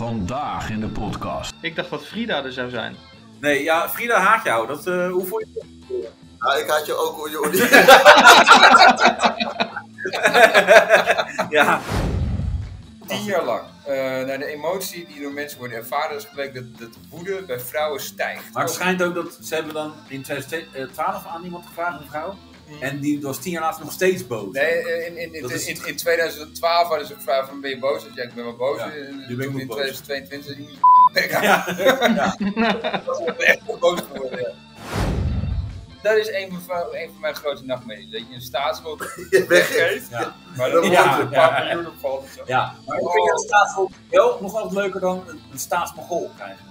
Vandaag in de podcast. Ik dacht dat Frida er zou zijn. Nee, ja, Frida haat jou. Dat, eh, hoe voel je het? Ja, ik had je ook hoor, Jordi. Ja. Tien jaar lang. eh, naar de emotie die door mensen worden ervaren, is gebleken dat, dat woede bij vrouwen stijgt. Maar het schijnt ook dat ze hebben dan in 2012 aan iemand gevraagd, een vrouw. En die was tien jaar later nog steeds boos. Nee, eh, in, in, in, Dat is- in, in 2012 hadden ze gevraagd van ben je boos? Ik zei ik ben wel boos. Ja, En eh, nu ben ik toen ook in boos. 2022 zei ik, moet je bek houden. Ja. Ik ben echt wel boos geworden. ja. Dat is een van, va- een van mijn grote nachtmerries. Dat je een staatsschuld weggeeft, Ja. maar dan Ja, wordt er een paar ja, ja. miljoen op valt. en zo. ja. Maar ik vind een staatsvol wel nog altijd leuker dan een, een staatsmogol krijgen.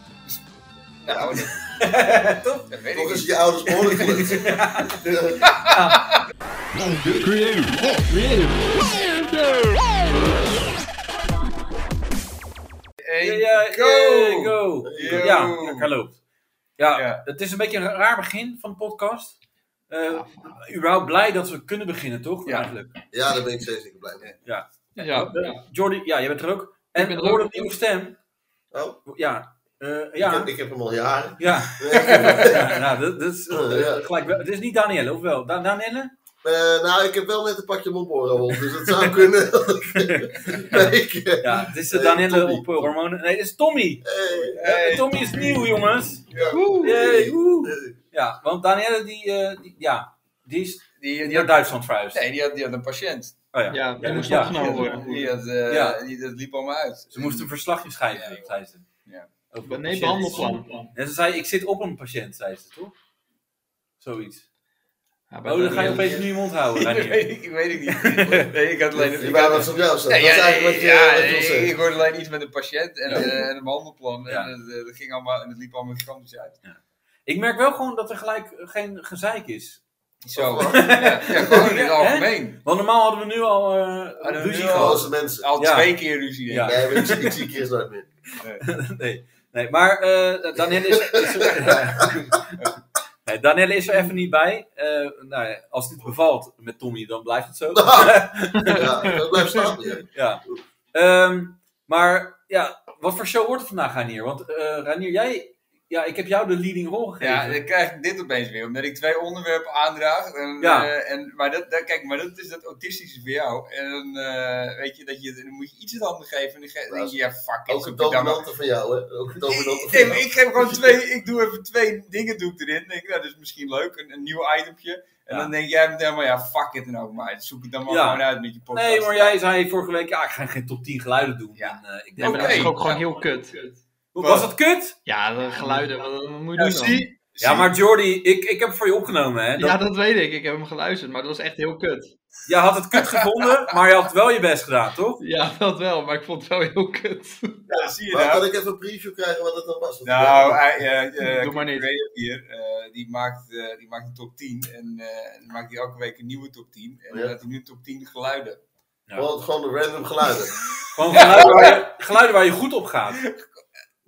Nou, dat, Toch? dat weet ik Toch is niet. je ouders behoorlijk gelukt. Creative. Hey, Ja, ja, go! go! go. Yo. Ja, lekker loopt. Ja, Ja. het is een beetje een raar begin van de podcast. Eh überhaupt blij dat we kunnen beginnen, toch? Ja. Eigenlijk. Ja, daar ben ik steeds niet blij mee. Ja. Eh, Jordi, ja, jij bent er ook. Ik En ben er we ook. horen een nieuwe stem. Oh, Ja. eh, ik, ja. heb, ik heb hem al jaren. Ja. Eh, ja, nou, dat, dat is eh, Oh, ja. gelijk wel. Het is niet Danielle, of wel? Da- Danielle? nou, ik heb wel net een pakje mondboren op, dus het zou kunnen. Nee, ik, eh, Ja, het is Nee, eh, Danielle Tommy. op eh, hormonen. Nee, het is Tommy. eh, Eh, Tommy is nieuw, jongens. Woe. Yay, woe. eh, Ja, want Danielle, die, eh, die, ja, die is Die, die naar had, Duitsland verhuisd. nee, die had, die had een patiënt. Oh ja. Ja, die Ja, moest ja. opgenomen worden. Die, had, eh, Ja. die, dat liep allemaal uit. Ze moest een verslagje schrijven, Ja. zei ze. Ja. Over een Nee, patiënt. behandelplan. En ze zei, ik zit op een patiënt, zei ze, toch? Zoiets. Ja, bij Oh, dan ga je Daniel. opeens nu je mond houden, ik, Danielle. weet, ik weet het niet. Nee, ik had alleen Die waren wat op jou staan. Nee, dat is ja, eigenlijk wat je ja, wat je wil ik- zeggen. ik hoorde alleen iets met een patiënt en, Ja. eh, en een behandelplan. Ja. En het, eh, dat ging allemaal, en het liep allemaal gigantisch uit. Ik merk wel gewoon dat er gelijk geen gezeik is. Zo. Oh, ja, ja, gewoon in het Hè? algemeen. Want normaal hadden we nu al eh, Hadden we ruzie nu al- gehad. Roze mensen. Al Ja. twee keer ruzie. denk ik. Ja. Nee, maar ik, zie- ik zie Chris nooit meer. nee. nee, maar eh Danielle is, is er, nee, Danielle is er even niet bij. Eh, nou, ja, als dit bevalt met Tommy, dan blijft het zo. Ja, dat blijft staan. Ja. ja. Ehm, maar ja, wat voor show wordt het vandaag, Ranier? Want eh Ranier, jij, ja, ik heb jou de leading rol gegeven. Ja, dan krijg ik dit opeens weer, omdat ik twee onderwerpen aandraag. En, Ja. eh, en, maar, dat, dat- kijk, maar dat is dat autistische voor jou. En dan, eh, weet je, dat je, dan moet je iets in handen geven. En dan ge- dan denk je, ja, fuck it. Ook een zoek het dan maar. dominante van jou, hè? Ook een dominante van Nee, jou. maar ik geef gewoon twee, ik doe even twee dingen doe ik erin. Denk, ik, nou, dat is misschien leuk, een, een nieuw itempje. En Ja. dan denk jij meteen maar, ja, fuck it en ook maar. Zoek het dan maar Ja. gewoon uit met je podcast. Nee, maar jij zei vorige week, ja, ik ga geen top 10 geluiden doen. Ja. En, eh, ik Ja, denk, maar dat is Oké. toch ook gewoon heel kut. Hoe was het kut? Ja, de geluiden, wat wat moet je Ja, doen dan? zie, Ja, maar Jordi, ik, ik heb het voor je opgenomen. Hè? Dat, Ja, dat weet ik. Ik heb hem geluisterd, maar dat was echt heel kut. Jij had het kut gevonden, maar je had wel je best gedaan, toch? Ja, dat wel, maar ik vond het wel heel kut. ja, zie je Maar nou. kan ik even een preview krijgen wat dat dan was? Want- Nou, hij, eh, eh, Doe maar niet. Creative hier, eh, die, maakt, eh, die maakt een top 10. En eh, dan maakt hij elke week een nieuwe top 10. En Ja. dan had hij nu een top 10 geluiden. Gewoon, gewoon random geluiden. Gewoon geluiden waar je, geluiden waar je goed op gaat.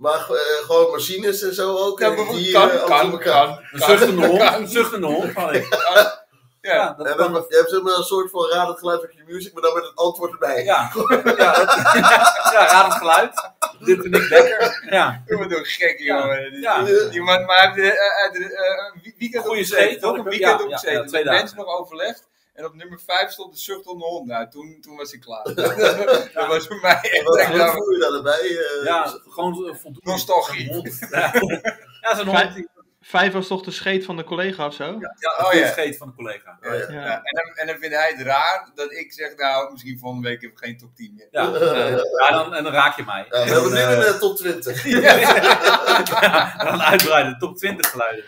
Maar eh, gewoon machines en zo ook. Ja, en bijvoorbeeld die, kan, eh, alles kan, op elkaar. kan, Een zuchtende hond. Een zuchtende hond. van ik. Ja, Ja, dat En kan- dan, je hebt zeg maar een soort van raad het geluid van je music, maar dan met het antwoord erbij. Ja, ja, dat- ja raar het geluid. Dit vind ik lekker. Ja, dat wordt ook gek, Ja. jongen. Die- Ja. Die, die man, maar hij heeft eh, uit de, eh, een wie- weekend Goeie opgezeten, scheet, toch? hoor. Een Ja, weekend ja, opgezeten. ja, twee Met dagen. mensen nog overlegd. En op nummer 5 stond de zucht onder hond. Nou, toen, toen was hij klaar. dat was voor mij echt... Wat, echt wat nou, voel je daarbij? eh? ja gewoon eh, voldoende. Nostalgie. Hond. Ja, Ja, zo'n hond. die- Vijf was toch de scheet van de collega of zo? Ja. Ja, Oh, een ja. scheet van een collega. Oh, ja. Ja, en, dan, en dan vindt hij het raar dat ik zeg, nou, misschien volgende week hebben we geen top 10 meer. Ja, eh, ja dan, en dan raak je mij. Ja, we hebben nu Dan, een eh, eh, top 20. ja, dan uitbreiden, top 20 geluiden.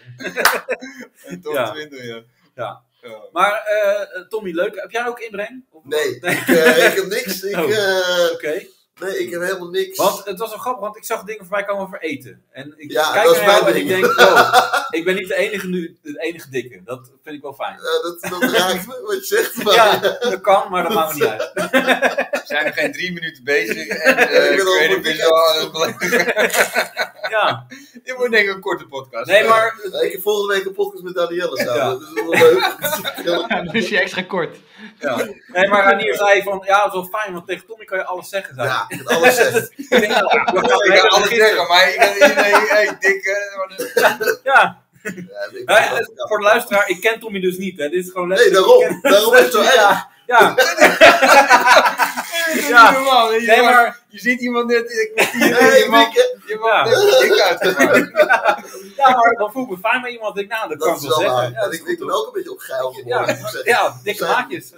Een top Ja. 20, ja. Ja. Ja. Maar eh, Tommy, leuk. Heb jij ook inbreng? Of- Nee, ik, eh, ik heb niks. Ik, Oh. eh, Oké. nee, ik heb helemaal niks. Want het was wel grappig, want ik zag dingen voorbij komen over eten. En ik Ja, kijk dat is naar jou mijn en ik ding. denk, wow, ik ben niet de enige nu, de enige dikke. Dat vind ik wel fijn. Ja, dat, dat raakt me, wat je zegt. Maar, Ja, dat kan, maar dat maakt me niet uit. We zijn nog geen drie minuten bezig en eh Ik ben al Creative voor is al aan het beleggen. Ja, Dit wordt denk ik een korte podcast. Nee, maar Ja, Ik heb volgende week een podcast met Danielle samen. Dat is wel leuk. Ja, dan is je extra kort. Ja. Nee, maar Ranier zei van, ja, dat is wel fijn, want tegen Tommy kan je alles zeggen. Zei. Ja, met alles zegt. Ja, ja, Ik kan alles zeggen, maar ik kan iedereen... Hey, dik, eh, wat is- Ja. Ja, ik- Hè, het- voor de luisteraar, ik ken Tommy dus niet. Hè. Dit is gewoon Nee, letterlijk- daarom. Daarom is het zo erg. Ja, ja. Dit is Ja. niet normaal. Je, Nee, mag- maar, je ziet iemand net... Ik moet hier... Hey, je mag, Mieke. je mag Ja. net dik uitgemaakt. ja, maar dan voel ik me fijn bij iemand. Ik, nou, dat, Dat kan is ik wel wel zeggen. waar. Ja, dat En is ik goed, ik ben hoor. ook een beetje op geil geworden. moet ik ja, zeggen. ja, dikke Zijn- haakjes.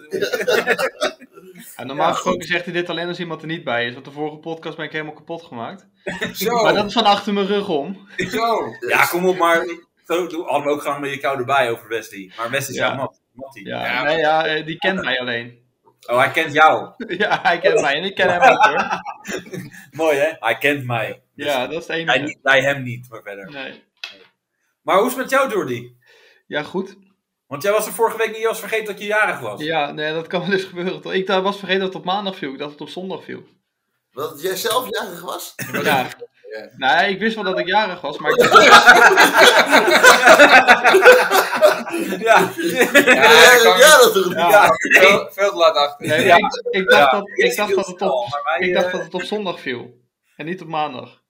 Ja, normaal Ja, gesproken zegt hij dit alleen als iemand er niet bij is. Want de vorige podcast ben ik helemaal kapot gemaakt. Zo, Oh. Maar dat is van achter mijn rug om. zo. Ja, kom op, maar zo doen- hadden we ook gewoon met je koude bij over Wesley. Maar Wesley is Ja. jouw mat. Mattie. Ja, Ja. nee, ja eh, die kent mij alleen. Oh, hij kent jou. Ja, hij kent mij en ik ken hem ook hoor. Mooi, hè? Hij kent mij. Dus Ja, dat is het Wij, enige. niet- wij hem niet, maar verder. Nee. Maar hoe is het met jou, Jordi? Ja, goed. Want jij was er vorige week niet als vergeten dat je jarig was. Ja, nee, dat kan wel eens gebeuren. toch? Ik dacht- was vergeten dat het op maandag viel. Ik dacht dat het op zondag viel. Want jij zelf jarig was? Ja. Ja. Nee, ik wist wel dat ik jarig was, maar ik... Ja. Ja, Ja, dat kan- ja, dat toch niet? Ja, Veel, veel te laat achter. nee, Ja. ik, ik dacht, Ja, dat, ik, dacht dat het op, Maar wij, ik dacht eh, dat het op zondag viel. En niet op maandag.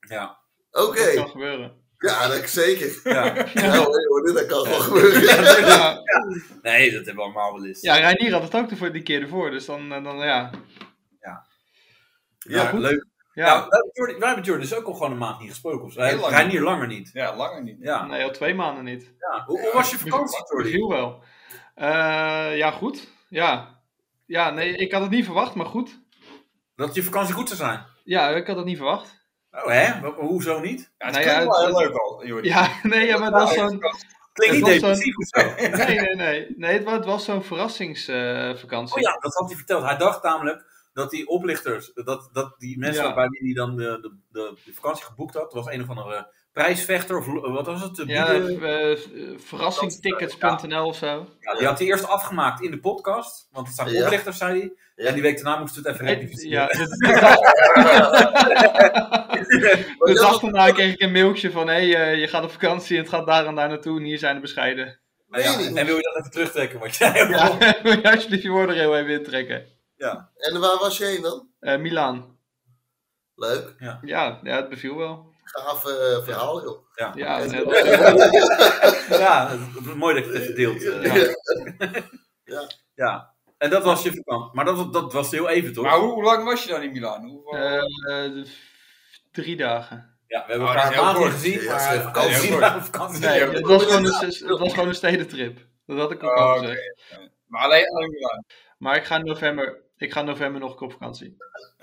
Ja. Oké. Dat kan gebeuren. Ja, dat zeker. ja. Nou, nee, hoor, dat kan gewoon gebeuren. Ja, Nee, dat hebben we allemaal wel eens. ja Reinier had het ook de, voor- die keer ervoor. Dus dan, eh, dan ja. Nou, Ja, goed. leuk. Ja, Nou, wij hebben Jordi- wij hebben Jordi dus ook al gewoon een maand niet gesproken. Of zo. Heel lang. Hij hier langer niet. Ja, langer niet. Ja. nee, al twee maanden niet. ja. Hoe, hoe was je Nou. vakantie, Jordi? Beviel wel. Eh, ja, goed. Ja. ja, nee, ik had het niet verwacht, maar goed. Dat je vakantie goed zou zijn. Ja, ik had het niet verwacht. Oh, hè? Wa- Hoezo niet? Ja, het Nou klinkt ja, wel het- heel leuk al, Jordi. Ja, nee, ja, maar dat was zo'n... Klinkt niet Het was depressief of zo. Nee, nee, nee. nee het, wa- het was zo'n verrassingsvakantie. Oh ja, dat had hij verteld. Hij dacht namelijk dat die oplichters, dat, dat die mensen Ja. bij wie hij dan de, de, de, de vakantie geboekt had, was een of andere prijsvechter of lo- wat was het? De Ja, bieden- eh, eh, verrassingstickets.nl of zo. Ja, die had hij eerst afgemaakt in de podcast, want het zijn Ja. oplichters, zei hij. Ja. En die week daarna moesten we het even Ja, rectificeren. de, de dag, Maar de jij dag was- daarna kreeg ik een mailtje van... hé, hey, eh, je gaat op vakantie en het gaat daar en daar naartoe... en hier zijn de bescheiden. Nou ja, Meen je niet? En wil je dat even terugtrekken? Wat jij Ja. Wil je alsjeblieft je woorden er heel even intrekken? En waar was je heen dan? Eh Milaan. Leuk. Ja, ja, het beviel wel. Gaaf eh, verhaal, joh. Ja, Oké. net als- ja, het is mooi dat je het even deelt. eh. Ja. Ja. Ja. En dat was je vakantie. Maar dat, dat was heel even, toch? Maar hoe, hoe lang was je dan in Milaan? Hoe, Eh, eh, f- drie dagen. Ja, we hebben Oh, dat is elkaar een heel maand niet kort. gezien, Ja, dat is maar heel vakantie. we zien elkaar op vakantie. Nee, Ja, het was gewoon een, het was gewoon een stedentrip. Dat had ik ook Oh, al oké. gezegd. maar alleen, alleen Milaan. Maar ik ga in november, ik ga in november nog een keer op vakantie.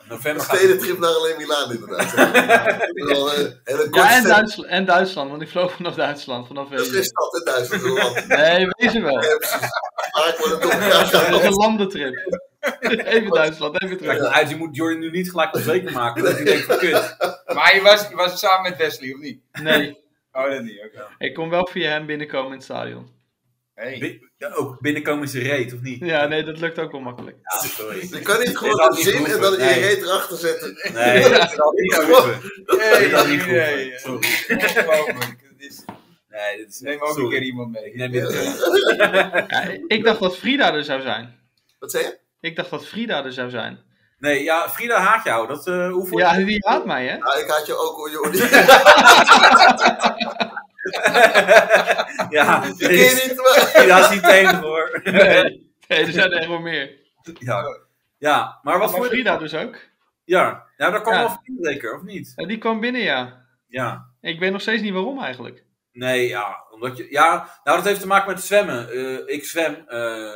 November Een gaat stedentrip naar alleen Milaan, inderdaad. Ik bedoel, eh, en een korte Ja, en, stad. Duitsla- en Duitsland, want ik vloog vanaf Duitsland. Vanaf Dat is Wenen. geen stad, hè, Duitsland. is een land. Nee, wezen wel. Maar ik word het toch- Dat is een landentrip. Even Duitsland, even Kijk, terug. nou uit, je moet Jordi nu niet gelijk onzeker maken. Dat hij denkt van kut. Maar je was, je was samen met Wesley, of niet? Nee, Oh, dat niet, oké. ik kon wel via hem binnenkomen in het stadion. Hey. Bi- ja, ook binnenkomen is een reet, of niet? Ja, nee, dat lukt ook wel makkelijk. Ja, sorry. Je kan niet Dit had gewoon een niet zin en dan je gehoeven, nee. reet erachter zetten. Nee, dat had niet gehoeven. Hey, Dit had niet gehoeven. hey, hey. Sorry. Ongelooflijk. Dit is- Nee, dit is Neem ook een sorry. keer iemand mee. Ik neem dit terug. Ja, ik dacht dat Frida er zou zijn. Wat zei je? Ik dacht dat Frida er zou zijn. Nee, ja, Frida haat jou. Dat eh hoef je Ja, die haat mij, hè? Ah, ik had je ook hoor, Jordi. Ja, Ik ken je nee, niet, maar... Frida is niet tegen hoor. Nee, nee er zijn er echt wel meer. Ja. ja, maar wat Maar voor... Frida dus ook. Ja, nou daar kwam Ja. wel vrienden zeker, of niet? Ja, die kwam binnen, ja. Ja. Ik weet nog steeds niet waarom eigenlijk. Nee, ja, omdat je, ja, nou dat heeft te maken met zwemmen. Eh, ik zwem, eh,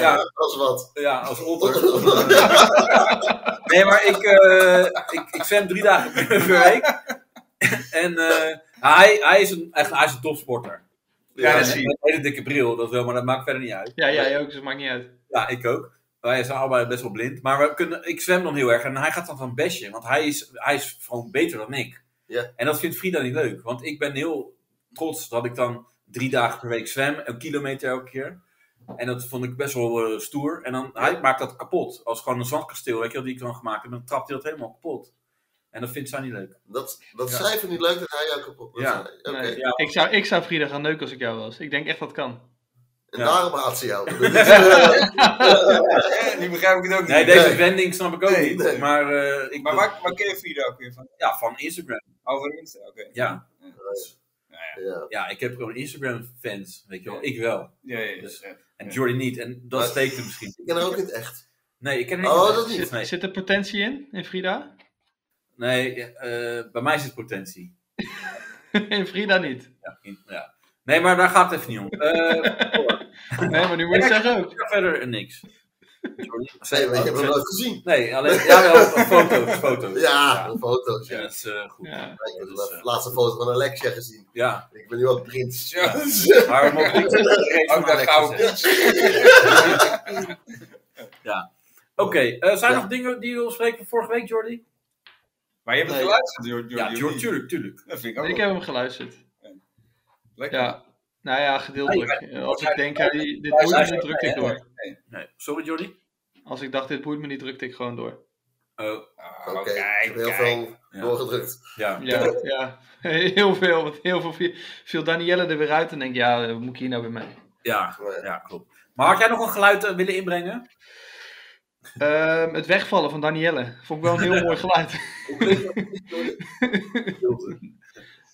ja, Als wat. ja, als otter. nee, maar ik, eh, ik, ik zwem drie dagen per week. en eh, hij, hij, is een, echt, hij is een topsporter. Ja, dat En zie je. Een hele dikke bril, dat wel, maar dat maakt verder niet uit. Ja, jij ook, dus maakt niet uit. Ja, ik ook. Wij zijn allebei best wel blind. Maar we kunnen, ik zwem dan heel erg. En hij gaat dan van besje. Want hij is, hij is gewoon beter dan ik. Ja. En dat vindt Frida niet leuk. Want ik ben heel trots dat ik dan drie dagen per week zwem. Een kilometer elke keer. En dat vond ik best wel eh, stoer. En dan, hij maakt dat kapot. Als gewoon een zandkasteel, weet je wel, die ik dan gemaakt heb. En dan trapt hij dat helemaal kapot. En dat vindt zij niet leuk. Dat, dat Ja. cijfer niet leuk dat hij jou kapot dat Ja. zei. Oké. Nee, Ja. ik, zou, ik zou Frida gaan neuken als ik jou was. Ik denk echt dat kan. En Ja. daarom haat ze jou. Eh, Nu begrijp ik het ook Nee, niet. deze Nee. wending snap ik ook Nee, niet. nee. Maar, eh, ik Maar waar, waar ken je Frida ook weer van? Ja, van Instagram. Over Insta, oké. Ja. Nou ja. ja, ik heb gewoon Instagram-fans, weet je wel. Ja. Ik wel. ja, ja, ja, Dus- ja. En Ja. Jordi niet. En dat Maar- steekt hem misschien. Ik ken haar ook in het echt. Nee, ik ken hem Oh, dat niet. Nee, Zit er potentie in, in Frida? nee eh, bij mij zit potentie. in Frida niet. Ja, in- ja. Nee, maar daar gaat het even niet om. Eh, Nee, maar nu moet ik zeggen ook. verder eh, niks. Sorry. Nee, maar je hebt hem nooit gezien. Nee, alleen jawel, foto's, foto's. Ja, op foto's. Ja, Ja. dat is eh, goed. Ja. Ja. Ik heb dat is, de eh, laatste foto van Alexia gezien. Ik ben nu ook prins. Zo. Maar we mogen niet iedereen van Ook dat Alex gouden zeggen. pitch. Oké, eh, zijn er Ja. nog dingen die we spreken van vorige week, Jordi? Maar je hebt het Nee. geluisterd, Jordi. Ja, of Jordi, niet? tuurlijk, tuurlijk. Dat vind ik ook Ik wel heb hem geluisterd. lekker. Ja. Nou ja, gedeeltelijk. Eh, Als ik denk, eh, die- dit Hij boeit zei- me niet, drukte ik door. Nee, sorry, Jordi. Als ik dacht, dit boeit me niet, drukte ik gewoon door. Oh, Ah, Oké, ik kijk, heb heel kijk. veel Ja. doorgedrukt. ja. Ja, ja. heel veel. Want heel veel viel- viel Danielle er weer uit en denk, ja, eh, moet ik hier nou weer mee? ja, Maar ja, klopt. Maar had jij nog een geluid eh, willen inbrengen? Ehm, het wegvallen van Danielle. Vond ik wel een heel mooi geluid. hoe klinkt dat niet, Jordi?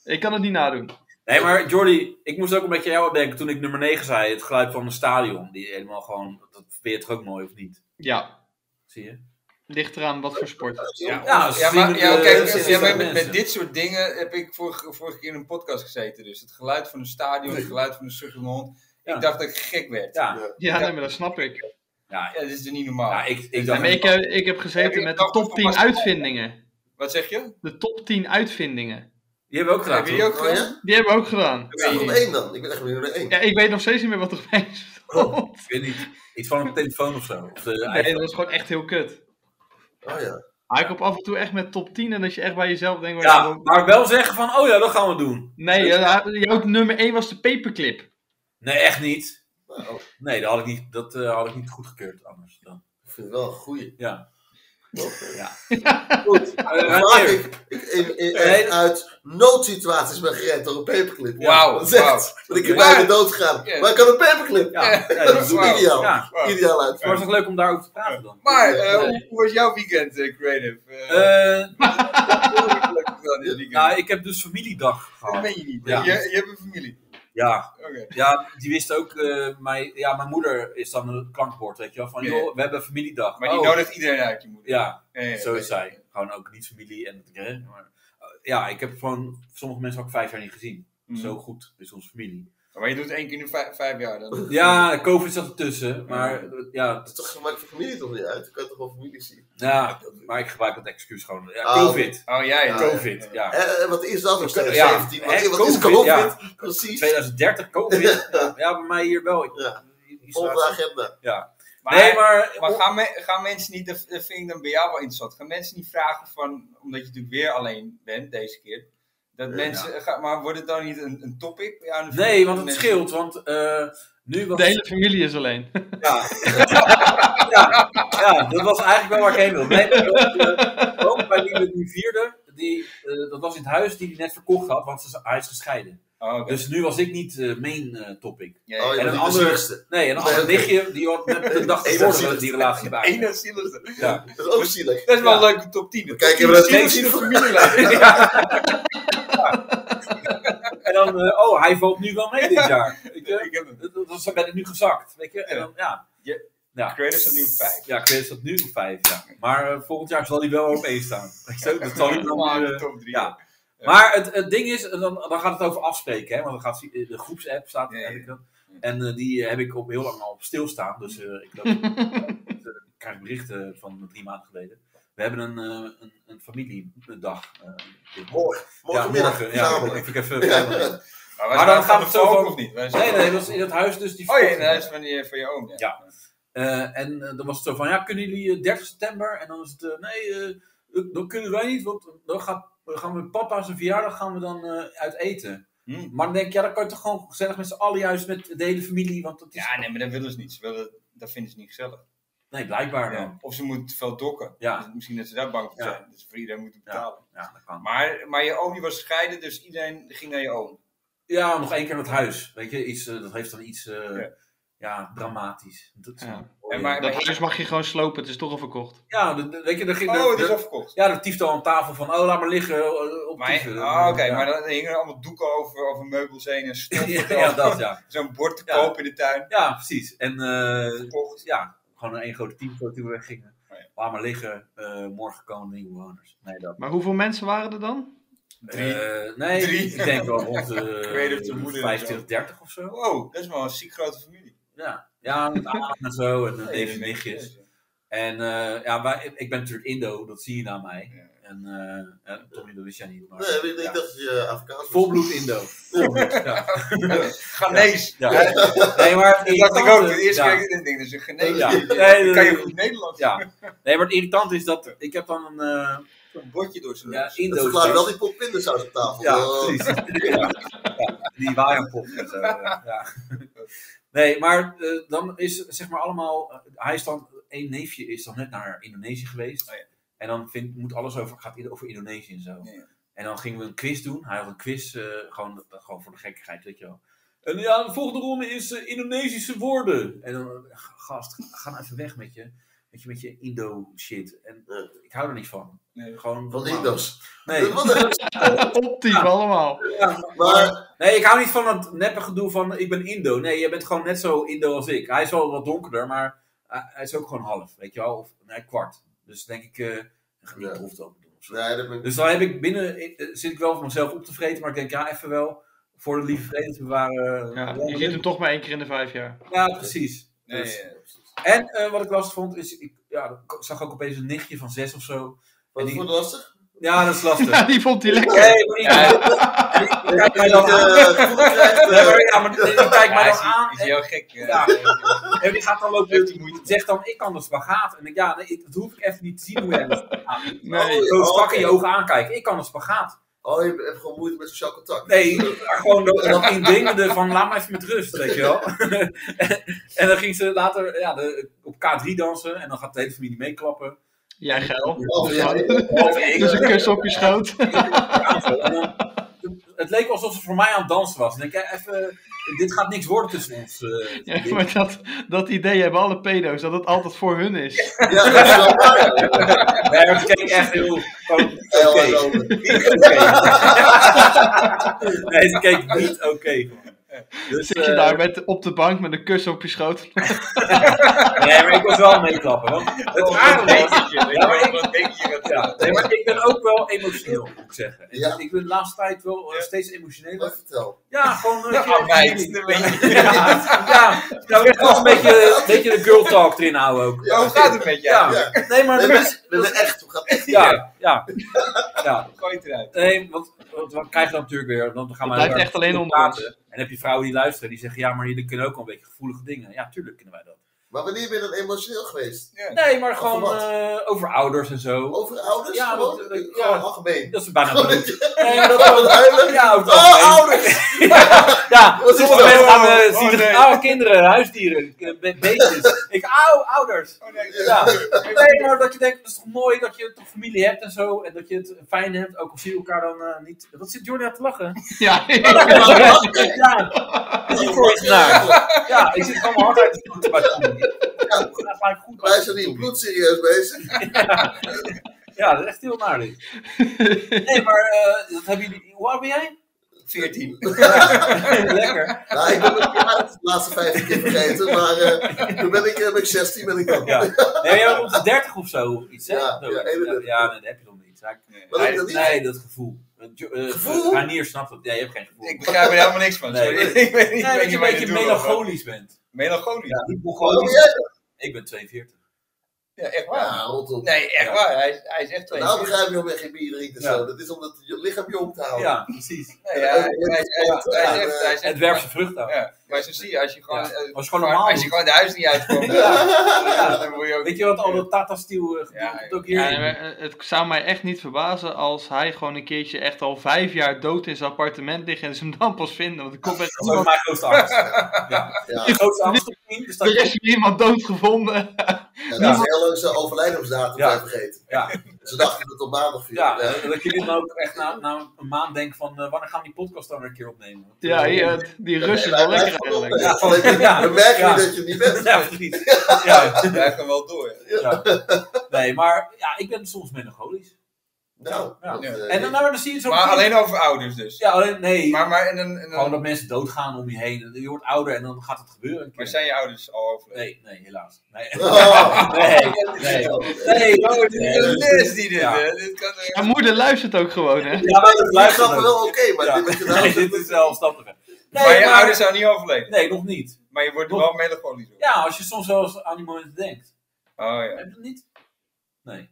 Ik kan het niet nadoen. Nee, maar Jordi, ik moest ook een beetje aan jou denken toen ik nummer 9 zei. Het geluid van een stadion. Die helemaal gewoon, dat vind je toch ook mooi, of niet? Ja, Zie je? ligt eraan wat voor Oh sport. Ja, Ja, ja, maar, zien ja, we- kijk, zien ja, we maar met, mensen. met dit soort dingen heb ik vorige, vorige keer in een podcast gezeten. Dus het geluid van een stadion, het geluid van een sukkende hond. Ja. Ik dacht dat ik gek werd. Ja, Ja, Ja, nee, maar dat snap ik. ja, dat is er niet normaal. ja ik, ik Nee, dacht... maar ik, heb, ik heb gezeten met de top 10 uitvindingen. Wat zeg je? De top 10 uitvindingen. Die hebben we ook gedaan, Heb je die ook Oh gedaan? ja? Die hebben we ook gedaan. Ik zat op één dan. Ik ben echt benieuwd naar één. Ja, ik weet nog steeds niet meer wat er bij stond. Ik weet niet. Iets van een telefoon of zo. Of eh, de Nee, iPhone. dat was gewoon echt heel kut. Oh ja. Maar ik op af en toe echt met top 10 en dat je echt bij jezelf denkt... ja, waarom- maar wel zeggen van, oh ja, dat gaan we doen. Nee, ja, jouw nummer 1 was de paperclip. Nee, echt niet. Nou, ik Nee, dat had ik niet, dat, eh, had ik niet goedgekeurd anders dan. vind het wel een goeie. Ja. Toch? Goed. eh, Maak Reinier. ik ik- in, in, Nee. uit noodsituaties ben gered door een paperclip. Wauw, Dat is echt- wauw. Want ik heb Ja. bijna dood gegaan. Ja. Maar ik had een paperclip. Ja, nee, Dat dat is is waar. ideaal. Ja, Wow. Ideaal uit. het was toch leuk om daarover te praten dan. Maar eh, hoe, hoe was jouw weekend, eh, Creative? Eh, Eh, hoe heb je het leuk gedaan dit weekend? nou, ik heb dus familiedag dat gehad. ben je niet. Ja. Je, je hebt een familie. Ja, Oké. ja die wist ook, eh, mijn, ja, mijn moeder is dan een klankbord, weet je wel. Van, Ja. joh, we hebben familiedag. Maar die Oh, nodigt iedereen uit, je moeder. Ja, Ja, ja, Zo oké. is zij. Gewoon ook niet familie en hè, maar, eh, ja, ik heb van sommige mensen ook vijf jaar niet gezien. Mhm. Zo goed is onze familie. Maar je doet het één keer in de vijf, vijf jaar dan. Ja, COVID zat ertussen, maar eh, ja, Dat is toch, maakt je familie toch niet uit? Dan kan je toch wel familie zien? ja, maar ik gebruik dat excuus gewoon. Ja, Ah, COVID. Oh, jij. Ja, COVID, ja. Eh, wat is dat nog steeds? Ja. 17? Wat, Hè, wat is COVID, COVID? ja. Precies. 2030, COVID. Ja, ja, bij mij hier wel. Ik, Ja. die- die Volgende staat- agenda. Ja. Maar, nee, maar... maar gaan, me- gaan mensen niet, dat dat vind ik dan bij jou wel interessant, gaan mensen niet vragen van, omdat je natuurlijk weer alleen bent deze keer, dat Ja. mensen, ga- maar wordt het dan niet een, een topic? bij jou in de Nee, familie? want het Mensen- scheelt, want eh, nu was... De hele familie is alleen. Ja. ja. ja, dat was eigenlijk wel waar ik heen wilde. Nee, maar, eh, ook bij wie we nu vierden, die, eh, dat was in het huis die hij net verkocht had, want ze, hij is gescheiden. Oh, oké. Dus nu was ik niet eh, main eh, topic. Ja, Oh, ja. je En bent een niet de andere- zielste. Nee, en een ander Nee, oké. nichtje, die had net de dag Eén ervoor zielig. dat die relatie bij. Eén als zieligste. Ja. Dat is ook zielig. Dat is wel Ja. een leuke top 10. Kijk, in hebben we dat de eens- familie. En dan, eh, oh, hij valt nu wel mee dit jaar. Weet je? Ik heb hem. Dat- dat- Zo ben ik nu gezakt. Weet je? En dan, ja. Ja. Ja. Creator staat nu op vijf. Ja, Chris staat nu op vijf, ja. Maar eh, volgend jaar zal hij wel op één staan. Zo, Dat zal hij dan... Normaal in de eh, top 3. Ja. Maar het, het ding is, dan, dan gaat het over afspreken. Hè? Want dan gaat eh, de groepsapp staat. Ja, ja. heb ik dat. En eh, die heb ik op heel lang al op stilstaan. Dus eh, ik, loop, eh, ik krijg berichten van drie maanden geleden. We hebben een, eh, een, een familiedag. eh, dit- Morgen. Morgenmiddag. morgen, ja, Samen. ik eh, even verder. Maar dan gaat het zo van- of niet? Wij zijn- Nee, nee, dat was in het huis dus. Die Oh ja, verkocht- in het huis van je, van je oom. Ja. Ja. Eh, en eh, dan was het zo van, ja, kunnen jullie eh, 30 september? En dan is het, eh, nee, eh, dan kunnen wij niet, want dan gaat, gaan we papa zijn verjaardag gaan we dan eh, uit eten. Hm. Maar dan denk ik, ja, dan kan je toch gewoon gezellig met z'n allen juist met de hele familie, want dat is... Ja, nee, maar dat willen ze niet. Ze willen, dat vinden ze niet gezellig. Nee, blijkbaar Ja. dan. Of ze moet te veel dokken. Ja. Dus misschien dat ze daar bang voor Ja. zijn. Dat ze voor iedereen moeten Ja. betalen. Ja, dat kan. Maar, maar je oom die was gescheiden, dus iedereen ging naar je oom. Ja, nog één keer dat huis. Weet je, iets, eh, dat heeft dan iets eh, Ja. ja. dramatisch. Dat, Ja. Oh, En maar- Dat huis mag je gewoon slopen, het is toch al verkocht. ja, de- de- weet je, er ging. Oh, de- het is de- afverkocht. ja, dat tieft al aan tafel van, oh, laat maar liggen. eh, Op Maar, tieven. ah, oké, Ja. maar dan hingen er allemaal doeken over, over meubels heen en stof. ja, ja, dat ja. Zo'n bord te Ja. koop in de tuin. Ja, precies. En eh, Verkocht. ja, gewoon een één grote team zo toen we weggingen. Oh, ja. Laat maar liggen. eh, morgen komen nieuwe bewoners. Nee, dat. Maar hoeveel mensen waren er dan? Drie. Eh, nee, Drie. ik denk wel rond Ik weet het, de de moeder 25, 30 of zo. Wow, Oh, dat is wel een ziek grote familie. Ja, ja met aan en zo en Nee, neefjes dat en is nichtjes. niks. En eh, ja, wij, ik- ik ben natuurlijk Indo, dat zie je aan mij. Ja. En eh, eh, Tommy, dat wist jij niet. Maar, Nee, ik, ik ja. dacht dat je eh, Afrikaans was. Volbloed Indo. Volbloed, ja. Ghanees. Ja. Ja, Nee, maar Dat dacht ik ook. De eerste ja. keer dat ik dit denk, dat is een Ghanees. Ja. Die Nee, nee, kan je nee. goed Nederlands. Ja. Nee, maar het irritant is dat ik heb dan een eh Een bordje door zijn ja, neus. Dat Indo. verklaart wel die pot pindasaus op tafel. Ja, Eh, precies. Ja. Ja, Die waaierpop en zo. ja. Ja. Nee, maar eh, dan is zeg maar allemaal. eh, Hij is dan. één neefje is dan net naar Indonesië geweest. Oh ja. En dan vindt, moet alles over, gaat ieder- over Indonesië en zo. Ja, ja. En dan gingen we een quiz doen. Hij had een quiz, eh, gewoon, gewoon voor de gekkigheid, weet je wel. En ja, de volgende ronde is eh, Indonesische woorden. En dan, eh, gast, ga nou even weg met je, met je, met je Indo-shit. En Ja. ik hou er niet van. Nee. Gewoon Van normaal. Indo's. Nee, Wat een- Optief allemaal. Maar Nee, ik hou niet van dat neppe gedoe van ik ben Indo. Nee, jij bent gewoon net zo Indo als ik. Hij is wel wat donkerder, maar hij- hij is ook gewoon half, weet je wel. Of nee, kwart. Dus denk ik, eh ga niet Ja. proef dan doen of zo. nee, dat ben ik- Dus dan heb ik binnen, eh, zit ik wel voor mezelf op te vreten, maar ik denk ja, even wel voor de lieve vrede te bewaren. Ja, je ziet hem toch maar één keer in de vijf jaar. Ja, precies. Nee, Dus- ja. En eh, wat ik lastig vond, is ik ja, ik zag ook opeens een nichtje van zes of zo. En wat vond die- je lastig? Ja, dat is lastig. Ja, die vond hij lekker. Nee, maar die, die kijkt mij dan aan. Eh, gevoel krijgt, Nee, eh, maar ja, maar die die kijkt mij Ja, dan is, aan. is heel gek. eh. Ja. En die gaat dan lopen en zegt dan, ik kan de spagaat. En ik, ja, nee, ik- dat hoef ik even niet te zien hoe jij dat spagaat doet. Nee. Zo strak oh, oké. in je ogen aankijken. Ik kan de spagaat. Oh, je hebt gewoon moeite met sociaal contact. Nee, maar gewoon dat, dat indringende van, laat me even met rust, weet je wel. en dan ging ze later ja, de, op K3 dansen. En dan gaat de hele familie meeklappen. Jij geil. Oh, ja. Of ik. Dus een kus op je schoot. En dan- het leek alsof ze voor mij aan het dansen was. En ik, ja, even, dit gaat niks worden tussen ons. eh, Ja, maar dat, dat idee hebben alle pedo's, dat het altijd voor hun is. Ja, dat is wel waar. Nee, maar het keek echt heel... gewoon niet Heel oké. hard over. nee, ze keek niet oké. Dus, Zit je eh, daar met, op de bank met een kus op je schoot? Nee, maar ik was wel meeklappen. Want het Oh, rare wat denk was... je? Weet je Ja, wel, maar wat denk je dat- Ja, nee, maar ik ben ook wel emotioneel, moet ik zeggen. En Ja. Ik ben de laatste tijd wel eh, steeds emotioneler. Wat vertel. Ja, gewoon... eh, Ja, meid, ja, een beetje. ja, nou, ik was een beetje, een beetje de girl talk erin houden ook. Ja, hoe gaat het met jou? Ja, Ja. nee, maar... Nee, dat is- we we zijn echt. We gaan echt. Ja, ja. Ja, Gooi het eruit. Nee, want want we krijgen dan natuurlijk weer. Want we gaan Het maar blijft echt alleen onder praten. ons. En heb je vrouwen die luisteren, die zeggen: Ja, maar jullie kunnen ook wel een beetje gevoelige dingen. Ja, tuurlijk kunnen wij dat. Maar wanneer ben je dan emotioneel geweest? Nee, maar gewoon Over wat? Oh. eh, over ouders en zo. Over ouders? Ja, gewoon? dat- dat- Gewoon ja. algemeen. Dat is bijna bedoeld. Nee, maar dat Gewoon huilen? Ja, over het algemeen. Oh, ouders! Ja, Wat is sommige dat? mensen gaan eh, Oh, zien nee. oude kinderen, huisdieren, eh, be- beestjes. Ik, auw, ouders. Oh, nee, Ja. Nee, maar dat je denkt, het is toch mooi dat je toch familie hebt en zo. En dat je het fijn hebt, ook al zie je elkaar dan eh, niet... Wat zit Jordi aan te lachen? Ja, Ja, die koortsnaar. Ja, ik zit gewoon mijn hart uit te doen. Maar het gaat vaak goed. Wij zijn hier bloedserieus bezig. Ja, dat is echt heel naar dit. Nee, maar eh, dat hebben jullie... Hoe oud ben jij? 14. Lekker. Nou, ik ben het de laatste vijf keer vergeten, maar eh, toen ben ik, eh, ben ik 16 ben ik dan. Ja. Nee, jij bent rond de 30 of zo, of iets, hè? Ja, Zoiets. ja, 31. Ja, nee, dat heb je nog niet. Ja, ik- Wat heb je dan niet? Nee, dat gevoel. Want Jo- eh, Gevoel? Ranier snapt dat. Ja, je hebt geen gevoel. Ik begrijp er helemaal niks van. Nee. sorry. Ik weet Nee, niet dat wat je je een mij beetje doet, hoor. melancholisch bent. Melancholisch? Ja. Ja, niet Wat Oh, ben Mongolisch. jij dan? Ik ben 42. echt waar. Ja, rot op. Nee, echt Ja. waar. Hij, is- hij is echt twee. Nou begrijp je waarom je geen bier drinkt en Ja. zo. Dat is om het je lichaam jong te houden. Ja, precies. Nee, ja, hij, hij, hij- hij is echt... Hij is echt Het werpt zijn vrucht af. Ja, maar zo zie je, als je gewoon... Ja. eh, Als je gewoon normaal Als je doet. gewoon de huis niet uitkomt, Ja. ja, dan word je ook... Weet je wat al dat Tata Steel eh, gedoe Ja, komt ook Ja, hier? maar, eh, het zou mij echt niet verbazen als hij gewoon een keertje echt al vijf jaar dood in zijn appartement ligt en ze hem dan pas vinden. Want er komt echt Dat was niemand, mijn grootste angst. Ja. Ja. Mijn grootste angst op is dat er je is hier iemand dood gevonden. En dat is heel leuk zijn overlijdensdatum Ja. zijn vergeten. Ja, Ze dachten dat het op maandag viel. ja Nee. eh, dat je nu dan ook echt na, na een maand denkt van... eh, wanneer gaan we die podcast dan weer een keer opnemen? Want, Ja, eh, hier, het- die Russen Wij- zijn wij wel lekker gaan op, eigenlijk. hè. Ja. Alleen, Ja. We merken Ja. nu dat je het niet bent. eh, Ja, precies. Ja, Blijf dan wel door. ja. Nee, maar ja, ik ben soms melancholisch. Nou, Ja. dat, eh, En dan, nou, dan zie je zo... Maar alleen over ouders dus. Ja, alleen... Nee. Maar, maar, en dan, en Gewoon dan, dat mensen doodgaan om je heen. Je wordt ouder en dan gaat het gebeuren. een keer. maar zijn je ouders al overleden? Nee, nee, helaas. Nee. Oh. Nee. Nee. Nee, Oh, dit is een les die dit, Ja. hè? Dit kan echt- Mijn moeder luistert ook gewoon, hè? Ja, maar dat Ik luistert snap ook. wel oké, maar Ja. dit wat je nou Nee, zegt, dit is wel een stap te ver. Nee, maar je ouders zijn niet overleden. Nee, nog niet. Maar je wordt er Nog- wel melancholisch door. Ja, als je soms wel eens aan die momenten denkt. Oh ja. Heb je dat niet? Nee.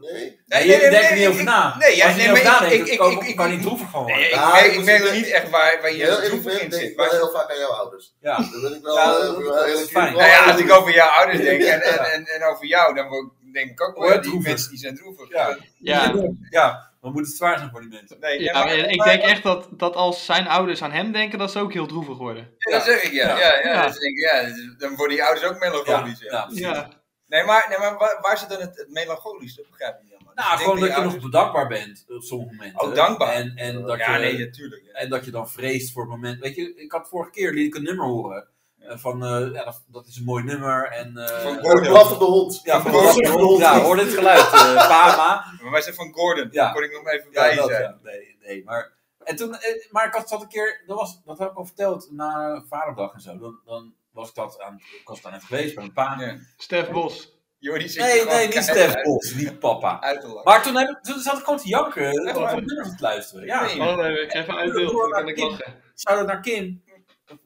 Nee. nee, je denkt er niet over na. Nee, ja, als je nee, er niet maar over ik- nadenkt, ik- dan ik- kan- ik- kan ik- je niet droevig gewoon Nee, worden. ik, Ja, merk, ik ik moet merk zeggen- niet echt waar, waar je Heel heel eerlijk droevig ben, in denk ik zit. wel Maar, heel vaak aan jouw ouders. Ja. Dat ben ik wel Ja, eh, dat- heel dat is eerlijk fijn. wel nou ja, aan als doen. ik over je ouders denk en, en, Ja. en, en over jou, dan word- denk ik ook wel Ja, ja, die droevig. mensen die zijn droevig. Ja. Ja. Ja, dan moet het zwaar zijn voor die mensen. Nee, Ja, maar- maar ik maar- denk echt dat, dat als zijn ouders aan hem denken, dat ze ook heel droevig worden. Ja, dat zeg ik, ja. Ja, ja, Ja. dat denk ik, ja, dat is- dan worden die ouders ook melancholisch. Ja. ja, precies. Ja, Nee, maar, nee, maar waar, waar zit dan het, het melancholisch? Dat begrijp ik niet helemaal. Dus Nou, ik gewoon denk dat je nog ouders- bedankbaar bent op sommige momenten. Oh, dankbaar. En, en, dat Ja, je, nee, natuurlijk. Ja. en dat je dan vreest voor het moment. Weet je, ik had vorige keer liet ik een nummer horen. eh, van, eh, ja, dat, dat is een mooi nummer. En, eh, Van Een blaffende hond. Ja, van Gordon. Ja, hoor dit geluid, eh, Bama. Maar wij zijn van Gordon, Ja. daar kon ik nog even Ja, bij dat, zijn. ja. Nee, nee, maar... En toen, eh, maar ik had dat een keer, dat, was, dat heb ik al verteld, na Vaderdag en zo. Dan, dan was ik dat aan, ik was daar even geweest bij mijn pa. Ja. Stef Bos. Jordi zit Nee, gewoon nee, niet keihard Stef uit- Bos, niet papa. Uit te lachen. Maar toen, heb ik, toen zat ik gewoon te janken, Echt om waar? het nummer te luisteren. Ja. Nee. Oh nee, ik ga even uit beeld, dan kan ik lachen. Shout-out naar Kim,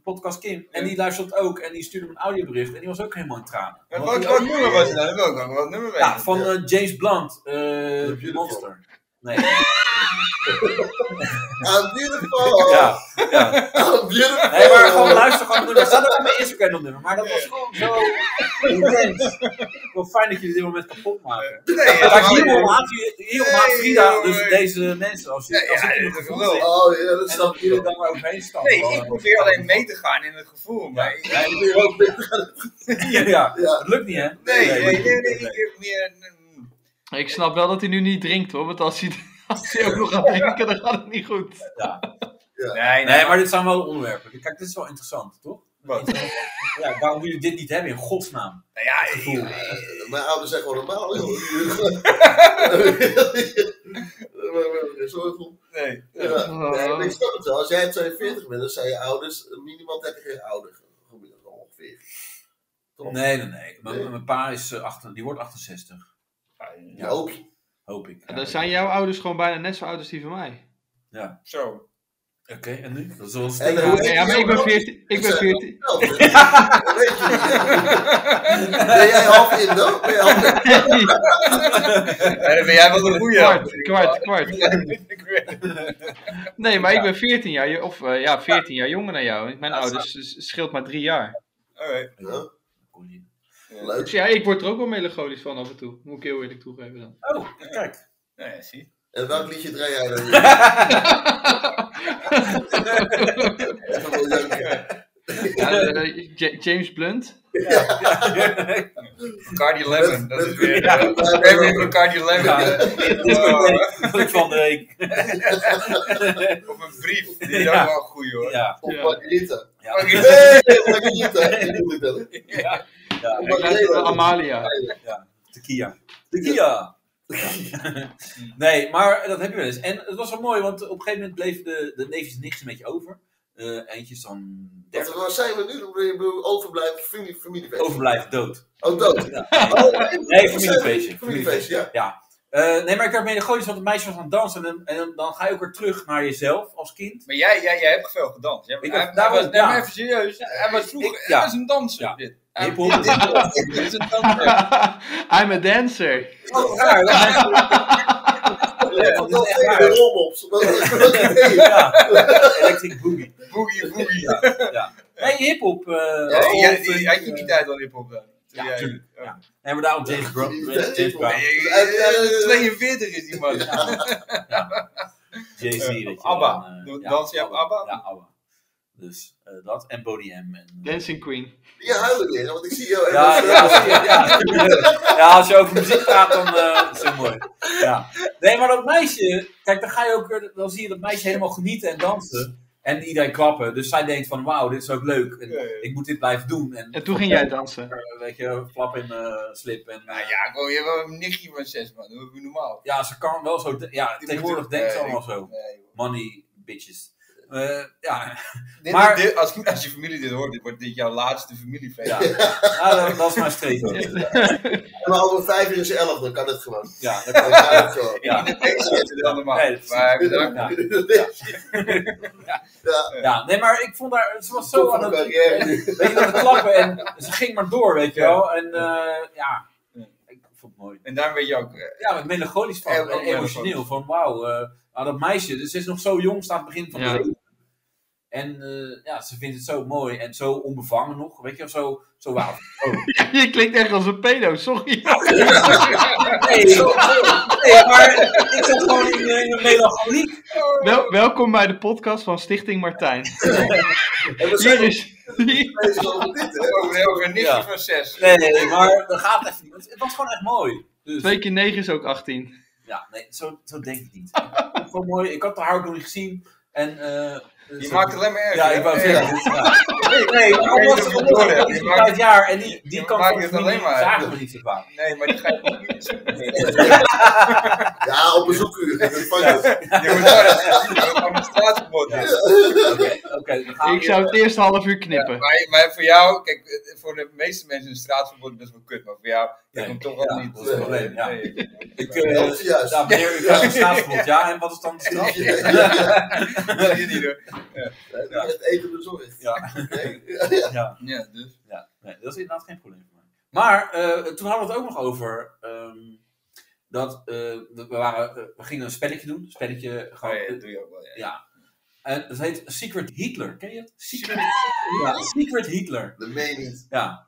podcast Kim. En Ja. die luistert ook en die stuurde me een audiobericht en die was ook helemaal in tranen. Wat, Want wat, die wat ook- nummer was het nou? dan? Dat wil ik ook wel. Wat nummer weet Ja, je? van eh, James Blunt, eh, Beautiful. Monster. Nee. I'm beautiful. Ja. I'm beautiful. Nee, maar Oh. gewoon luister gewoon naar nummer. Staat ook op mijn Instagram dat nummer. Maar dat was gewoon zo intens. Wel fijn dat jullie dit moment kapot maken. Nee, ja, Maar ja, hierom haat je- hierom haat Nee, Frida joh, dus nee. deze mensen. Als je Ja, als ja, ik in dat het is gevoel wel. zit. Oh ja, dat En snap dat jullie ik. daar maar overheen stappen. Nee, ik probeer alleen mee te gaan in het gevoel, maar ik- ja, ik- Ja, Dus Ja. het lukt niet hè? nee, nee, nee, nee, ik heb meer... mm, Ik snap wel dat hij nu niet drinkt hoor, want als hij, als hij ook nog gaat drinken, dan gaat het niet goed. Nee, Nee, maar dit zijn wel onderwerpen. Kijk, dit is wel interessant, toch? Wat? Ja, waarom jullie dit niet hebben in godsnaam? Nou ja, ik- Gevoel. Mijn ouders zijn gewoon normaal, joh. Zorgvol. nee. Ja. Nee, maar ik snap het wel. Als jij 42 bent, dan zijn je ouders minimaal 30 jaar ouder. Gemiddeld ongeveer. Oh. Toch? Nee, nee, nee. Mijn, Nee. mijn pa is, eh, achter, die wordt 68, Ja, hoop je. hoop ik. Dan zijn jouw ouders gewoon bijna net zo oud als die van mij. Zo. Oké, en nu? Dat is wel een En steek- hoe- Ja, ja maar ik ben 14. Ik ben 14. Nou, dat weet je niet. Ben jij half Indo? Ben jij half Indo? Ja, dan ben jij wel de goeie. Kwart, kwart, kwart. Ik weet- Nee, maar ik ben 14 jaar, jo- of eh, ja, 14 jaar jonger dan jou. Mijn Ja, ouders s- scheelt maar drie jaar. Alright. Ja, Kon niet. Nou, Leuk. Dus ja, ik word er ook wel melancholisch van af en toe. Moet ik heel eerlijk toegeven dan. Oh, kijk. Nou ja, zie. En welk liedje draai jij dan nu? Ik ga wel janken. Ja, eh, Ja- James Blunt. Cardi Lemon, dat is weer... Ja. We hebben weer van Cardi Lemon. Ja. Wow. van de week. Of eh, een brief. Die is ook wel een goeie hoor. Ja. Op Margarita. ja. Oké. Hey, Margarita. Die moet ik dan. ja. Ik Op luister naar Margarita. Amalia. De Kia. De Kia. Ja. Nee, maar dat heb je wel eens. En het was wel mooi, want op een gegeven moment bleef de, de neefjes niks een beetje over. Eh, eentje is dan Wat- 30. Waar zijn we nu? Ik bedoel, Overblijven, familie, familiefeest. Overblijft dood. Oh, dood. Ja. Oh, Nee, familiefeestje. Familiefeestje, ja. Eh, nee, maar ik heb melancholisch, want het meisje was aan het dansen. En, en dan, dan ga je ook weer terug naar jezelf als kind. Maar jij, jij, jij hebt veel gedanst. Jij, Ik hij, heb- daar hij was- was, nee, ja. maar even serieus. Hij was vroeger, Ik- ja. hij was een danser. Ja. Dit. Hij- Hiphop. dit- dit- dit is een danser. I'm a dancer. Oh, raar. Ja, Dat dat is is echt tegen waar. de rolmops. Wat- wat- hey. Ja, Electric Boogie. Boogie, boogie. Nee, hip-hop. eh, Ja, jij- hip-hop, die- had je eh, die tijd al hip-hop dan? Ja, Jij- tuurlijk. Ja. Nee, maar daarom James Brown. Ja. James Brown. Nee, eh, 42 is die man. Jay-Z. weet Eh, je Abba. wel, eh, Doe- dans je op Abba? Ja, Abba. Dus eh, dat. En Body M. En, eh. Dancing Queen. Die huilen weer, want ik zie jou even. Ja, ja, als je- ja. ja, als je over muziek gaat, dan eh, is het mooi. Ja. Nee, maar dat meisje, kijk, dan, ga je ook, weer- dan zie je dat meisje helemaal genieten en dansen. En iedereen klappen. Dus zij denkt van, wauw, dit is ook leuk. En Ja, ja. Ik moet dit blijven doen. En, En toen ging jij dansen. eh, weet je, flap in eh, slip. En, Nou ja, ik wil je wel een nichtje van zes, man. Dat is normaal. ja, ze kan wel zo. de- Ja, Die tegenwoordig moet- denkt ze nee, allemaal ik- zo. nee, joh. Money, bitches. Eh, ja, Dit- Maar- dit- als, als je familie dit hoort, dit wordt dit jouw laatste familiefeest. ja. Nou, dat, dat is mijn streep. ook. Maar over vijf uur is elf, dan kan het gewoon. Ja, dat Dan kan. kan het gewoon. In de feest zitten we allemaal. Nee, dat is- maar bedankt. Ja. Ja. Ja, nee, maar ik vond haar. Ze was Top zo van aan de het carrière nu. Weet je, dat we klappen en ze ging maar door, weet je Ja. wel. En eh, ja, ik vond het mooi. En daar ben je ook. eh, Ja, met melancholisch van, Ja, en emotioneel. melancholisch. Van wauw, eh, nou, dat meisje, dus ze is nog zo jong, staat aan het begin van Ja. het leven. En eh, ja, ze vindt het zo mooi en zo onbevangen nog, weet je wel, zo, zo oh. wauw. Je klinkt echt als een pedo, sorry. Nee, nee, maar ik zat gewoon in, eh, in de melancholiek. Wel- welkom bij de podcast van Stichting Martijn. En we zijn Hier nog is. hier- bezig over dit, hè? Over over een nichtje Ja. van zes. Nee, nee, maar dat gaat echt niet. Het was gewoon echt mooi. Dus, Twee keer 9 is ook 18. Ja, nee, zo, zo denk ik niet. Ik vond het gewoon mooi. Ik had de haar ook nog niet gezien. En, eh, Je zo- maakt het alleen maar erg. Ja, ik wou zeggen. dit is- ja. Nee, nee, maar Nee, omdat dat ze is een voordeel. geboren Je is maakt- vijf jaar en die, die je kan maakt van de het familie alleen maar. zagen we niet zo vaak. Nee, maar die ga je niet meer zien. Nee, Ja, op bezoekuur. Dat vang je. Je moet daar je moet een straatverbod Ja. doen. Oké, oké, we gaan Ik zou het eerste half uur knippen. Maar, maar voor jou, kijk, eh, voor de meeste mensen is een straatverbod best wel kut. Maar voor jou, je Nee. komt toch wel Ja, niet. eh, dat is het probleem, ja. Nee. Ik, Dat Dat is eh, juist. ja, meneer, u krijgt een staatsverbod. Ja, en wat is dan de straf? zie je niet hoor. Ja, Het eten bezorgd. Ja, Nee. ja, Ja, dus. ja. Nee, dat is inderdaad geen probleem voor mij. Maar eh, toen hadden we het ook nog over ehm, dat eh, dat we, waren, eh, we gingen een spelletje doen. Een spelletje gewoon, Oh, ja, dat doe je ook wel. Ja. Ja. En het heet Secret Hitler. Ken je het? Secret, ja, Secret Hitler. Dat meen je niet. Ja.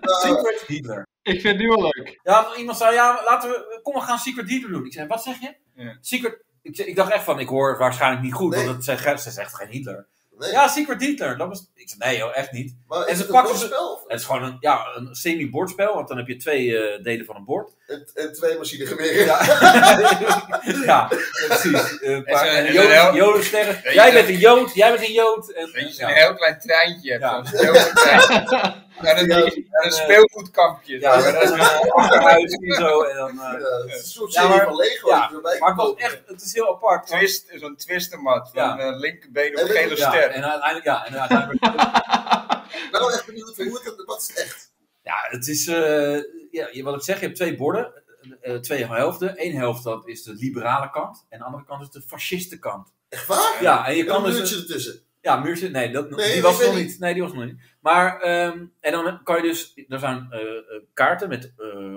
Nou, Secret Hitler. Ik vind het nu wel leuk. Ja, iemand zei, ja, laten we, kom we gaan Secret Hitler doen. Ik zei, wat zeg je? Ja. Secret, ik, zei- ik dacht echt van, ik hoor het waarschijnlijk niet goed, Nee. want het zegt, ze zegt geen Hitler. nee. Ja, Secret Hitler. Dat was, ik zei, nee joh, echt niet. Maar En ze is het een pakken goed ze- spel? of- Het is gewoon een, ja, een semi-bordspel, want dan heb je twee eh, delen van een bord. En, en twee machinegeweren. Ja, ja precies. Eh, paar- En ze- en en Joden- een heel- Jodensterren. Weet Jij je- bent een Jood, jij bent een Jood. En, Weet je, als je ja. een heel klein treintje hebt, Ja. zo'n speelgoedtreintje. Naar een, naar een speelgoedkampje. Ja, maar dat is dat een is- achterhuis en zo. En dan, eh, Ja, het is een soort Ja, serie maar- van Lego. ja, die erbij maar het was komt. echt, het is heel apart. want- twist, zo'n twistermat van Ja. eh, linkerbeen op En gele ja, ster. en uiteindelijk, ja, en uiteindelijk, Ik ben wel echt benieuwd van hoe het, wat is het echt? ja, het is, eh, ja, je- wat ik zeg, je hebt twee borden, eh, eh, twee helften. Eén helft dat is de liberale kant, en de andere kant is de fasciste kant. Echt waar? Ja, en je En een kan dus, muurtje ertussen. ja, muurtje, nee, dat, Nee, die ik was weet nog niet. niet. Nee, die was nog niet. Maar, ehm, en dan kan je dus, er zijn eh, eh, kaarten met eh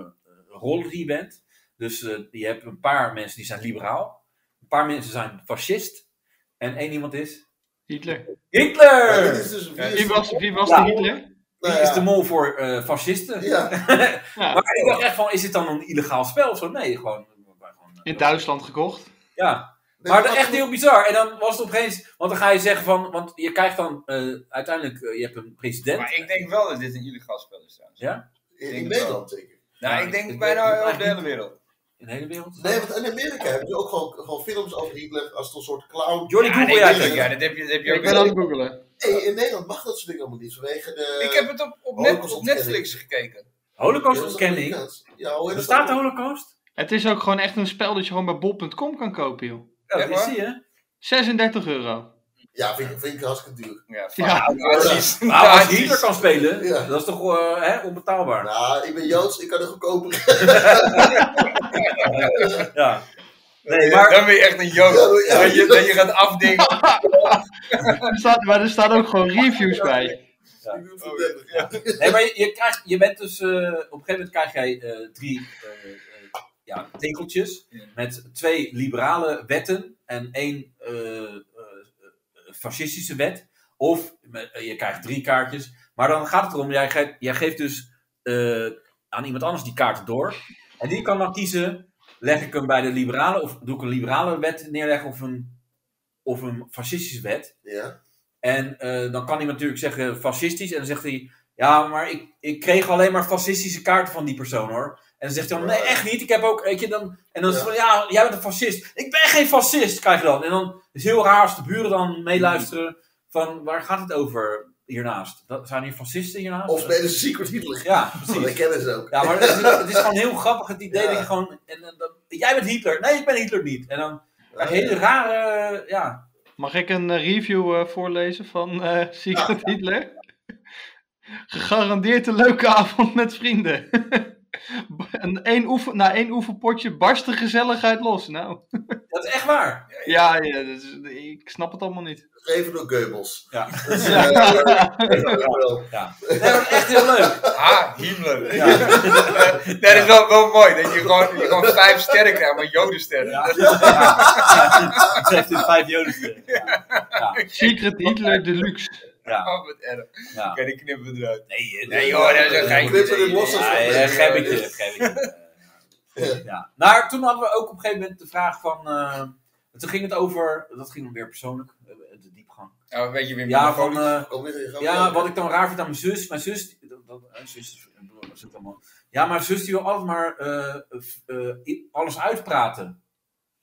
rollen die je bent. Dus eh, je hebt een paar mensen die zijn liberaal, een paar mensen zijn fascist, en één iemand is Hitler. Hitler! Ja, dit is dus een Ja, Wie vier- was, wie was Ja. de Hitler? nou Die ja. is de mol voor eh, fascisten. Ja, Ja, Maar ik dacht echt van, is dit dan een illegaal spel of zo? Nee, gewoon... eh, gewoon in Duitsland gekocht. Ja, Nee, maar dat wat- echt heel bizar. En dan was het opeens... Want dan ga je zeggen van... Want je krijgt dan eh, uiteindelijk... eh, je hebt een president. Maar ik denk wel dat dit een illegaal spel is trouwens. Ja? in, in denk Nederland zeker. Nou, Ja, ik denk ik- ik- bijna ik- over de hele wereld. In de hele wereld. Nee, want in Amerika hebben ze ook gewoon, gewoon films over Hitler als een soort clown. Jordi, Ja, Google nee, jij tuurlijk, het? ja, dat heb je, dat heb je Ik ook ben aan het googelen. Nee, in Nederland mag dat soort dingen allemaal niet vanwege de... Ik heb het op, op, Oh, net- dat is op Netflix gekeken. Holocaust Ja, dat is ontkenning. Amerikaans. Ja, hoe heet dat Bestaat de ook? holocaust? Het is ook gewoon echt een spel dat je gewoon bij bol.com kan kopen, joh. Ja, Echt dat waar? zie je. 36 euro. Ja, vind ik, vind ik hartstikke duur. Ja, fuck, Ja. nazi's. Maar Nou, als Nazi's. Hitler kan spelen, Ja. dat is toch eh, hè, onbetaalbaar. Nou, ik ben Joods, ik kan er goedkoper. Ja. Nee, maar- Dan ben je echt een jood. Ja, ja. Dat, je, dat je gaat afdenken. Er staat, maar er staan ook gewoon reviews bij. Oh, ja. Nee, maar je, je krijgt, je bent dus, eh, op een gegeven moment krijg jij eh, drie eh, eh, ja, tekeltjes Ja. met twee liberale wetten en één eh, eh, eh, fascistische wet. Of me- eh, je krijgt drie kaartjes. Maar dan gaat het erom, jij, ge- jij geeft dus eh, aan iemand anders die kaarten door. En die kan dan kiezen, leg ik hem bij de liberale of doe ik een liberale wet neerleggen of een, of een fascistische wet. Ja. En eh, dan kan hij natuurlijk zeggen fascistisch. En dan zegt hij, ja, maar ik, ik kreeg alleen maar fascistische kaarten van die persoon hoor. En dan zegt hij, dan, nee, echt niet. Ik heb ook, weet je, dan, en dan is het van, ja, jij bent een fascist. Ik ben geen fascist, krijg je dan. En dan is het heel raar als de buren dan meeluisteren van, waar gaat het over hiernaast? Dat, zijn hier fascisten hiernaast? Of spelen ze Secret Hitler. Ja, Oh, dat precies. kennen ze ook. Ja, maar het is, het is gewoon heel grappig het idee Ja. dat je gewoon, en, en dan, jij bent Hitler. Nee, ik ben Hitler niet. En dan, een hele rare, ja, Mag ik een eh, review eh, voorlezen van eh Secret Hitler? Gegarandeerd een leuke avond met vrienden. een, één oefen, na één oefenpotje barst de gezelligheid los. Nou, Dat is echt waar. ja, ja dat is- ik snap het allemaal niet. Even door Goebbels. Ja. Dus, eh, eh, wel. Nee, maar dat is echt heel leuk. Ha, Himmler. Ja. dat is wel, wel mooi, dat je gewoon, je gewoon vijf sterren krijgt, maar jodensterren. Ja. Ja. Het heeft in vijf joden. Secret Hitler Deluxe. Ja. Oh, wat erg. Ja. Oké, die knippen we eruit. Nee, Nee joh, dat is een Ik knip er geintje. in los als- Ja, Ja, ja, gebbetje, gebbetje. Eh, Ja. Maar toen hadden we ook op een gegeven moment de vraag van. eh, toen ging het over. Dat ging dan weer persoonlijk. eh, De diepgang. Nou, weet je, Wim, Ja, van. eh, Kom weer in gang. Ja, wat ik dan raar vind aan mijn zus. Mijn zus. die- Dat, dat, eh, zus is- eh, wat is het allemaal? Ja, maar zus die wil altijd maar eh, eh, eh, i- alles uitpraten.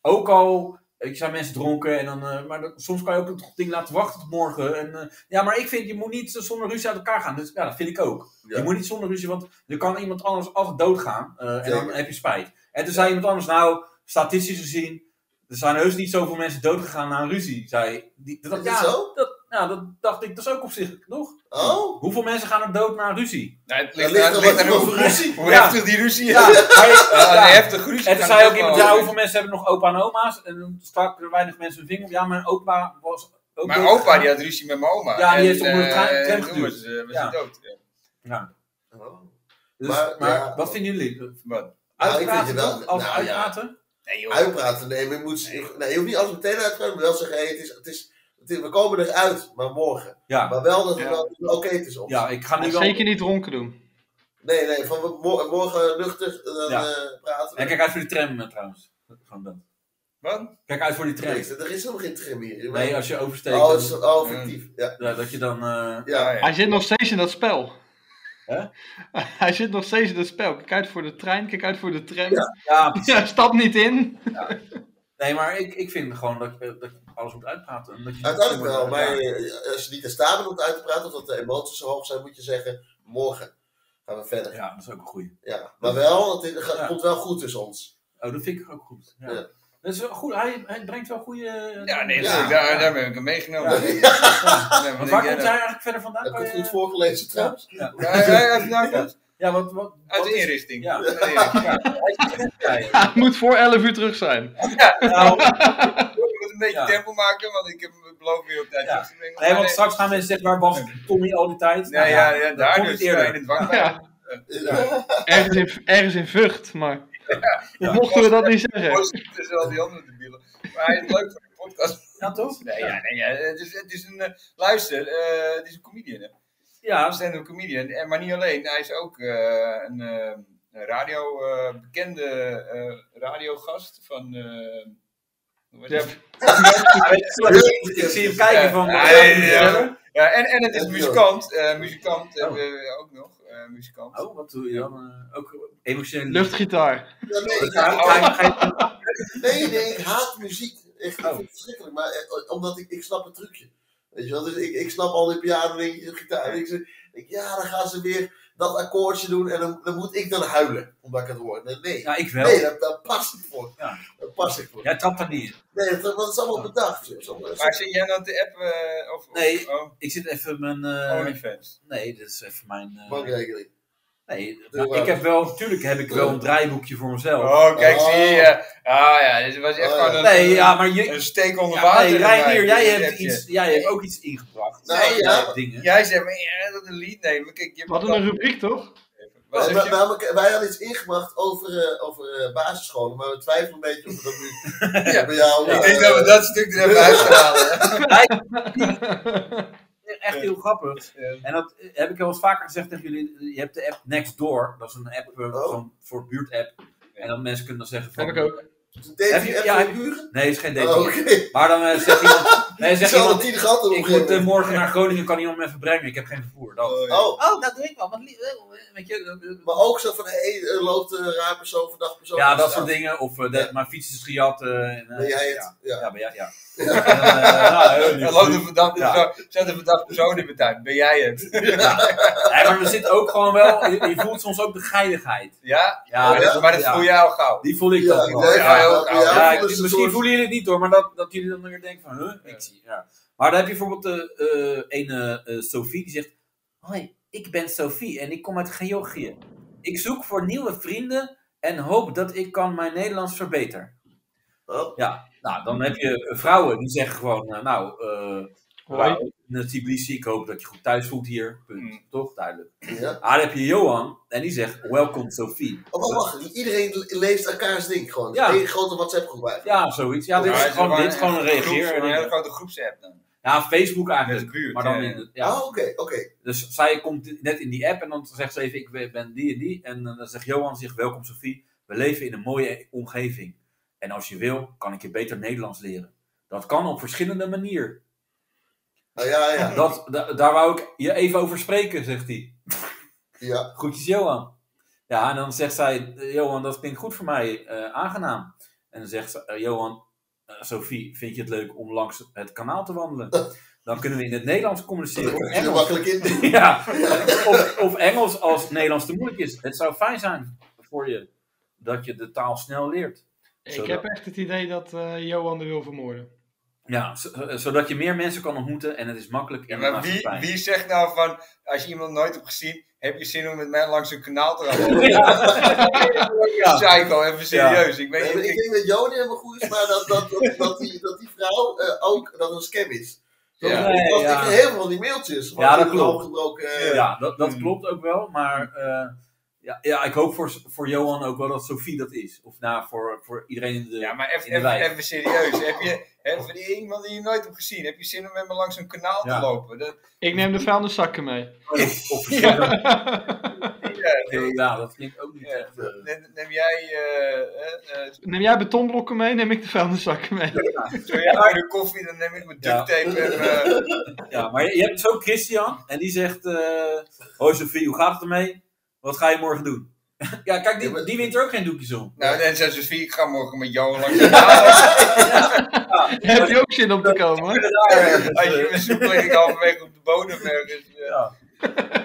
Ook al ik zijn mensen dronken. En dan, eh, maar dat- soms kan je ook het ding laten wachten tot morgen. En, eh, ja, maar ik vind je moet niet zonder ruzie uit elkaar gaan. Dus, ja, dat vind ik ook. Ja. Je moet niet zonder ruzie, want er kan iemand anders altijd doodgaan. eh, en dan Zeker. heb je spijt. En toen zei iemand anders, nou, statistisch gezien. Er zijn heus niet zoveel mensen doodgegaan na een ruzie, zei die, dat, Is dat ja, zo? Dat, ja, dat dacht ik, dat is ook opzichtelijk, toch? Oh? Hoeveel mensen gaan er dood na een ruzie? Nou, het Er ligt, ligt het nog ligt wat aan hoe, over ruzie. hoe Ja. heftig die ruzie is. Ja, maar je- Ja, ja. een heftig ruzie. En toen kan zei het ook wel iemand, ja, over. hoeveel mensen hebben nog opa en oma's? En dan stak er weinig mensen hun vinger op. Ja, mijn opa was ook Mijn dood. opa die had ruzie met mijn oma. Ja, die En, heeft onder de eh, tram- tram toen geduwd. was, eh, was Ja. hij dood. Ja. Ja. Oh. Dus, maar Maar- ja. wat vinden jullie? Wat? Nou, ik vind Uitpraten, je wel- toch? Als nou, ja. uitpraten? Nee joh. Uitpraten, nee, maar je, moet, nee, je hoeft niet alles meteen uit te praten, maar wel zeggen, hey, het is, het is, het is- we komen eruit, maar morgen. Ja. Maar wel dat we Ja. wel oké het is ons. ja, ik ga nu En wel... zeker niet dronken doen. Nee, nee, van we- mor- morgen nuchter eh, dan, Ja. eh, praten we. En kijk uit voor die tram eh, trouwens. Gewoon dat. Wat? Kijk uit voor die Nee, tram. er is helemaal geen trim hier. Nee, als je oversteekt, oh, het dan- is, oh, fictief. Ja. ja, dat je dan... eh, Ja. Nou ja. Hij zit nog steeds in dat spel. Hè? Hij zit nog steeds in dat spel. Kijk uit voor de trein, kijk uit voor de tram. ja, Stap niet in. nee, maar ik, ik vind gewoon dat, je- dat je alles moet uitpraten. En dat je Uiteindelijk wel, Ja. maar eh, als je niet in staat bent om het uit te praten, of dat de emoties zo hoog zijn, moet je zeggen, morgen gaan we verder. Ja. Ja, dat is ook een goeie. Maar wel, het, is- gaat- Ja. komt wel goed tussen ons. Oh, dat vind ik ook goed. Ja. Ja. Dat is wel goed. Hij, hij brengt wel goede. Ja, nee, Ja. Daar, daar ben ik hem meegenomen. Ja. Nee, Maar want waar ik- eh, komt hij eigenlijk verder vandaan? Heb ik Kan het je- goed voorgelezen trouwens? Ja, ja, ja, nou, goed. Ja, wat, wat, Uit wat de is- inrichting. Ja. Uit de inrichting. Hij moet voor 11 uur terug zijn. Nou, Ik moet een beetje Ja. tempo maken, want ik heb beloofd weer op tijd Ja. terug te brengen. nee, Maar want straks gaan mensen zeggen, waar was Tommy al die tijd? Nee, Nou ja, ja, dat daar komt dus. het eerder. ja, In het wakker. Ja, Ja. ergens, in, ergens in Vught, maar Ja. mochten we dat niet zeggen. Tussen al die andere debielen. Maar hij is leuk voor de podcast. Ja, toch? Nee, ja, nee, ja. Het is, het is een, eh, luister, eh, het is een comedian. Hè. Een Ja, stand-up comedian. En, maar niet alleen, hij is ook eh, een eh, een radio, eh, bekende eh, radiogast van... eh, hoe was Ja. het? ik zie hem kijken van... eh, wat Ja, ja, gaat hij ja. vertellen? Ja, en, en het is En muzikant. eh, muzikant Oh. hebben we ook nog. eh, muzikant. Oh, wat doe je dan? Eh, Ook emotioneel. Luchtgitaar. Ja, nee, ik Ja, haat- ga- ga je- Nee, nee, ik haat muziek. Echt, ik Oh. vind het verschrikkelijk. Maar eh, omdat ik, ik snap het trucje. Weet je wel, dus ik, ik snap al die piano dingetjes, gitaar dingetjes. Ik denk, ja, dan gaan ze weer dat akkoordje doen en dan, dan moet ik dan huilen, omdat ik het hoor. Nee, nee, Ja, ik nee wel. daar, daar pas ik voor. Ja. Daar pas ik voor. Jij trapt daar niet in. Nee, dat, dat is Ja. allemaal bedacht. Dat is allemaal- Maar zit jij nou te appen? eh, of, Nee. Oh, Ik zit even mijn... eh, OnlyFans. nee, dit is even mijn... eh, Bankrekening. nee, Doe maar ik maar. heb wel... Natuurlijk heb ik wel een draaiboekje voor mezelf. Oh, kijk, Oh. zie je. Ah ja, dit was echt Oh, ja. gewoon een, Nee, ja, maar je, een steek onder ja, water. nee, Reinier, erbij. jij Dit hebt, heb je. iets, jij hebt ook iets ingebracht. Nou, Jij ja. hebt Dingen. Jij zei, maar ja, dat een lied nemen. Kijk, je We hadden een rubriek, toch? Wat Nee, zeg maar- je? namelijk, wij hadden iets ingebracht over, eh, over eh, basisscholen, maar we twijfelen een beetje of we dat nu Ja. bij jou... Ik eh, denk dat we dat stuk er even uit gaan halen. Echt heel grappig. En dat eh, heb ik al eens vaker gezegd tegen jullie. Je hebt de app Nextdoor. Dat is een app eh, Oh. gewoon voor buurtapp. En dan mensen kunnen dan zeggen van... Heb ik ook. Dating Heb je- app ja, voor heb- buren? Nee, het is geen Oh, dating. Oké. Maar dan eh, zegt iemand... Nee, Die zeg zal er iemand, tien gehad hebben ik moet eh, opgegeven. morgen naar Groningen, kan iemand me even brengen? Ik heb geen vervoer. Dat. Oh, Oh, dat doe ik wel. Want, lie- eh, weet je, dat- maar ook zo van, hé, hey, er loopt een raar persoon vandaag persoon. ja, op de dat straat. soort dingen. Of eh, dat- Ja. mijn fiets is gejat. eh, en, eh, Ben jij Ja, het? Ja. ja ben jij, ja. En, eh, nou, heel lief. Er loopt een verdachte Ja. persoon- Zet een verdachte persoon in mijn tuin. Ben jij het? Nee, maar er zit ook gewoon wel, je, je voelt soms ook de geiligheid. Ja? Ja, dus, Oh, ja. dat- maar dat Ja. voel jij al gauw. Die voel ik Ja, dan ik wel. denk ja. wel. dat bij jou Ja, Ja, voelen ik- ze een misschien soort- voelen jullie het niet hoor, maar dat, dat jullie dan weer denken van, huh, ik zie, ja. Maar dan heb je bijvoorbeeld eh eh, een eh, eh, Sophie die zegt, hoi, ik ben Sophie en ik kom uit Georgië. Ik zoek voor nieuwe vrienden en hoop dat ik kan mijn Nederlands verbeteren. Oh, Ja, nou, dan heb je eh, vrouwen die zeggen gewoon, eh, nou, eh Hoi. nou, in Tbilisi, ik hoop dat je goed thuis voelt hier, punt. Mm. Toch, duidelijk. Oh, ja. Ah, dan heb je Johan en die zegt, welkom Sophie. Oh, wacht, wacht. Iedereen le- leest elkaars ding gewoon. Ja. Eén grote WhatsApp groep bij. Ja, zoiets. Ja, dit Maar is het gewoon, maar dit is gewoon een groeps- reageer. Een hele grote groepsapp dan. Ja, Facebook Met de eigenlijk. buurt. Maar dan ja. in de- ja. Oh, oké, oké. Dus zij komt net in die app en dan zegt ze even, ik ben die en die. En eh, dan zegt Johan, zegt, welkom Sophie. We leven in een mooie omgeving. En als je wil, kan ik je beter Nederlands leren. Dat kan op verschillende manieren. Ah, ja, ja. Dat, da- daar wou ik je even over spreken, zegt hij. Ja, Groetjes Johan. Ja, en dan zegt zij, eh, Johan, dat klinkt goed voor mij, eh, aangenaam. En dan zegt ze, eh, Johan, eh, Sophie, vind je het leuk om langs het kanaal te wandelen? Dan kunnen we in het Nederlands communiceren. dat of kun je er Engels. makkelijk in. Ja, of, of Engels als Nederlands te moeilijk is. Het zou fijn zijn voor je dat je de taal snel leert. Ik Zodat- heb echt het idee dat eh, Johan er wil vermoorden. Ja, z- eh, zodat je meer mensen kan ontmoeten en het is makkelijk in Ja, de maar wie, maatschappij. wie zegt nou van, als je iemand nooit hebt gezien, heb je zin om met mij langs een kanaal te gaan lopen? Ja, Ja. Psycho, even serieus. Ik weet Nee, maar niet. ik ik- denk dat Joni helemaal goed is, maar dat, dat, dat, dat, die, dat die vrouw eh, ook dat het een scam is. Dat Ja. was Nee, dat ja. ik heel veel van die mailtjes. Ja, dat klopt. Gebroken, eh, ja dat, dat Mm. klopt ook wel, maar eh, ja, ja, ik hoop voor, voor Johan ook wel dat Sophie dat is. Of nou, voor, voor iedereen in de... Ja, maar even, In de wijk. even, even serieus. Heb je, heb je die iemand die je nooit hebt gezien, heb je zin om met me langs een kanaal Ja. te lopen? Dat, Ik neem de vuilniszakken mee. of, of verschillende- ja, ja. dat klinkt ook niet Ja. echt... eh, neem, neem jij eh, eh, eh, Neem jij betonblokken mee, neem ik de vuilniszakken mee. doe jij maar de koffie, dan neem ik mijn Ja. duct tape en... eh, Ja, maar je, je hebt zo Christian en die zegt: eh Hoi Sophie, hoe gaat het ermee? Wat ga je morgen doen? ja, kijk, die, die wint er ook geen doekjes om. nou, dan zijn ze vier, ik ga morgen met jou langs een kanaal. Heb je ook zin om te komen? Als je mijn soepleiding halverwege op de bodem ergens... eh, Ja.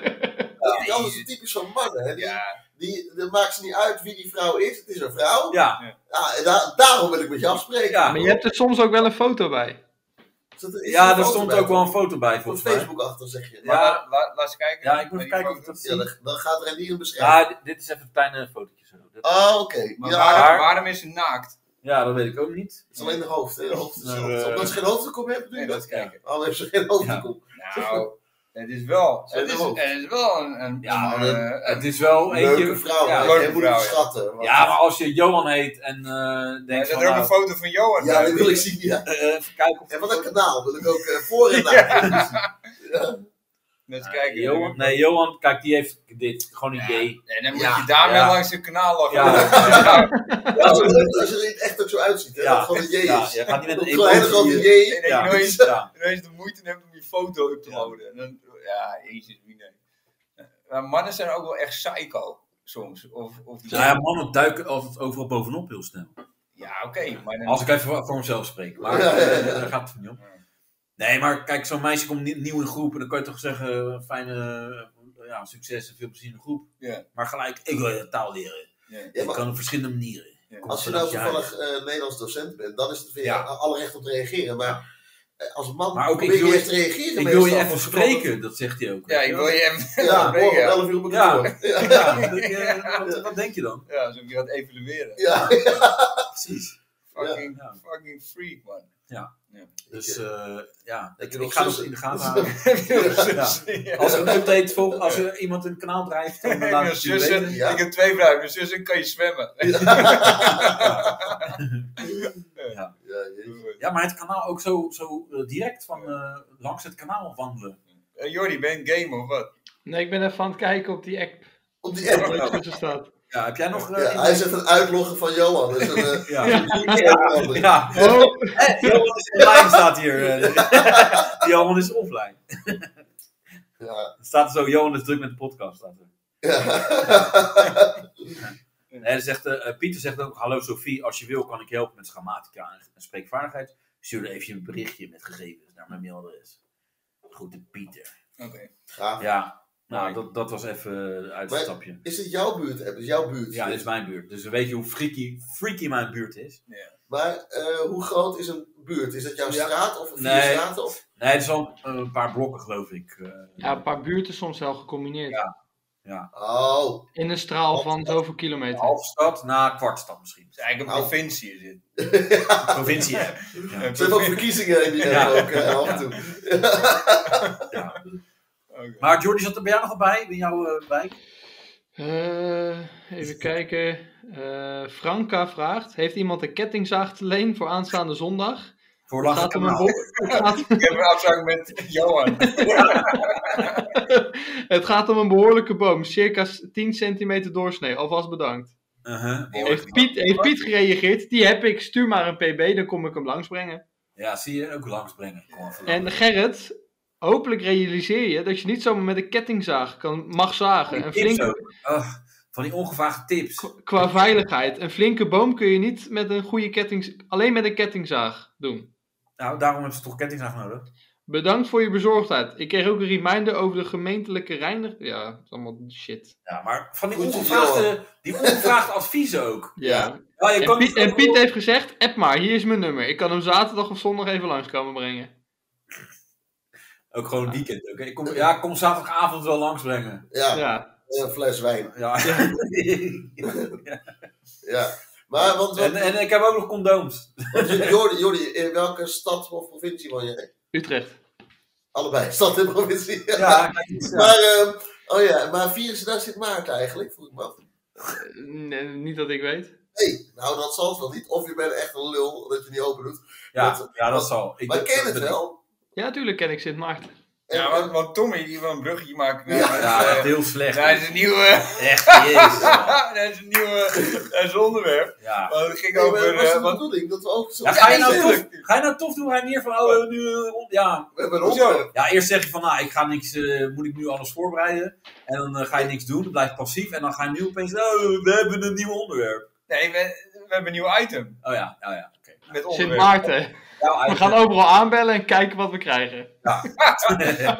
dat- Dat is typisch van mannen. Hè? Die, ja, die, dat maakt ze niet uit wie die vrouw is. Het is een vrouw. Ja. Ja, en da- daarom wil ik met je afspreken. Ja. Maar je hebt er soms ook wel een foto bij. Is dat- is ja er daar foto stond bij? ook wel een foto bij Op volgens mij. Facebook achter zeg je. maar Ja. laat, laat, laat eens kijken. Ja, ik moet even kijken of ik dat Ja, zie. dan, dan gaat er een beschrijven. Ja, dit- dit is even een kleine fotootje. Zo. Dat- Ah, oké. Maar Ja, waarom, Maar- waarom is ze naakt? Ja, dat weet ik ook niet. het is alleen de hoofd. Hè? De hoofd is Maar, zelf. eh, Omdat ze geen hoofdkop hebben, doe je Nee, dat. dat kijken. Al heeft ze geen hoofdkop. Nou, het is wel, Zijn het is, hoofd. het is wel een... een Ja, een, maar eh, Het is wel Leuke eentje. vrouw. ja. hè? leuke Jij moet vrouw, het ja. schatten. want- Ja, maar als je Johan heet en eh er denkt zit van, er ook een nou, foto van Johan. Ja, bij. dat wil ik zien. Ja. eh, even kijken of... En van dat kanaal wil ik ook eh, voor en na. Net kijken. Nou, Johan, nee, Johan, kijk, die heeft dit. Gewoon een idee. En dan moet Ja, je daarmee ja. langs een kanaal lopen. Ja. Ja. Als het als het er echt ook zo uitziet, hè? Ja. dat het gewoon een J is. Ja, je gaat niet met Een een kleine grote emotie- eh, J. En dat Ja. je nooit Ja. ineens de moeite hebt om je foto up te laden. En dan, ja, jezus, wie nee. Maar mannen zijn ook wel echt psycho soms. Of, of die- Nou ja, mannen duiken altijd overal bovenop heel snel. Ja, oké. maar dan- Als ik even voor- voor mezelf spreek, maar Ja, ja, ja. eh, daar gaat het niet om. Nee, maar kijk, zo'n meisje komt nie- nieuw in groep en dan kan je toch zeggen, eh, fijne eh, ja, succes en veel plezier in de groep. Ja. Maar gelijk, ik wil je taal leren. Ja. Ja, Ik maar kan op verschillende manieren. Ja. Kom als je vanaf nou huis. toevallig eh, Nederlands docent bent, dan is het weer Ja. alle recht op te reageren. Maar eh, als man Maar ook, probeer ik wil je je- eerst te reageren. Ik wil je meestal, even want ze spreken, dat zegt hij ook. ja, ik wil je even... komen- Ja, spreken, morgen om ja. 11 uur op het Ja. kantoor. Ja. Ja, dat, eh, wat, wat denk je dan? Ja, alsof je gaat evalueren. Ja. Precies. Fucking, Ja. fucking freak, man. Dus eh, ja, Heb ik, je nog ik ga het zussen? in de gaten houden. Ja. Als er een update volgt, als er iemand een kanaal drijft, dan Ik laat heb ik het jullie zussen, weten. ja. ik heb twee vrouwen. Mijn zussen kan je zwemmen. Ja, jezus. Ja, maar het kanaal ook zo, zo eh, direct van eh, langs het kanaal wandelen. Eh, Jordi, ben je een gamer of wat? Nee, ik ben even aan het kijken op die app. Op die app. Wat er tussen staat. Ja, heb jij nog... eh, Ja, in- hij zegt een uitloggen van Johan. Dat is een, eh, ja. uitlander. Ja, Hé, Johan is online staat hier. eh. Johan is offline. Ja. Er staat er zo, Johan is druk met de podcast. Staat er. Ja. En hij zegt, eh, eh, Pieter zegt ook, hallo Sophie, als je wil kan ik je helpen met grammatica en- en spreekvaardigheid. Stuur er even een berichtje met gegevens naar mijn mailadres. Groeten Pieter. Oké. Gaaf. Ja, nou, dat, dat was even uit het stapje. Is dit jouw buurt? Eb? Het is jouw buurt. Ja, dit is mijn buurt. Dus dan weet je hoe freaky, freaky mijn buurt is. Maar eh, hoe groot is een buurt? Is dat jouw Ja. straat of vier Nee. straten? Of? Nee, het is al eh, een paar blokken, geloof ik. eh. Ja, een paar buurten soms wel gecombineerd. Ja. Oh, In een straal van zoveel kilometer. Halfstad na kwartstad misschien. Het is eigenlijk Nou. een provincie is dit. Provincie. hè? er zijn ook verkiezingen in die Ja. hebben ook eh, af en toe. Ja. Oké. Maar Jordi, zat er bij jou nog bij? In jouw eh, wijk? Eh, even kijken. Eh, Franka vraagt: Heeft iemand een kettingzaag te leen voor aanstaande zondag? Voor Gaat hem een Lange bo- gaat- Ik heb een afspraak met Johan. het gaat om een behoorlijke boom, circa 10 centimeter doorsnee. Alvast bedankt. Uh-huh, Heeft Piet, heeft Piet gereageerd? Die heb ik. Stuur maar een PB, dan kom ik hem langsbrengen. Ja, zie je, ook langsbrengen. Kom even En langs. Gerrit, hopelijk realiseer je dat je niet zomaar met een kettingzaag kan, mag zagen. Een Tips flinke, ook. Ah, van die ongevaagde tips. qua veiligheid, een flinke boom kun je niet met een goede ketting, alleen met een kettingzaag doen. Nou, daarom hebben ze toch kettingzaag nodig? Bedankt voor je bezorgdheid. Ik kreeg ook een reminder over de gemeentelijke reinig... Ja, het is allemaal shit. Ja, maar van die Goed, ongevraagde, die ongevraagde adviezen ook. Ja. Ja, je En kan Piet, en Piet heeft gezegd, app maar, hier is mijn nummer. Ik kan hem zaterdag of zondag even langskomen brengen. Ook gewoon weekend. Oké, Ik kom, ja, ik kom zaterdagavond wel langsbrengen. Ja, eh, Ja. een fles wijn. Ja. Ja. Maar, want, want, en, en ik heb ook nog condooms. want Jordi, Jordi, in welke stad of provincie woon jij? Utrecht. Allebei, stad en provincie. Dus Ja, kijk eens, ja. Maar, ehm, oh ja, maar vieren ze daar Sint Maarten eigenlijk? Vroeg ik me af. Eh, nee, niet dat ik weet. Nee, nou dat zal het wel niet. Of je bent echt een lul dat je niet open doet. Ja, ja, dat zal. Ik Maar ik ken het wel. Ja, tuurlijk ken ik Sint Maarten. Ja, want, want Tommy die wil een bruggetje maken. naar- Eh, Ja, Ja, eh, echt heel slecht. daar is een nieuwe. Echt, jezus. man. dat is een nieuwe. Dat is een onderwerp. Ja. Want het ging Nee, maar over. dat was eh, de wat, bedoeling dat we ook zo... Ja, ga, je nou natuurlijk. tof, ga je nou tof doen? Ga je neer van, oh, eh, nu, eh, on- ja. We hebben een Hoezo? onderwerp. ja, eerst zeg je van, nou, ik ga niks, eh, moet ik nu alles voorbereiden? En dan eh, ga je niks doen, het blijft passief. En dan ga je nu opeens, oh, we hebben een nieuw onderwerp. nee, we, we hebben een nieuw item. Oh ja, oh ja. oké. Met Sint onderwerp. Maarten. Nou, We eigenlijk- gaan overal aanbellen en kijken wat we krijgen.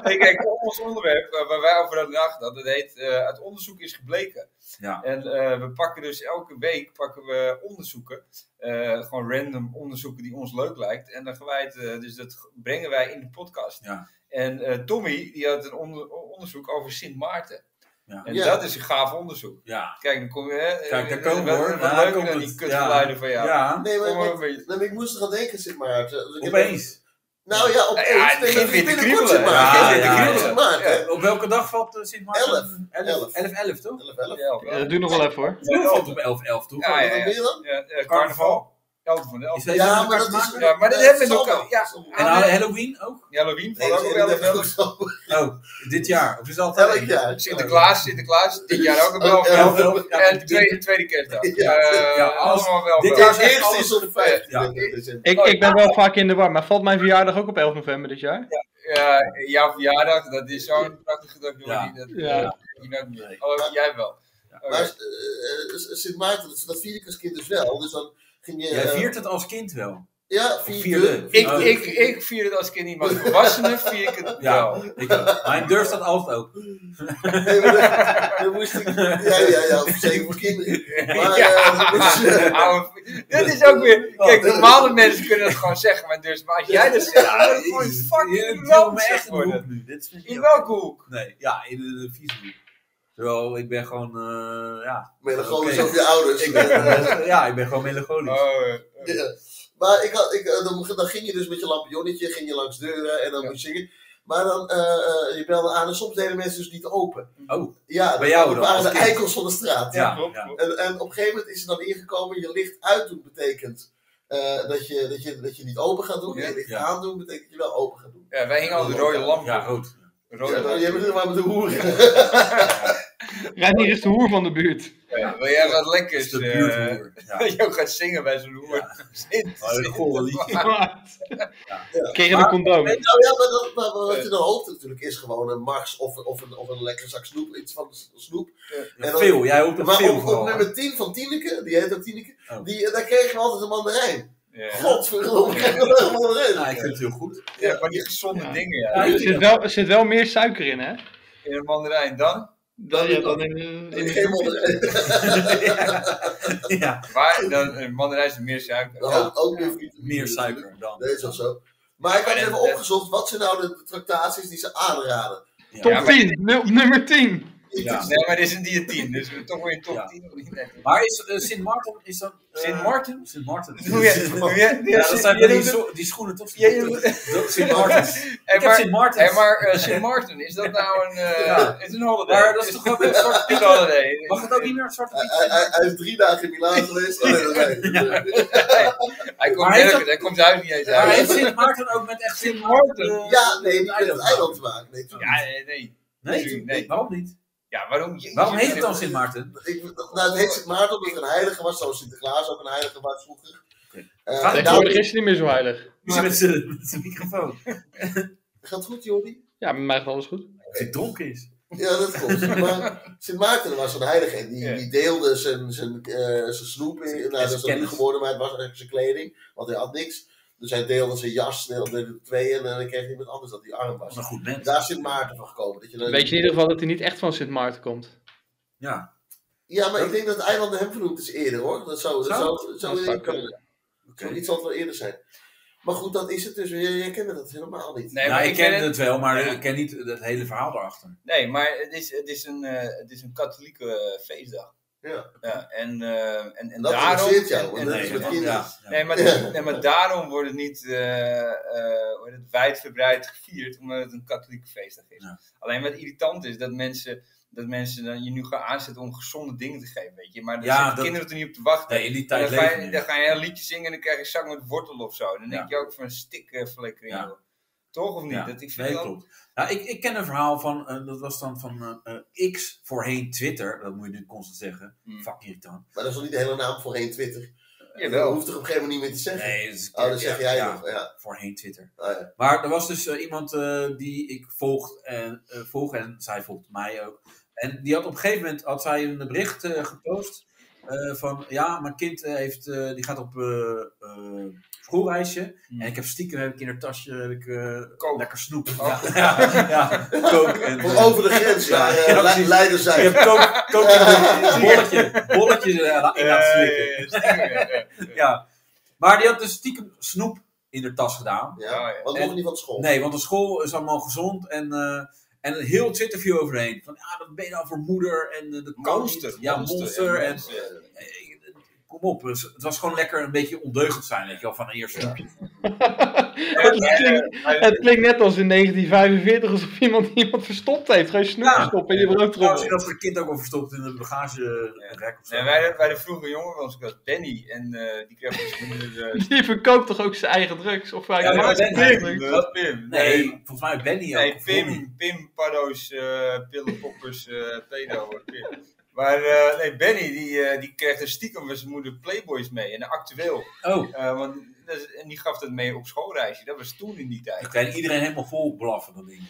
Nee, kijk, ons onderwerp eh, waar wij over nagedacht hadden, dat heet eh, uit onderzoek is gebleken. Ja. En eh, we pakken dus elke week pakken we onderzoeken, eh, gewoon random onderzoeken die ons leuk lijkt. En dan gaan wij het, eh, dus dat brengen wij in de podcast. Ja. En eh, Tommy, die had een onder- onderzoek over Sint Maarten. Ja. En Ja. dat is een gaaf onderzoek. ja. Kijk, dan kom je... Hè, Kijk, daar eh, komen we, wat- hoor. Wat Daar leuker komt dan die het. kutgeluiden van jou. Ja, Nee, maar, Kom maar want- een beetje- nee, maar ik moest er aan denken Sint Maarten. Dus ik heb- opeens. Nou ja, opeens. Ja, het begint weer te binnenkort Sint kriebelen. Maarten. Ja, Binnenkort ja, ja. Sint Maarten. Op welke dag valt eh, Sint Maarten? Elf. 11, 11, toch? 11, 11. Ja, Ja, Eh, dat doet nog wel even hoor. Veel valt op 11, 11, toch? Ja, Wat ja. dan weer dan? Ja, eh, carnaval. Carnaval. Elf van de elf. Is deze Ja, ook elkaar maar dat is... te maken? Ja, maar dat eh, hebben we zal nog- wel. ja. Zal wel. En Ah, nee. Halloween ook? Halloween Nee, valt ook wel dat is elf. ook zo. Oh, dit jaar. Of is het altijd? Elk jaar. Sinterklaas, Sinterklaas, dit jaar ook een wel. Oh, elf, elf, ja, en de dit- tweede, tweede kerstdag. Ja. Eh, Ja, alles- allemaal wel. dit wel. jaar Het is echt eerste alles is op 25 december. Ik, ik ben wel vaak in de war, maar valt mijn verjaardag ook op 11 november dit jaar? Ja, jouw verjaardag, dat is zo'n prachtige dag. Door Ja. die, dat, Ja. eh, die nooit meer. Nee. Oh, jij wel. Oké. Maar eh, eh, Sint Maarten, dat, dat vier ik als kind dus wel. Dus dan ging je... Jij eh, viert het als kind wel. Ja, vierde. vierde. ik, Oh. ik, ik vier het als kind niet, maar als volwassenen vier ik het wel. ik ook. Maar ik durf dat altijd ook. Nee, maar dat- dat moest ik... Ja, ja, ja. of Zeker voor kinderen. Maar, eh, dat moest je- Oude- dat is ook weer. Kijk, Oh. normale mensen kunnen dat gewoon zeggen, maar, dus, maar als jij dat zegt, dan wordt het gewoon fucking me ranzig echt een worden. hoek nu. Dit vind ik In ook- welke hoek? Nee, ja, in de, de vieze hoek. Terwijl ik ben gewoon, eh, ja. Melancholisch Oké. over dus je ouders. Ik ben, eh, ja, ik ben gewoon melancholisch. Oh, eh, Ja. Maar ik had, ik, eh, dan, dan ging je dus met je lampionnetje ging je langs deuren en dan Ja. moest je zingen. Maar dan, eh, eh, je belde aan en soms deden mensen dus niet open. Oh, Ja, Bij jou dat dan, waren als de kind? eikels van de straat. ja. klopt, ja. klopt. En, en op een gegeven moment is er dan ingekomen, je licht uitdoen betekent eh, dat, je, dat, je, dat je niet open gaat doen. Ja, je licht ja. aandoen betekent dat je wel open gaat doen. Ja, wij hingen al de rode lamp. Oh, Ja, op. rood. Rode Ja, nou, lamp. dan, je begint maar met de hoeren. Reinier is de hoer van de buurt. Ja, maar jij gaat lekker is de eh, buurthoer. Ja. dat je ook gaat zingen bij zo'n hoer. Zit- Oh, zit- dat goor liedje. Tegen de condoom. Nou ja, maar, dat, maar wat je dan hoopt natuurlijk is gewoon een Mars of, een- of, een, of een lekkere zak snoep, iets van s- snoep. En dan- Veel, jij hoopt op Maar veel op, op vooral. nummer 10 van Tineke, die heet ook Tineke, Oh. die, eh, daar kregen we altijd een mandarijn. Ja. Godverdomme, kregen we een mandarijn. Ja, ik vind het heel goed. Ja, van die gezonde Ja. dingen, ja. Ja, Er zit wel, er zit wel meer suiker in, hè? In een mandarijn. Dan, Dan, ja, dan in, eh, in- Geen mandarijn. Ja, maar dan, een mandarijn is meer suiker. Dan Ja. ook, ook weer vitamine. meer suiker dan. Dat is wel zo. Maar ik had even opgezocht, wat zijn nou de tractaties die ze aanraden? Top Ja, maar- 10, nul- nummer 10. Ja. Nee, maar dit is een dier 10, dus we toch weer een top Ja. 10. of niet? Nee. Maar is eh, Sint Maarten, is dat... eh, Sint Maarten? Sint Maarten. Doe je- doe je- Ja, dat Sint- zijn je wel die, doet het- zo- die schoenen toch? Ja, je doet- Dat- Sint Maartens. Hey, Ik heb maar- Sint Maartens. Hé, maar eh, Sint Maarten, is dat nou een... eh Ja. Is een holiday? Maar dat is toch ook een soort... een holiday? Mag het ook niet meer een zwarte Hij, piet hij, zijn? hij- hij is drie dagen in Milaan geweest. Oh, nee, dat weet ik. Hij Maar komt, heeft nergens- dat- hij komt thuis niet eens Maar heeft uit. Sint Maarten ook met echt Sint Maarten? Maarten? eh, Ja, nee, een niet met het eiland te maken. Nee, toen Ja, nee, nee. Nee, Nee. nee, waarom niet? Ja, waarom... Jezus, Waarom heet het dan Sint Maarten? Ik, nou, het heet Sint Maarten omdat het een heilige was, zoals Sinterklaas ook een heilige was vroeger. Eh, Gaat- daarom- Tegenwoordig is het niet meer zo heilig. Is met zijn met zijn microfoon. Gaat het goed, Jordi? Ja, met mij gaat alles goed. Als hij dronken is. Ja, dat klopt. Maar Sint Maarten was een heilige en die, Ja. die deelde zijn, zijn, eh, zijn snoep. In, nou, dat is dan niet kennis. geworden, maar het was eigenlijk zijn kleding, want hij had niks. Dus hij deelde zijn jas, deelde er twee en dan kreeg iemand anders dat hij arm Dat was. is een goed mens. Daar is Sint Maarten van gekomen. Dat je dan- Weet je in ieder geval dat hij niet echt van Sint Maarten komt? Ja, Ja, maar ik denk dat het eiland hem vernoemd is eerder hoor. Dat zou, dat Zou? zou, zou, Dat eh, zou kunnen. oké. Zoiets zal het wel eerder zijn. Maar goed, dat is het dus. Jij, jij kende dat helemaal niet. Nee, Nou, maar ik ken het... het wel, maar Ja. ik ken niet het hele verhaal daarachter. Nee, maar het is, het is, een, eh, het is een katholieke eh, feestdag. Ja. Ja, en, eh, en, en En dat daarom... interesseert jou, want en- dat en- is met en- kinderen. Nee, maar, Ja. nee, maar daarom wordt het niet eh, eh, hoe heet het, wijdverbreid gevierd, omdat het een katholieke feestdag is. Ja. Alleen wat irritant is, dat mensen, dat mensen dan je nu gaan aanzetten om gezonde dingen te geven, weet je. Maar daar Ja, zitten dat- kinderen er niet op te wachten. Nee, in die En tijd dan, ga leven je, we dan nu. ga je een liedje zingen en dan krijg je zak met wortel of zo. Dan denk je ook van stik eh, flikkering, Ja. joh. Toch of niet? Ja, Dat, ik vind Nee, dat- klopt. Nou, ik, ik ken een verhaal van, eh, dat was dan van eh, eh, X voorheen Twitter. Dat moet je nu constant zeggen. Hmm. Fuck irritant. Maar dat is nog niet de hele naam voorheen Twitter. Jawel. Dat hoeft er op een gegeven moment niet meer te zeggen. Nee, dat is- oh, dat zeg ja, jij ja, nog. Ja. Voorheen Twitter. Ah, ja. Maar er was dus eh, iemand eh, die ik volg en, eh, volg en zij volgt mij ook. En die had op een gegeven moment had zij een bericht eh, gepost eh, van ja, mijn kind eh, heeft, eh, die gaat op eh, eh, schoolreisje. Hmm. En ik heb stiekem heb ik in haar tasje heb ik, eh, Coke. lekker snoep. Oh. Ja, ja, ja, coke en, Voor eh, Over de grens, ja. Ja, eh, ja, Le- precies. Leiders ik zijn. heb coke, coke in een bolletje, bolletje eh, la- in laten slikken. Eh, stiekem, ja, ja. Ja. Maar die had dus stiekem snoep in haar tas gedaan. Ja, Ja. ja. Want En- nog niet van school. Nee, want de school is allemaal gezond en, eh en een heel Twitterview overheen. Van ja, dat ben je nou voor moeder en eh, dat kan Monster. niet. Ja, Monster, monster. ja, en, monster. eh, eh, kom op, dus het was gewoon lekker een beetje ondeugend zijn, weet je wel, van een eerste. Ja. het, klinkt, het klinkt net als in 1945 alsof iemand iemand verstopt heeft. Gewoon snoep Ja. stoppen in je Trouwens, ik broodtrommel. had mijn kind ook al verstopt in de bagagerek of zo. Nee, wij, wij de vroege jongen van ons, ik was Danny, en eh, die kreeg dus een Die verkoopt toch ook zijn eigen drugs? Of hij Ja, maar maakt dat zijn is eigen Pim, drugs? dat Pim. nee, volgens mij Benny ook. Nee, of Ronnie. Pim, Pim, paddo's, eh, pillenpoppers, eh, pedo, hoor, Pim. Maar eh, nee, Benny, die, eh, die kreeg er stiekem met zijn moeder Playboys mee, en actueel. Oh, Eh, want, dat is- en die gaf dat mee op schoolreisje, dat was toen in die tijd. ik kan iedereen helemaal vol blaffen, dat ding.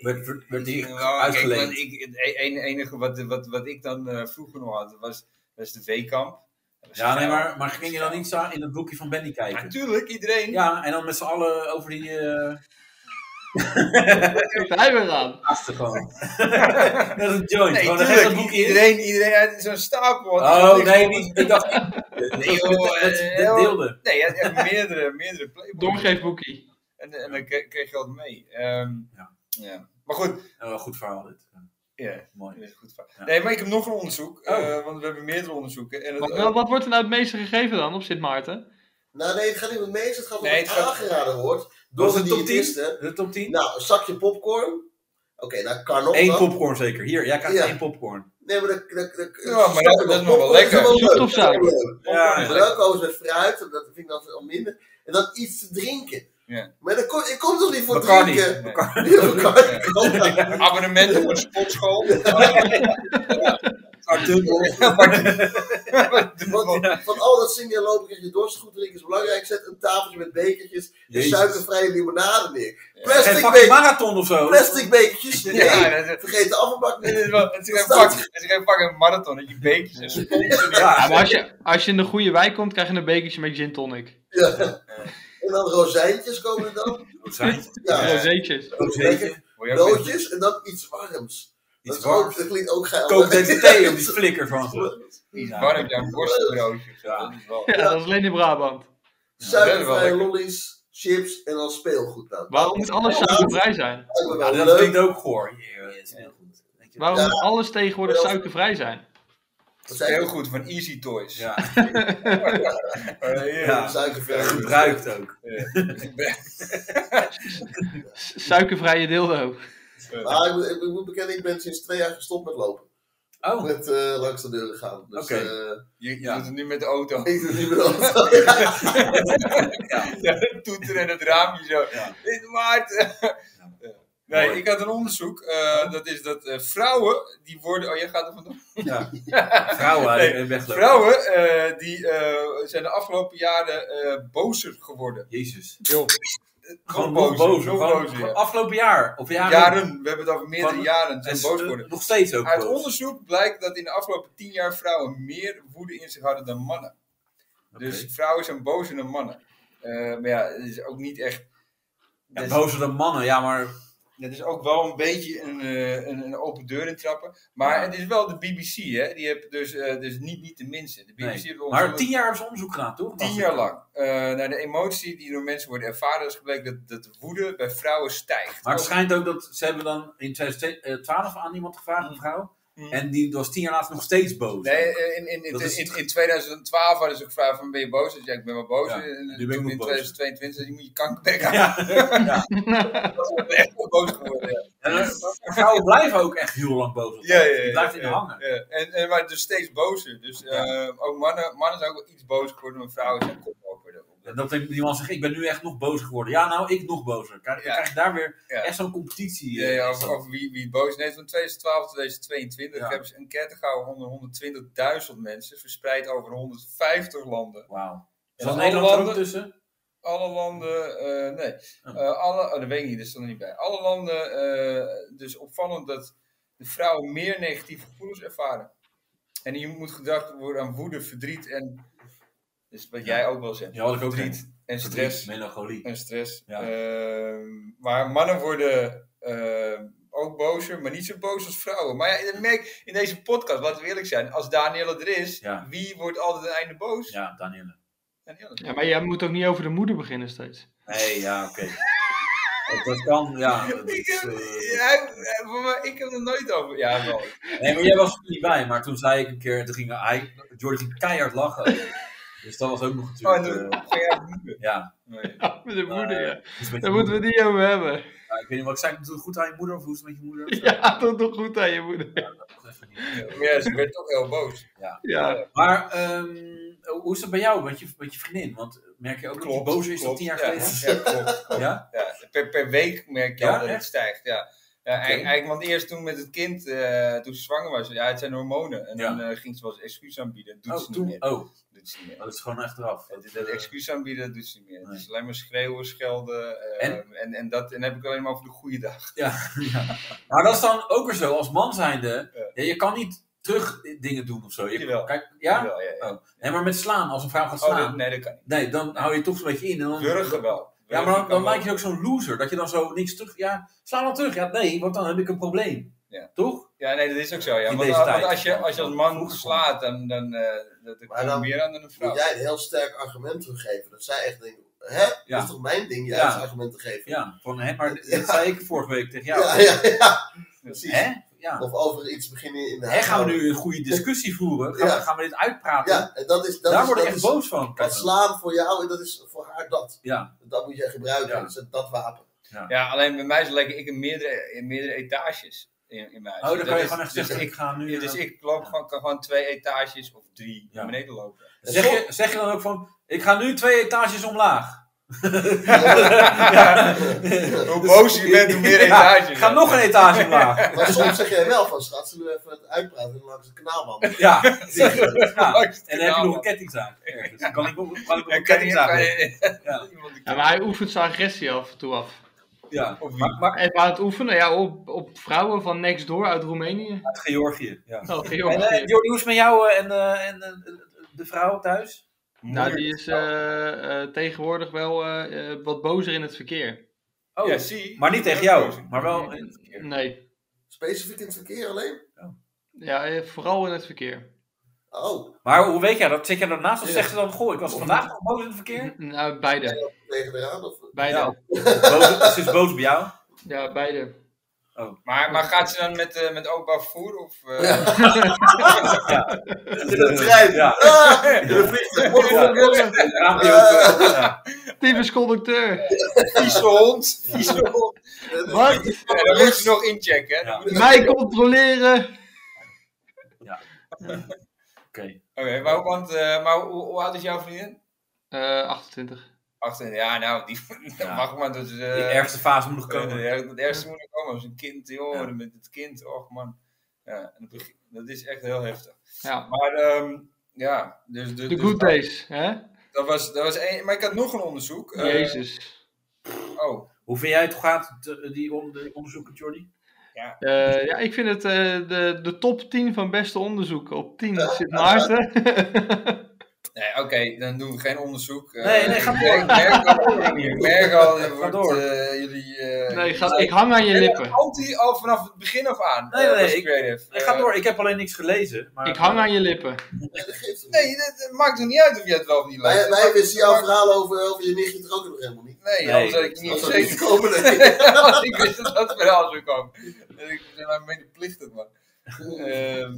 Werd, werd, werd die Nou, kijk, want uitgeleend. ik, het e- en- enige wat, wat, wat ik dan eh, vroeger nog had, was, was de V-kamp. Dat was Ja, nee, geil. maar, maar ging je dan niet zo in het boekje van Benny kijken? Natuurlijk, iedereen. Ja, en dan met z'n allen over die eh Geeft hij weer aan. achtergrond. dat is een joint. Nee, Gewoon een tuurlijk, gekke boekje in. iedereen, iedereen uit zo'n stapel. had- Oh, nee, Nee, niet. Ik dacht, joh, dat- dat- eh, dat joh. deelde. Nee, je had echt meerdere, meerdere playboys. Doorgeefboekie. En, en dan kreeg, kreeg je wat mee. Ehm, Ja. ja. Maar goed, Oh, wel goed verhaal dit. Ja, ja, dat Mooi. is goed. verhaal. Ja. Nee, maar ik heb nog een onderzoek, Oh. eh, want we hebben meerdere onderzoeken. En het, eh, Wat, wel, wat wordt er nou het meeste gegeven dan op Sint Maarten? Nou, nee, het gaat niet om het meest. Het gaat om Nee, het het gaat- aangeraden wordt. Door Was de het top 10? diëtisten. De top 10? Nou, een zakje popcorn. Oké, nou kan nog. Eén dan. popcorn zeker. Hier, jij krijgt Ja. één popcorn. Nee, maar dat... dat, dat Ja, maar dat- dat is nog wel popcorn lekker. gewoon Zoet of leuk, dat is wel zout? leuk. Ja, ja. Maar dan komen ze met fruit, dat vind ik dan al minder. En dan iets te drinken. Ja. Maar dan kom, ik kom toch niet voor Bacardi. drinken? Bacardi. Ja, Bacardi. Eh, Abonnement op een sportschool. Want van al dat zingen en lopen krijg je dorst. Goed drinken is belangrijk. Zet een tafeltje met bekertjes en Jezus. suikervrije limonade neer. Geen Plastic, fucking be- marathon of zo. plastic bekertjes. Nee, Ja, dat- vergeet de afvalbak Het niet. is wel- het is geen pak- het is geen fucking marathon, dat je beetjes en sponsors. Ja, Ja, maar als je, als je in de goede wijk komt, krijg je een bekertje met gin tonic. Ja. En dan rozijntjes komen er dan. zijn. Ja, Ja. Rozeetjes. Zeker. Word je ook weer- broodjes en dan iets warms. Iets dat, is warms. ook- dat klinkt ook geil. Kook deze thee op die flikker van. Iets warm, ja, een worstenbroodje. of zo, Ja. dat is wel- Ja, dat is alleen in Brabant. Ja, dat is Suikervrije wel lollies, chips en dan speelgoed. Nou, Waarom moet alles suikervrij zijn? lijkt me wel Ja, dat leuk. klinkt ook goor. Waarom moet alles tegenwoordig suikervrij zijn? Dat zijn Heel goed, van Easy Toys. Ja, Eh, ja. Suikervrij. gebruikt ook. S- Suikervrije dildo. Maar ik, moet- ik moet bekennen, ik ben sinds twee jaar gestopt met lopen. Oh, Met eh, langs de deuren gaan. Dus Oké. eh, Je, je Ja. doet het nu met de auto. ik doe het niet meer anders. Ja, het toeter en het raamje zo. Ja. Dit maakt. Nee, ik had een onderzoek. eh, dat is dat eh, vrouwen, die worden... Oh, jij gaat er vandoor. ja. Vrouwen Nee, en weglopen. Vrouwen, eh, die eh, zijn de afgelopen jaren eh, bozer geworden. Jezus. Nog Gewoon nog boos. nog Gewoon bozer, gewoon ja. afgelopen jaar. Of jaren. Jaren, we hebben het over meerdere Van- jaren, En zijn ze- boos geworden. Nog steeds ook. Uit boos. onderzoek blijkt dat in de afgelopen tien jaar vrouwen meer woede in zich hadden dan mannen. Oké. Dus vrouwen zijn bozer dan mannen. Eh, maar ja, het is ook niet echt. Ja, dat is- bozer dan mannen, ja, maar. Dat is ook wel een beetje een, eh, een, een open deur intrappen. Maar Ja. het is wel de BBC, hè? Die heeft dus, eh, dus niet, niet de minste. De BBC Nee. heeft onderzocht- Maar tien jaar hebben ze onderzoek gedaan, toch? tien jaar lang. eh, naar de emotie die door mensen worden ervaren, is gebleken dat, dat de woede bij vrouwen stijgt. Maar het Ook- schijnt ook dat ze hebben dan in 2012 aan iemand gevraagd, een vrouw. Mm. En die was tien jaar later nog steeds boos. Nee, eh, in, in, in, Dat is- in, in 2012 hadden ze gevraagd van ben je boos? Dus ja, ik ben wel boos. Ja, en nu ben toen ik in nog boos. 2022 zei je moet je kankerbek aan. Ja. ja. Ik ben echt wel boos geworden. ja. En, eh, vrouwen blijven ook echt heel lang boos. Ja, ja, ja. Die blijft in de ja, hangen. ja. En, en maar dus steeds bozer. Dus eh, ook mannen, mannen zijn ook wel iets boos geworden, maar vrouwen zijn kop geworden. En dat die man zegt, ik ben nu echt nog bozer geworden. Ja, nou, ik nog bozer. Krijg, Ja. krijg je daar weer Ja. echt zo'n competitie. Ja, eh, ja, is over, dat. over wie, wie boos is. Nee, van 2012 tot 2022 Ja. hebben ze een enquête gehouden onder 120.000 mensen, verspreid over 150 landen. Wauw. Ja, Zat alle Nederland er ook landen- tussen? Alle landen, eh, nee, Oh. Eh, alle, oh, dat weet ik niet, dat stond er niet bij. Alle landen, eh, dus opvallend dat de vrouwen meer negatieve gevoelens ervaren. En je moet gedacht worden aan woede, verdriet en, dus wat jij ook wel zegt, Ja, had ik ook Verdriet. niet. en stress. Melancholie. en stress. Ja. Ehm, maar mannen worden ehm, ook bozer, maar niet zo boos als vrouwen. Maar ja, dat merk in deze podcast, laten we eerlijk zijn. Als Danielle er is, Ja. wie wordt altijd aan het einde boos? Ja, Danielle. Danielle. Ja, maar jij moet ook niet over de moeder beginnen steeds. Nee, ja, oké. dat kan, ja. dat Ik is, heb, eh, ja, voor mij- ik heb er nooit over. Ja, wel. Nee, maar jij was er niet bij. Maar toen zei ik een keer, toen ging hij, Jordi ging keihard lachen. dus dat was ook nog Oh, en natuurlijk... toen eh, ging jij vloeken. ja, Nee. Ja, met de moeder, ja. dat is met je Daar moeten we moeder. het niet over hebben. Ja, ik weet niet wat ik zei. Doe het goed aan je moeder of hoe is het met je moeder? Of zo? Ja, dat doet goed aan je moeder. Dat was even niet. Maar ja, ze werd toch heel boos. Ja, Maar ehm, hoe is dat bij jou, met je, met je vriendin? Want eh, merk je ook dat je Klopt, boos is dan klopt. tien jaar Ja, geleden? Ja, klopt. klopt. Ja? Ja, per, per week merk je Ja, al dat het echt? stijgt. Ja. Ja, Oké. eigenlijk, eigenlijk, want eerst toen met het kind, eh, toen ze zwanger was, ja, het zijn hormonen. En Ja. dan eh, ging ze wel eens excuus aanbieden. Dat doet Oh, ze toen, niet meer. oh, oh, Doet ze niet meer. dat is gewoon achteraf. Dat, Dat, is- dat dat, is- excuus aanbieden, dat doet ze niet meer. Het Nee. is alleen maar schreeuwen, schelden. eh, en? En? En, dat, en dan heb ik alleen maar over de goede dag. ja, ja. Maar dat is dan ook weer zo, als man zijnde, ja, je kan niet terug dingen doen of zo. Je, Jawel. Kijk, ja? Jawel, ja, ja. Oh. Nee, maar met slaan, als een vrouw gaat Oh, dat- slaan, nee, dat kan niet. nee, dan hou je toch zo'n beetje in. En dan, Wurgen wel. Ja, maar Wurgen dan, kan dan wel. lijk je ook zo'n loser, dat je dan zo niks terug, ja, sla dan terug. Ja, nee, want dan heb ik een probleem. Ja. Toch? Ja, nee, dat is ook zo. Ja. In Want, deze want tijd. als, je, als je als man Vroeger slaat, dan, dan eh dat, dat Maar komt dan- meer aan dan een vrouw. Moet jij een heel sterk argument teruggeven. Dat zij echt denken, hè? Dat is toch mijn ding, juist Ja. argument te geven? Ja, van, hè, maar dat Ja. zei ik vorige week tegen jou. ja, ja, ja. precies. Hè? Ja. Of over iets beginnen in de Hè, gaan we Nou, nu een goede discussie voeren? Gaan, Ja. we, gaan we dit uitpraten? Ja, en dat is... Dat Daar is, word ik dat echt is- boos van. Dat slaan voor jou, en dat is voor haar dat. Ja, Dat moet jij gebruiken, Ja. dat, is dat wapen. Ja, alleen bij mij lijkt ik in meerdere, in meerdere etages in, in mijn huis. oh, dan kan je is- gewoon echt dus zeggen, ik ga nu... eh, ik- dus ik loop gewoon, kan gewoon twee etages of drie Ja. naar beneden lopen. Zeg je, zeg je dan ook van, ik ga nu twee etages omlaag? Ja. Hoe boos je bent, hoe meer etage. je Dus Ga bent. nog een etage omlaag. Maar soms zeg jij wel van, schat, zullen we even het uitpraten en langs de kanaalman. Ja. ja. Langs de En dan heb je nog kabel. een kettingzaak. ergens. Kan ik nog kan ik nog En een kan je- kettingzaak kan hebben? je- Ja. iemand die- Ja, maar hij oefent zijn agressie af en toe af. Ja. Of wie? Maar, maar Even aan het oefenen, ja, op, op vrouwen van next door uit Roemenië. uit Georgië. Ja. Oh, En eh, Georgië. Jordi, hoe is het met jou eh, en, eh, en eh, de vrouw thuis? Nou, die is eh, eh, tegenwoordig wel eh, eh, wat bozer in het verkeer. Oh, Ja, zie. Maar niet tegen jou, maar wel. Nee, Specifiek in het verkeer alleen? ja, eh, vooral in het verkeer. Oh, Maar hoe weet jij dat? Zit jij daarnaast of Ja. zegt ze dan, goh, ik was vandaag nog boos in het verkeer? Nou, beide. tegen eraan? Of... Beide. Ja. Ja, Boos, ze is dus boos bij jou? beide. Maar, maar gaat ze dan met, eh, met openbaar vervoer? Of, eh, In de trein! Ja. Ah, in de vliegtuig! Eh. Mocht je dat willen? Raampje open. Ja. Typisch conducteur. Vieze hond. Vieze hond. Wat? En dan moet je nog inchecken. hè? Ja. Oké, Dus Mij controleren. Oké. maar, want, eh, maar hoe, hoe oud is jouw vriendin? Eh 28. Acht, ja, nou, die Ja. mag maar. Dat, is, eh, Die ergste fase moet nog eh, komen. de erg- dat ergste moet er komen als een kind, joh, Ja. met het kind, och man. Ja, en het begin- dat is echt heel heftig. Ja. Maar ehm, ja, dus... dus- De dus good dat, days, Eh. hè? dat was, dat was één, maar ik had nog een onderzoek. eh, Jezus. oh, Hoe vind jij het gaat, te- die on- de onderzoeken, Jordi? Eh, ja, ik vind het eh, de, de top 10 van beste onderzoeken. Op 10 zit Maarten. nee, oké, dan doen we geen onderzoek. eh, Nee, nee, ga ik merk- merk al- Ik merk al, je wordt, door. eh, jullie... eh, nee, ik, ga, jullie- ik hang aan je lippen. Anti al vanaf het begin af aan. Nee, nee, eh, was ik- creative. Nee, ga Eh, door, ik heb alleen niks gelezen. Maar, Ik hang aan je lippen. Nee, dat geeft niet. Nee, dat, dat maakt er niet uit of je het wel of niet Wij, leuk wij vindt. wisten jouw Maar- verhaal over, over je nichtje er ook nog helemaal niet. Nee, Nee, anders had ik Dat niet zou niet zeker gekomen, nee. Als ik wist dat dat verhaal zou komen. Dus ik ben maar medeplichtig, man. Ehm,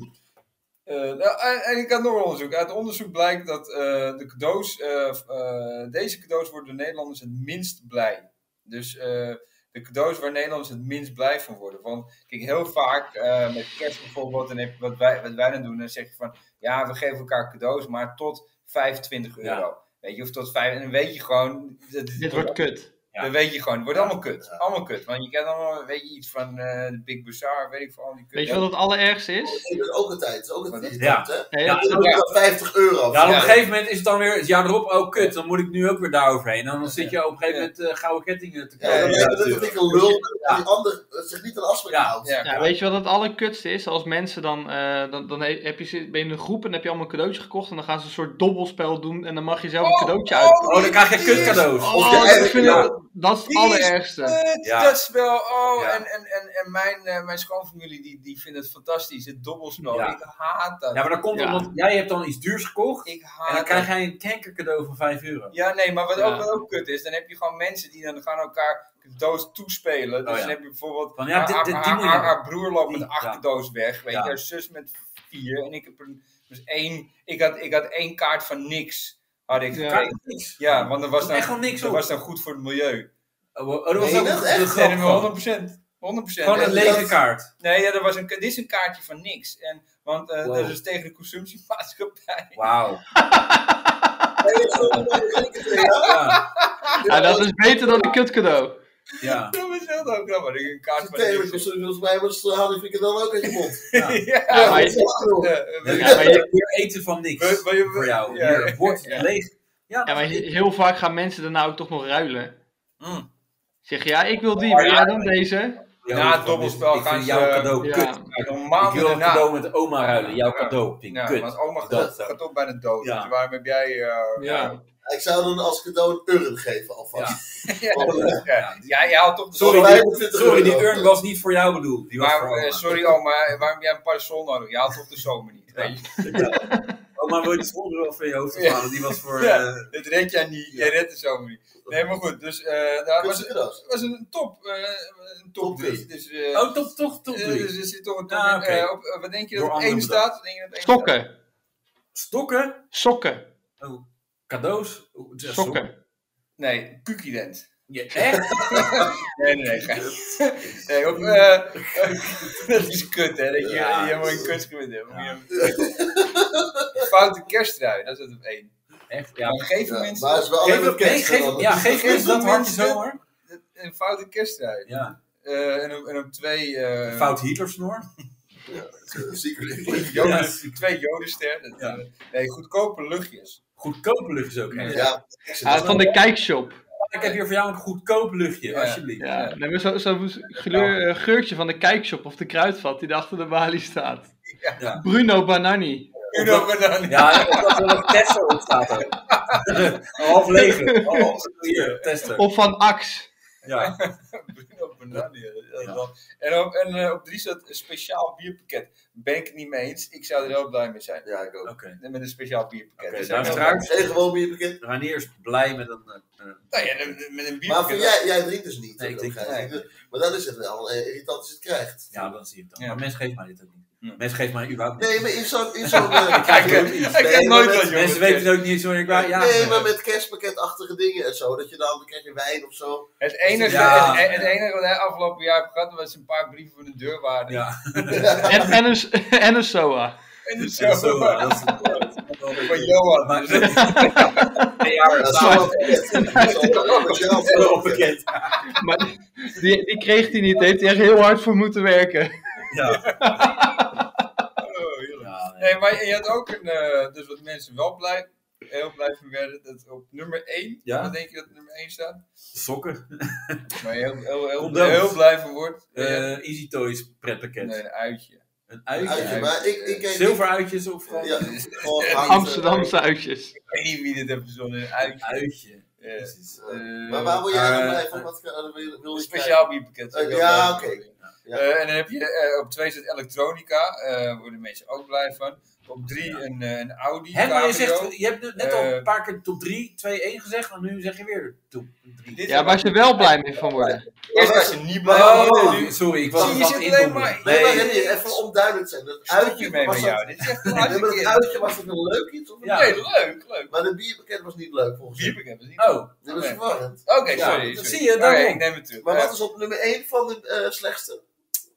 eh, nou, en, en ik had nog een onderzoek. Uit onderzoek blijkt dat eh, de cadeaus, eh, eh, deze cadeaus worden door Nederlanders het minst blij. Dus eh, de cadeaus waar Nederlanders het minst blij van worden. Want kijk, heel vaak eh, met kerst bijvoorbeeld, en heb- wat, wij, wat wij dan doen, dan zeg je van ja, we geven elkaar cadeaus, maar tot 25 Ja. euro. Weet je, of tot 5, en dan weet je gewoon. dat- Dit wordt kut. Ja. dan weet je gewoon, het wordt allemaal kut. Allemaal kut. Want je kent allemaal, weet je, iets van eh, de Big Bazaar, weet ik van al die kut. Weet je wat het allerergste is? Ik ben ook een tijd, dat is ook een tijd. Ja. hè? Nee, Ja. dat- En ook Ja. dat 50 euro. Ja, en op Ja. een gegeven moment is het dan weer het jaar erop, oh kut, dan moet ik nu ook weer daar overheen. En dan zit je op een gegeven moment eh, gouden kettingen te Ja, dan kopen. lijkt het net dat ik een lul ben dat die ander zich niet aan afspraken Ja. houdt. Ja, ja, weet je wat het allerkutste is? Als mensen dan, eh, dan, dan he- heb je, zit- ben je in een groep en heb je allemaal een cadeautje gekocht. En dan gaan ze een soort dobbelspel doen en dan mag je zelf een cadeautje uit. Oh, dan krijg je die is- kutcadeaus. Oh, of je dat, eigen vind cadeau. ik, dat is het Die is- allerergste. Kut, Ja. Dat spel, oh, Ja. en, en, en, en mijn, eh, mijn schoonfamilie, die, die vindt het fantastisch, het dobbelspel. Ja. Ik haat dat. Ja, maar dat komt Ja. omdat jij hebt dan iets duurs gekocht. Ik En haat dan krijg dat. jij een kankercadeau van 5 euro. Ja, nee, maar wat, Ja. ook, wat ook kut is, dan heb je gewoon mensen die dan gaan elkaar cadeaus toespelen. Dus Oh, ja. dan heb je bijvoorbeeld Van, ja, haar, dit- dit- haar- die haar- moet je- haar broer loopt met die- acht ja. cadeaus weg, weet Ja. je, haar zus met vier en ik heb een, dus één, ik had, ik had één kaart van niks, had ik Ja. gekregen. Niks. Ja, want dat was Echt dan, gewoon niks dat op. was dan goed voor het milieu. Oh, oh, dat was Nee, ook dat de echt? grap Nee, dat van. 100%. 100%. Gewoon een Nee, leeg- lege kaart. Nee, ja, dat was een, dit is een kaartje van niks. En, want eh, Wow. dat is tegen de consumptiemaatschappij. Wauw. Ja. Ja, Ja, dat is beter dan een kutcadeau. ja. Dat was heel grappig. Een kaart van Telen, niks. volgens mij was Harry Frikandel ook uit je mond. Ja, Ja, maar je- eh, Ja, we- maar je- Hier eten van niks. we- we- Voor jou. ja. Hier, bord leeg. Ja, Ja, maar dat- he- heel vaak gaan mensen daarna ook toch nog ruilen. Mm. Zeg ja, ik wil die, Oh, maar ja, jij dan deze? Jouw Na het van- dobbelspel ik gaan vind ze- jouw cadeau ja. Oh, kut. Ja, dan Ik maanden wil een cadeau daarna. met oma ruilen. Jouw cadeau, vind ik Ja, kut. want oma gaat, Dat, eh. gaat toch bijna dood. Ja. Dus waarom heb jij... eh, Ja. Ik zou dan als cadeau een urn geven alvast. ja, ja. ja, jij had toch... de- Sorry, Maar, die, 25 sorry, die euro. urn was niet voor jou bedoeld. Die was voor eh, oma. sorry oma, waarom heb jij een parasol nodig? Je haalt toch de zomer niet. Ja. weet je? Oma wil je die zonder wel van je hoofd Ja. halen. Die was voor... Ja. eh, Dat red jij niet. Ja. Jij redt de zomer niet. Nee, maar goed. Dus eh dat was, Kutse cadeaus. was een top. eh, een top Top 3. drie. Dus, eh, Oh, toch, toch, toch. eh, drie. dus er zit toch een top Ja, in. oké. Eh, op, eh, wat denk je dat Door op anderen één bedacht. staat? Wat denk je dat op één staat? Stokken, Stokken, sokken, Oh, cadeaus. Oh, ja, sokken. sokken. Nee, Kukident. Ja, echt? Nee, nee, nee. Geen. Nee, op, eh, dat is kut, hè? Dat je Ja. je helemaal een kunstgewin hebt. Moet je hem- Foute kersttrui, dat is het op één. Echt, ja. Maar geef Ja, mensen maar het is wel Geef, alleen hem- maar nee, kerst. geef, dan. ja, geef Kerst mensen dat doen hartje mensen- zo hoor. een foute kerstrijd. Ja. Eh, en, op, en op twee, eh, Fout Hitlersnor. Eh, Secret. joden, Ja. twee jodenster. Dat, Ja. eh, nee, goedkope luchtjes. Goedkoop luchtjes ook. echt. Ja, ik zit Ah, van de kijkshop. Ik heb hier voor jou een goedkoop luchtje, Ja. alsjeblieft. Ja, nee, maar zo'n zo geur- eh, geurtje van de kijkshop of de kruidvat die daar achter de balie staat. Ja. Bruno Banani. Uno Banani. Ja, omdat er nog Tesla op staat. ook. Een half Oh, leeg. Half hier, testen. Of van Ax. Ja. Bruno Banani. ja, dat is wel- En, op, en eh, op drie staat een speciaal bierpakket. Ben ik het niet mee eens. Ik zou er heel blij mee zijn. Ja, ik ook. Oké. dus Met een speciaal bierpakket. Dus Oké, Daar zijn we daar heel blij straks- Zijn gewoon meer bekend. Ranier is blij met een... eh, eh, mee. Nou ja, met- met een Maar voor bierpakket. jij, jij drinkt dus niet. Nee, ik drink Jij drinkt dus- Maar dat is het wel eh, irritant als je het krijgt. ja, dan zie je het dan. Ja. Maar mensen geven mij dit ook niet. Ja. Mensen geven mij überhaupt niet. Nee, maar in zo'n... in zo'n, eh, krijg nee, nooit iets. maar Ik krijg nooit met- dat, joh. mensen weten het ook niet zo. Ik wou- ja, Nee, maar met kerstpakketachtige dingen en zo. Dat je dan, dan krijg je wijn of zo. Het enige, Ja. het, het enige wat hij afgelopen jaar heeft gehad, was een paar brieven voor de deurwaarde. Ja, En, en, een, s- en een SOA. En dus dat is zo. zo. Dat is dat is wel een Van beetje- Johan. Maar- Dus- Nee, ja, maar Dat dat is staat allemaal pakket. Dat is allemaal hetzelfde. wel bekend. Maar die, die kreeg hij niet. Daar heeft hij echt heel hard voor moeten werken. Ja. Oh, heerlijk. Ja, nee. Nee, maar je had ook een, eh, dus wat mensen wel blij, heel blij van werden, dat op nummer 1, Ja. wat denk je dat nummer 1 staat? Sokken. Maar heel, heel, heel, heel, Condooms. blij van wordt. eh, Eh, Easy Toys pretpakket. nee, een uitje. Een Uitje, uitje. maar ik, ik eet Zilveruitjes of gewoon... Ja, gewoon hout, eh, Amsterdamse uitjes. Ik weet niet wie dit heeft verzonnen, een Een uitje. uitje. Eh, Precies. eh, Maar waar wil jij dan Eh, bij? Van wat kan- wil, wil een je speciaal bierpakket. zou ik Eh, wel ja, blij van oké. worden. Ja. Eh, en dan heb je eh, op 2 staat elektronica, eh worden mensen ook blij van. Op 3 een, eh, een Audi. Hè, maar je, cabrio. zegt, je hebt net al Eh, een paar keer top 3, 2, 1 gezegd, en nu zeg je weer top 3. Dit Ja, waar ze wel blij mee van worden. Eerst was je niet blij. Oh, van nu- sorry, ik was Zie je, was zit in alleen dom. maar- Nee, maar Nee, Henry, even onduidelijk zijn. Dat Uit je uitje mee was met dat- jou. Dit is echt een Nee, maar hartstikke dat keer. uitje was het een leuk iets of niet? Ja. Nee, leuk, leuk. Maar de bierpakket was niet leuk volgens mij. Hier heb ik niet. Oh, Dat was Oké. verwarrend. Oké, Ja, sorry. dat sorry. zie je, Oké, daarom. ik neem het terug. Oh. Maar Eh, wat is op nummer 1 van de eh, slechtste?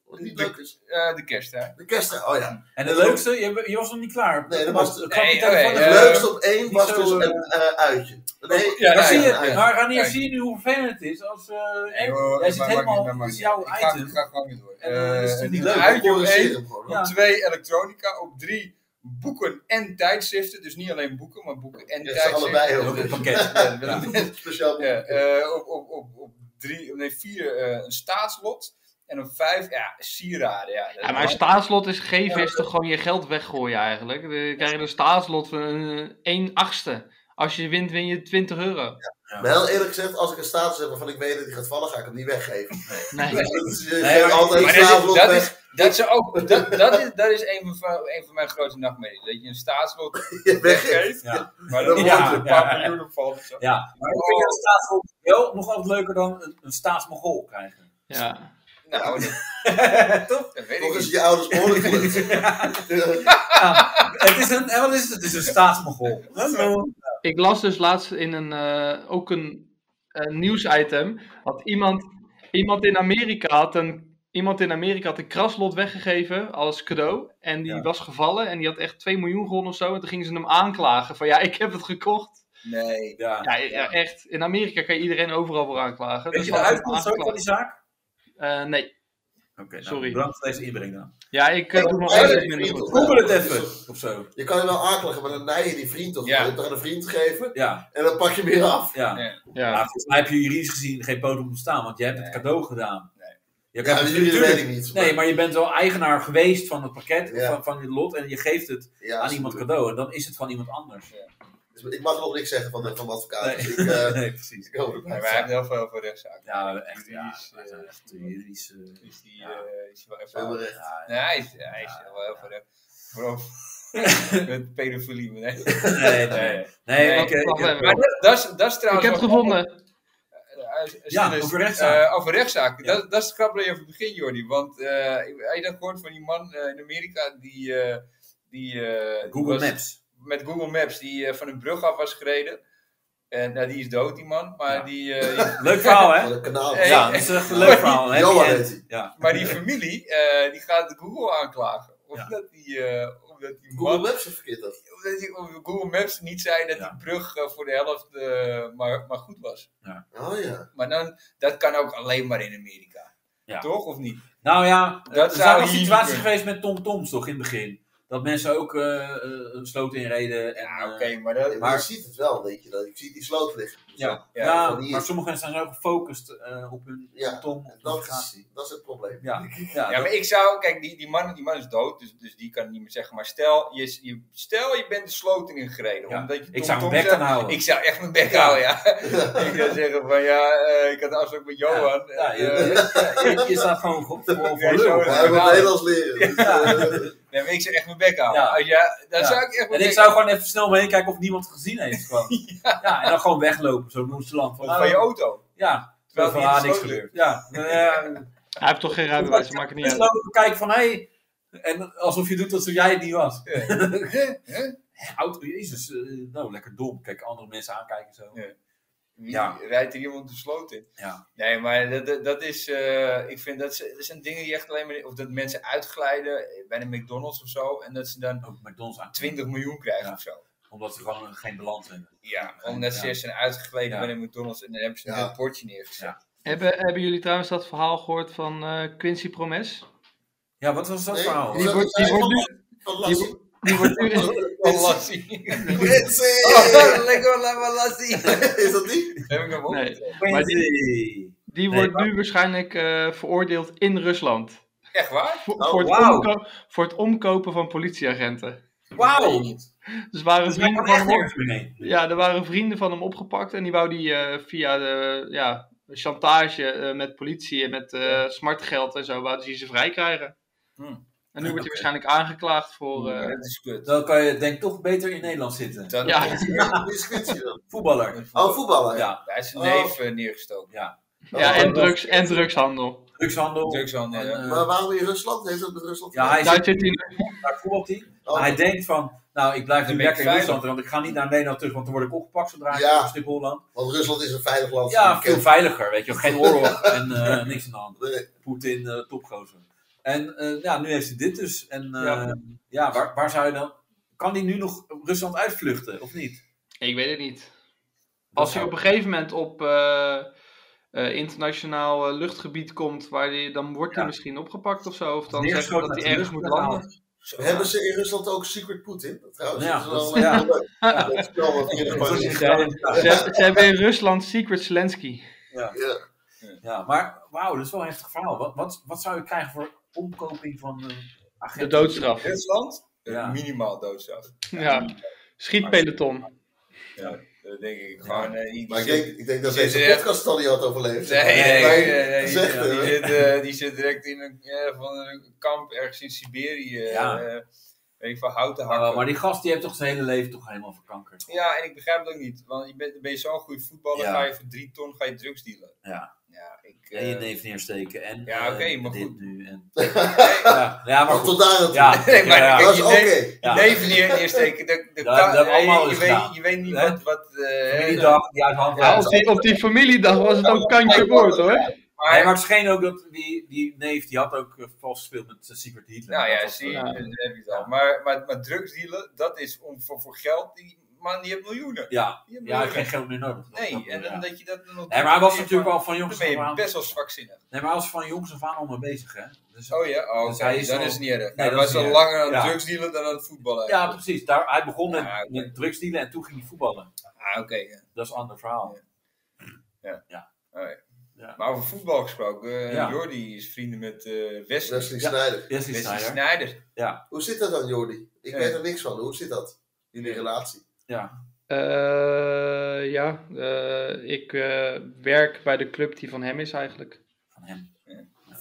Wat niet De- leuk is. eh, de kerst, hè? De kerst. Oh ja. en het leukste, je, je was nog niet klaar. Nee, dat was- Klap je Nee, telefoon oké, Het Eh, even. leukste op 1 niet was zo, dus eh, een eh, uitje. Nee, Ja, Dan nee, zie je, ja, ja. maar Ranier, Kijk. zie je nu hoe vervelend het is als... eh Nee, echt- hoor, jij zit maar maakt helemaal, niet, maar het maakt is jouw niet. Ik ga, item. ik ga gewoon weer door. En, eh, dat is natuurlijk een niet leuk. uitje Ik op corrigeer één, hem gewoon. op Ja. twee elektronica, op drie boeken en tijdschriften. Dus niet alleen boeken, maar boeken en Ja, ze tijdschriften. allebei heel Dat- goed. Ook een pakket. Ja, dat- dat- hoor. Speciaal. ja, eh, op, op, op, op drie, nee, vier eh, een staatslot. En op vijf, ja, sieraden. Ja, Ja, maar een staatslot is geven, is toch gewoon je geld weggooien eigenlijk. Dan krijg je een staatslot van een 1 achtste. Als je wint, win je 20 euro. Maar heel eerlijk gezegd, als ik een status heb waarvan ik weet dat die gaat vallen, ga ik hem niet weggeven. Nee. Dat is je Nee, maar- geeft altijd Maar een dat is- status dat weg. is- Dat, ze ook, dat, dat is, dat is een, van, een van mijn grote nachtmerries. Dat je een staatslot Ja, weggeeft. weggeeft, Ja. maar dan Ja, wordt er een paar ja. miljoen op valt. of zo. Ja, maar ik vind een staatsmogol wel nog altijd leuker dan een, een staatsmogol krijgen. Ja. Nou, dat, Toch? dat weet ik Toch is niet. je ouders behoorlijk gelukt. Het is een, en wat is het? Het is een staatsmogol. Ik las dus laatst in een, eh, ook een, eh, nieuwsitem. Had iemand, iemand in Amerika had een. Iemand in Amerika had een kraslot weggegeven als cadeau. En die Ja. was gevallen en die had echt 2 miljoen gewonnen of zo. En toen gingen ze hem aanklagen van ja, ik heb het gekocht. Nee. Ja. Ja, ja, echt. In Amerika kan je iedereen overal voor aanklagen. Dus Weet je de hadden ze hem uitkomst ook van die aangeklaagd. zaak? Eh, nee. Oké, nou, Sorry. bedankt voor deze inbreng dan. Ja, ik eh, Ik doe nog eigenlijk steeds minder niet. goed. Google het even, of zo. Je nou kan hem wel aanklagen, maar dan neig je die vriend toch. Ja. Je hebt toch aan een vriend gegeven Ja, en dan pak je hem weer af. ja. Nee. Maar Ja. volgens mij heb je juridisch gezien geen poot om te staan, want je hebt het Nee. cadeau gedaan. Nee. Je Ja, hebt dat het- jullie tuurlijk- weet ik niet. Nee, maar je bent wel eigenaar geweest van het pakket, Ja. van, van dit lot, en je geeft het Ja, aan is iemand goed. cadeau. En dan is het van iemand anders. Dus Ik mag nog niks zeggen van de, van de advocaat. Nee. Dus ik, eh, nee, precies. ik hoop het Maar maar. wij hebben heel veel voor rechtszaken. Ja, echt, ja. Juridisch, wij zijn eh, echt juridisch. eh, Dus die Ja. eh, is wel Heel even... erg. ja, Nee, hij is, hij is wel heel veel recht. Vooral met pedofilie. maar Nee. Nee, nee. Nee, Nee, ik, eh, wacht ik- even. Maar dat, dat, is, dat is Ik trouwens... heb het wel- gevonden. Eh, eh, Ja, Sinus, over rechtszaken. eh, over rechtszaken. Ja. Dat, dat is het grappige even begin, Jordi. Want eh heb je dat gehoord van die man eh, in Amerika die... eh, die eh, die Google was- Maps. met Google Maps, die eh, van een brug af was gereden. En nou, die is dood, die man. Maar, Ja. die, eh, die- Leuk verhaal, Oh, hè? Van de kanaal. Hey. Ja, dat is echt een leuk verhaal. Happy Johan end. heet hij. Ja. maar die familie, eh, die gaat Google aanklagen. Omdat die, eh, omdat die Google man, Maps heeft verkeerd dat. omdat die op Google Maps niet zei dat Ja. die brug eh, voor de helft eh, maar, maar goed was. Oh ja. Maar dan, dat kan ook alleen maar in Amerika. Ja. Toch of niet? Nou ja, Dat dat er zou zijn wel hier niet situaties kunnen. geweest met Tom Toms toch in het begin. Dat mensen ook eh, eh, een sloot inreden. En, Ja, eh, oké, maar dat. maar, maar- je ziet het wel, weet je dat. Ik zie die sloot liggen. Dus Ja, Ja, ja, van hier. maar sommige mensen zijn zo gefocust eh, op hun Ja, op Tom. dat- Op Dat gaat. is, dat is het probleem. Ja, ja, Ja, dat- maar ik zou, kijk, die, die, man, die man is dood, dus, dus die kan het niet meer zeggen. Maar stel, je, je, stel je bent de sloot in gereden. Ja, Omdat je ik Tom zou Tom mijn bek zegt- dan houden. Ik zou echt mijn bek houden, ja. ik zou zeggen van, ja, eh, ik had een afspraak met Johan. Ja, En, je, eh, je- je- je staat gewoon voor, voor, Nee, voor zo lul. is Maar Ja. hij het. wil Ja. Nederlands leren. Dus, eh, nee, maar ik zou echt mijn bek houden. Ja. Als jij- dan Ja. zou ik echt mijn En ik bek zou houden. gewoon even snel omheen kijken of niemand het gezien heeft. Gewoon. ja. en dan gewoon weglopen, zo nonchalant. Van, Of van je auto. Ja, Terwijl terwijl er die in de niks sloot gebeurt. Ja, ja. Hij heeft toch geen rijbewijs, dat maakt het niet Dus uit. lopen kijken van, hé. En alsof je doet alsof jij het niet was. Ja. Hè? Oud, jezus, eh, nou lekker dom. Kijk, andere mensen aankijken en zo. Ja. Wie Ja. rijdt er iemand de sloot in? Ja. Nee, maar dat, dat, dat is, eh, ik vind dat, ze- dat zijn dingen die echt alleen maar, of dat mensen uitglijden bij een McDonald's of zo, en dat ze dan Ook McDonald's aan. 20 miljoen krijgen Ja. of zo. Omdat ze gewoon geen balans hebben. Ja, omdat ze Ja. eerst zijn uitgegleden Ja. bij de McDonald's en dan hebben ze Ja. een bordje neergezet. Ja. Hebben, hebben jullie trouwens dat verhaal gehoord van eh, Quincy Promes? Ja, wat was dat Nee. verhaal? Die wordt, die wordt nu... Van Die, Lassie. wordt- die wordt nu... Oh, lassie. Quincy! Oh, lekker, laat maar lassie. Oh. Is dat die? Heb ik hem ook. Nee. gekregen. Maar Die Nee, wordt nu waarschijnlijk eh, veroordeeld in Rusland. Echt waar? Voor, Oh, voor, het wauw. omko- voor het omkopen van politieagenten. Wauw! Dus waren Dat is vrienden van gewoon echt hem op- nergens meer heen. ja, er waren vrienden van hem opgepakt. En die wou die eh, via de, ja, chantage eh, met politie en met eh smartgeld en zo, wou die ze vrij krijgen. Hmm. En nu wordt hij Oké. waarschijnlijk aangeklaagd voor... eh, Dat is kut. Dan kan je denk ik toch beter in Nederland zitten. Dan Ja. Wie is Quincy dan? Voetballer. Oh, voetballer. Ja. Ja, Hij is zijn Oh. neef eh, neergestoken. ja, en, Oh, drugs, en drugshandel. drugshandel. Drugshandel, En, ja. eh, Maar waarom in Rusland? Heeft dat met Rusland? ja, hij Daar zit zit hij... naar voetbalteam. Oh, Maar hij denkt van, nou ik blijf Dan nu ben ik lekker in veilig. Rusland. Want ik ga niet naar Nederland terug, want dan word ik opgepakt zodra ik Ja. op Schip-Holland. Oh, Want Rusland is een veilig land. Ja, veel Kent- veiliger, weet je. Geen oorlog en eh, niks aan de hand. Nee. Poetin, eh, topgozer. En eh, ja, nu heeft hij dit dus. En eh, Ja. ja, waar, waar zou je dan... Kan hij nu nog Rusland uitvluchten, of niet? Ik weet het niet. Dat Als hij zou- op een gegeven moment op eh, eh, internationaal eh, luchtgebied komt, waar die, dan wordt hij Ja. misschien opgepakt of zo. Of dan zeggen Neergeschoten dat hij uit de ergens moet lucht, landen. Hebben ze in Rusland ook Secret Putin? Trouwens, Ja, dat is wel dat- ja. Ja, dat is wel wat eerder Dat is van- een Ja. geheim. Ze, ze hebben in Rusland Secret Zelensky. Ja. Ja, maar wauw, dat is wel een heftig verhaal. Wat, wat, wat zou je krijgen voor omkoping van eh De agenten? doodstraf. Rusland? Ja. Minimaal doodstraf. Ja. Schietpeloton. Ja. Dat denk ik gewoon. eh, die- die Maar ik zit- denk, ik denk dat Zit deze er- podcast al niet had overleefd. Nee, nee, Maar- nee, nee, die, Zegt, die hè? zit, eh, die zit direct in een, eh, van een kamp ergens in Siberië. eh Ja. weet ik van houten hakken. Ah, maar die gast die heeft toch zijn hele leven toch helemaal verkankerd. Ja, en ik begrijp het ook niet. Want je bent, ben je zo'n goede voetballer, Ja. ga je voor drie ton ga je drugs dealen. Ja. Ja, ik... En je eh, neef neersteken. En, Ja, eh, oké, maar dit goed. nu. En... ja, ja, maar Maar tot goed. daar aan toe. Ja, Nee, maar ja, ik- Dat is je oké. neemt- Ja. Neven neer, neersteken, dat, dat Dat- kan, dat eh, allemaal je, is weet, gedaan. je weet niet Hè? wat... wat eh, die dag die uit de hand Ja, Op loopt. die, op die familiedag was het ook kantje boord hoor. maar, Nee, maar het scheen ook dat die, die neef, die had ook eh, vals gespeeld met eh, Secret Hitler. Nou Dat ja, was, zie je, eh, dat heb je dan. Maar, maar, maar drugs dealen, dat is om, voor, voor geld, die man die heeft miljoenen. eh, Ja, Die heeft ja, hij heeft miljoenen. geen geld meer nodig. Dat snap ik, Nee, en ja. dan dat je dat dan nog... Nee, maar hij was doet, natuurlijk maar- al van jongs Dan ben af je aan. best wel zwakzinnig. Nee, maar hij was van jongs af aan al mee bezig, hè? Dus, Oh ja, oh, Dus oké, hij is dan al- is het niet erg. Nee, hij dat was is al niet langer aan Ja. drugs dealen dan aan het voetballen. Ja, eigenlijk. precies. Daar, hij begon met, Ja, oké. met drugsdealen en toen ging hij voetballen. Ah, oké. ja. Dat is een ander verhaal. Maar over voetbal gesproken, eh, Ja. Jordi is vrienden met eh Wesley. Wesley Wesley Ja. Sneijder. Wesley Sneijder. Sneijder. Hoe zit dat dan, Jordi? Ik Ja. weet er niks van. Hoe zit dat? Jullie relatie? Eh, ja, eh, ik eh, werk bij de club die van hem is eigenlijk. Van hem.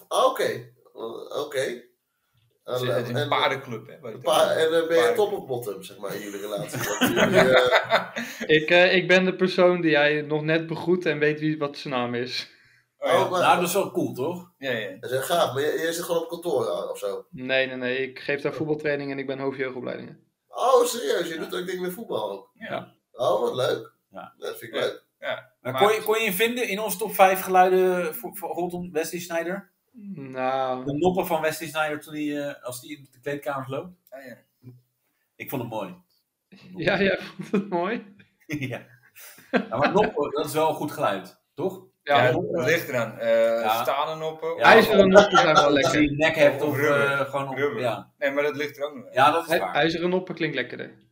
Ah, Oké. Eh, Oké. Het En, is- het is een en- eh, paardenclub, hè? waar een het paar- over- en eh, ben je paarden- Oh, top of bottom, zeg maar, in jullie relatie? Want jullie, eh, Ik, eh, ik ben de persoon die jij nog net begroet en weet wie, wat zijn naam is. Oh, ja. Oh, maar- Nou, dat is wel cool, toch? ja, ja. dat is heel gaaf, maar jij jij zit gewoon op kantoor ja, of zo. Nee, nee, nee. Ik geef daar voetbaltraining en ik ben hoofdjeugdopleidingen. Oh, serieus? Je doet ook dingen met voetbal ook? Ja. Oh, wat leuk. Ja. Dat vind ik Ja. leuk. Maar Maar- kon, je, kon je vinden in onze top 5 geluiden voor, voor rondom Wesley Sneijder? Nou, De noppen van Wesley Snyder toen hij, eh, als hij in de kleedkamer loopt. Ah, ja. Ik vond hem mooi. ja, jij vond het mooi. ja. Ja, Maar noppen, dat is wel goed geluid, toch? Ja, Ja, dat lijkt eraan. Eh Ja. Stalen noppen. Ja. ijzeren noppen zijn wel Als je lekker. een nek hebt of Of rubber. eh, gewoon op... Rubber. Ja. Nee, maar dat ligt er ook nog. Ja. ja, dat is Hij- waar. IJzeren noppen klinkt lekkerder.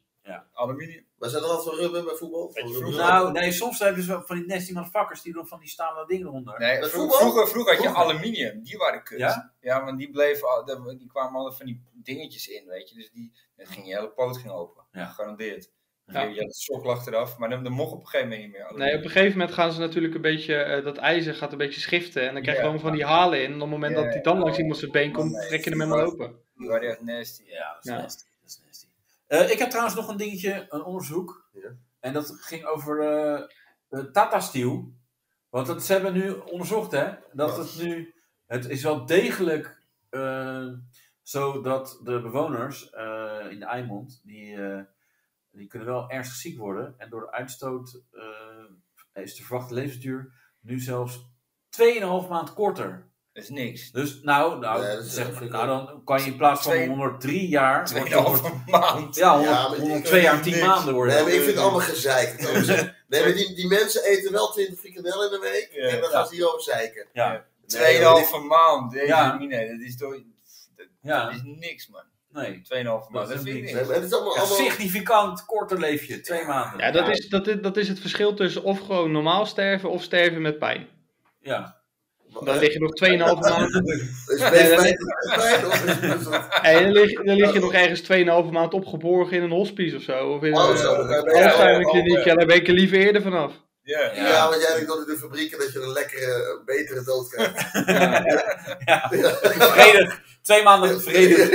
Aluminium. Maar zijn er altijd van rubber bij voetbal? Weet je, Van rubber? Nou, nee, soms hebben ze wel van die nasty motherfuckers die doen van die stalen dingen eronder. Nee, Met vro- voetbal? vroeger, vroeger had je Vroeger. aluminium. Die waren kut. Ja? want die, bleven, al- de- die kwamen alle van die dingetjes in, weet je. Dus die, dat ging je hele poot ging open. Ja. Gegarandeerd. Ja. Je, je had het sok lag eraf, maar dan, dan mocht op een gegeven moment niet meer. Nee, op een gegeven moment gaan ze natuurlijk een beetje, eh, dat ijzer gaat een beetje schiften. En dan krijg je Ja. gewoon van die halen in. En op het moment Ja, dat die dan ja. langs iemand zijn been komt, trek je hem helemaal open. Die waren echt nasty. Ja, dat is Ja. nasty. Dat is nasty. Eh, ik heb trouwens nog een dingetje, een onderzoek. Ja. En dat ging over eh, de Tata Steel. Want dat, ze hebben nu onderzocht, hè? Dat Ja. het nu. Het is wel degelijk eh, zo dat de bewoners eh, in de Eimond. Die, eh, die kunnen wel ernstig ziek worden. En door de uitstoot eh, is de verwachte levensduur nu zelfs 2,5 maand korter. Dat is niks. Dus nou, nou, Nee, dat is zeg, echt- nou dan kan je in plaats van Twee- 103 jaar. wordt het over- Tweeënhalve maand. Ja, honderd- Ja, maar ik- 102 jaar en 10 niks. maanden worden. Nee, maar ik vind het allemaal gezeik. Dat is- Nee, maar die, die mensen eten wel 20 frikandellen in de week. Ja. en dan gaan ze hierover zeiken. Ja, Nee, Tweeënhalve maand. Deze Ja. niet, nee, dat is toch... Dat Ja. is niks, man. nee. Tweeënhalve Dat maand, is dat vind ik niks. dit- niks. nee, maar het is allemaal... Ja, allemaal significant korter leef je, twee maanden. Ja, dat is, dat, is, dat is het verschil tussen of gewoon normaal sterven of sterven met pijn. Ja. Dan lig je nog 2,5 maand Is Nee, het dat- fijn- is het fijn of is het- is het- Hey, dan, lig, dan lig je nog ergens 2,5 maand opgeborgen in een hospice of zo. Of in een Oh, oh, zo, dan ben je- Alzheimerkliniek. Ja, daar ben ik er liever eerder vanaf. Ja. Ja. Ja, want jij denkt dat in de fabrieken dat je een lekkere, betere dood krijgt. Vredig. Twee maanden vredig.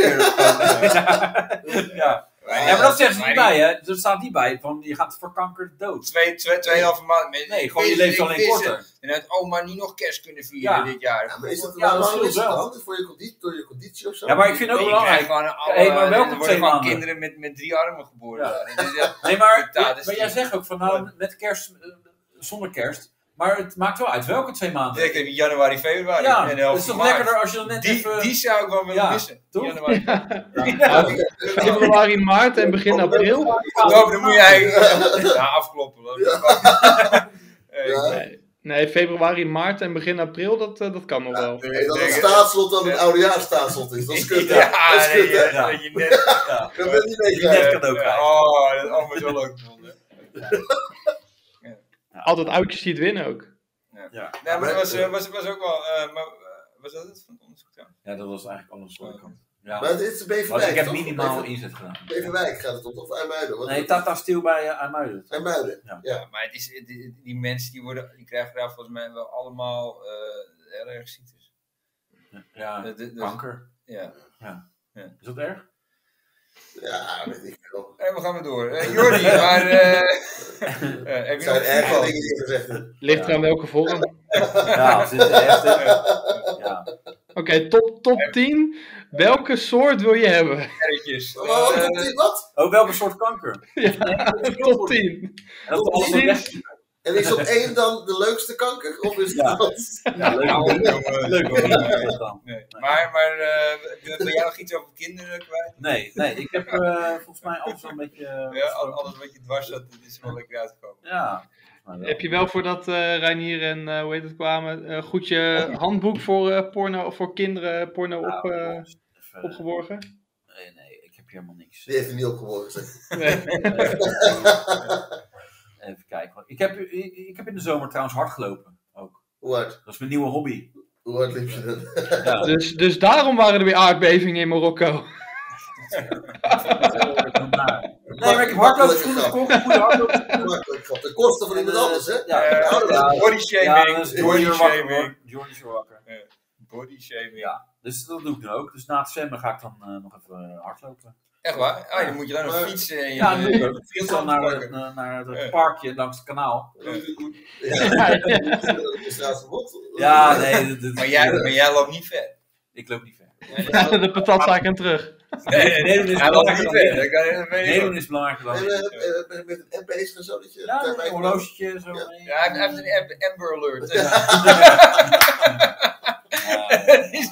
ja. ja, maar dat zeggen ze niet bij, hè? Er staat niet bij van je gaat voor kanker dood. Twee, twee, tweeënhalve maand. Nee, Nee, gewoon je leeft alleen korter. En uit, oh, maar niet nog kerst kunnen vieren Ja. dit jaar. Ja, maar is dat, Ja, dat waarom is scheelt het wel. dan? Voor je conditie, door je conditie of zo? Ja, maar ik vind ook Nee, belangrijk. krijg Gewoon alle, Hey, maar welkom er twee worden gewoon maanden. kinderen met, met drie armen geboren. Ja. Ja. Dus ja, Nee, maar, Ja, dat is maar jij niet- zegt ook van nou, met kerst, eh, zonder kerst. Maar het maakt wel uit welke twee maanden. ik heb januari, februari. Ja, en de het helft is toch van maart. lekkerder als je dan net Die, even... die zou ik wel willen Ja, missen. toch? Januari. Februari, maart en begin april. Oh, dan moet jij ja, afkloppen. hoor. Eh, Ja. Nee, nee, februari, maart en begin april, dat, eh, dat kan nog wel. En dat het denk- staatslot dan een oudejaarstaatslot is. Dat is kut, hè? Ja, dat is nee, kut, hè? ja, dat je net- Dat wil je niet meekrijgen. net cadeau Ja, krijgen. Oh, dat allemaal zo leuk gevonden. Altijd oudjes die het winnen ook. Ja. Nee, maar dat was, eh, was, was ook wel. eh, maar, eh, was dat het van het onderzoek? Ja. ja, dat was eigenlijk alles voor de kant. Ja. Maar het is Want Beverwijk, ik heb toch? minimaal Bever- inzet gedaan. Beverwijk gaat het om, of IJmuiden? Wat Nee, Tata Steel bij eh, IJmuiden. IJmuiden. Ja, maar het is, het- het- die mensen die, worden, die krijgen daar volgens mij wel allemaal eh heel erg ziektes. Ja, Dat- dat- dat- kanker. ja. Is dat erg? Ja, weet ik veel. En we gaan weer door. Eh, Jordi, maar. eh eh, heb Het je zijn nog erge voetbal? dingen die je gezegd hebt. Ligt er aan welke vorm. Ja, het is echt... eh, Ja. Oké, top, top 10. Welke soort wil je hebben? Erretjes. Oh, Maar wat Eh, komt dit? Wat? Ook Oh, welke soort kanker? Top 10. En dat alles Sinds- weg. En is op één dan de leukste kanker? Of is Ja. het wat? Ja, leuk. nou, Leuk hoor. Ja, dan. nee. Maar, maar eh, wil wil jij nog iets over kinderen kwijt? Nee, nee, ik heb eh, volgens mij alles wel een beetje... eh, Ja, al- alles wat je dwars zat, dat is wel lekker uitgekomen. Ja. Maar wel. Heb je wel voordat eh Reinier en eh, hoe heet het kwamen, eh, goed je handboek voor eh, porno, voor kinderen porno op, Nou, eh, even- opgeborgen? Nee, nee, ik heb hier helemaal niks. Die heeft er niet opgeworpen. zeg. Nee. Even kijken. want Ik heb, ik, ik heb in de zomer trouwens hard gelopen. Ook. Hoe hard? Dat is mijn nieuwe hobby. Hoe hard liep je dan? Ja. Dus, dus daarom waren er weer aardbevingen in Marokko. Nee, maar ik heb hardloopschoenen gekocht. Goede hardloopschoenen. Makkelijk gehad. De kosten van iemand anders, hè? Ja, dus- Eh, ja, ja. body ja, shaming. dus Jordi body is wakker, shaming. hoor. Jordi is weer wakker. Body shaming. Ja, dus dat doe ik nu ook. Dus na het zwemmen ga ik dan eh, nog even eh, hardlopen. Echt waar? Ah, dan moet je dan nog Maar- fietsen. En je, Ja, eh, dat doe ik ook. Ik fiets fiets dan naar, het, aanpakken. eh, naar Ja. het parkje langs het kanaal. Ja, dat is raar verbod. Ja, nee. dat- dat- Maar jij, maar jij loopt niet ver. Ik loop niet ver. De patatzaak en terug. Nee, nee, nee, dat is hij loopt niet belangrijker dan ver. Dat kan- dat weet ik Meedoen wel. is belangrijker dan... En, eh, eh, met een app bezig en zo, dat je... Ja, daarbij- een horlogetje zo. Ja. mee. Ja, hij heeft hij heeft een app, Amber Alert. Ja, Dat is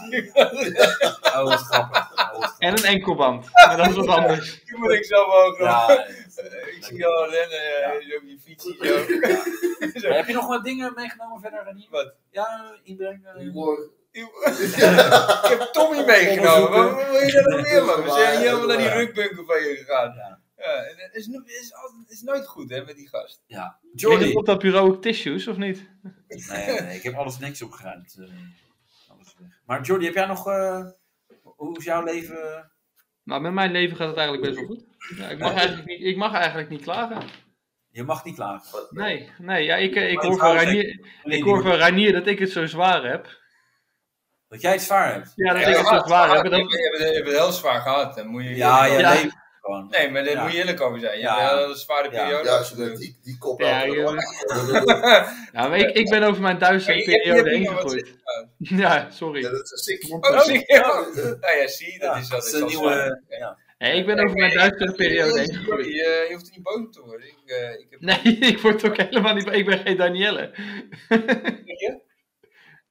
Oh, wat grappig. Oh, wat grappig. En een enkelband. Maar dat is wat anders. Die moet ik zo omhoog doen. Ja, Eh, Ik zie jou al rennen, eh, zo op je fietsie. Zo. Maar Heb je nog wat dingen meegenomen verder dan hier? Wat? Ja, inbreng. eh, Humor. Ik heb Tommy meegenomen. Wat wat wil je daar nog meer van? We zijn hier helemaal naar die Ja. rukbunker van je gegaan. Ja. Ja, en het is, no- is, altijd- is nooit goed hè, met die gast. Ja. Liggen Jordi. op dat bureau ook tissues, of niet? Nee, nee, ik heb alles niks opgeruimd. eh, alles weg. Maar Jordi, heb jij nog... eh, hoe is jouw leven? Maar met mijn leven gaat het eigenlijk best wel goed. Ja, ik, mag eigenlijk niet, ik mag eigenlijk niet klagen. Je mag niet klagen. Nee, nee ja, ik, eh, ik, Maar hoor het van houdt Reinier, Alleen ik hoor die- van Reinier dat ik het zo zwaar heb. Dat jij het zwaar hebt. Ja, dat ik het maar- zo zwaar heb. maar- en Je dat- hebt het- je hebt het heel zwaar gehad. Dan moet je Ja, je Ja. leven gewoon. Nee, maar daar Ja. moet je eerlijk over zijn. Je Ja. hebt een hele zware Ja. periode. Ja, zodat die, die kop Ja, uit. joh. Ja, Ja, maar ik, ik ben over mijn duistere Ja, je hebt- je periode hebt heen nog wat gegroeid. Ja, sorry. dat is een sikje. Oh, zie je? Ja, dat- Nou ja, zie, dat Ja, is dat. dat is is een al nieuwe- zwaar. Nee, ik ben over mijn duistere periode heen gegroeid. Sorry, eh, je hoeft er niet boos op te worden. Ik, eh, ik heb... Nee, ik word ook helemaal niet. Ik ben geen Danielle.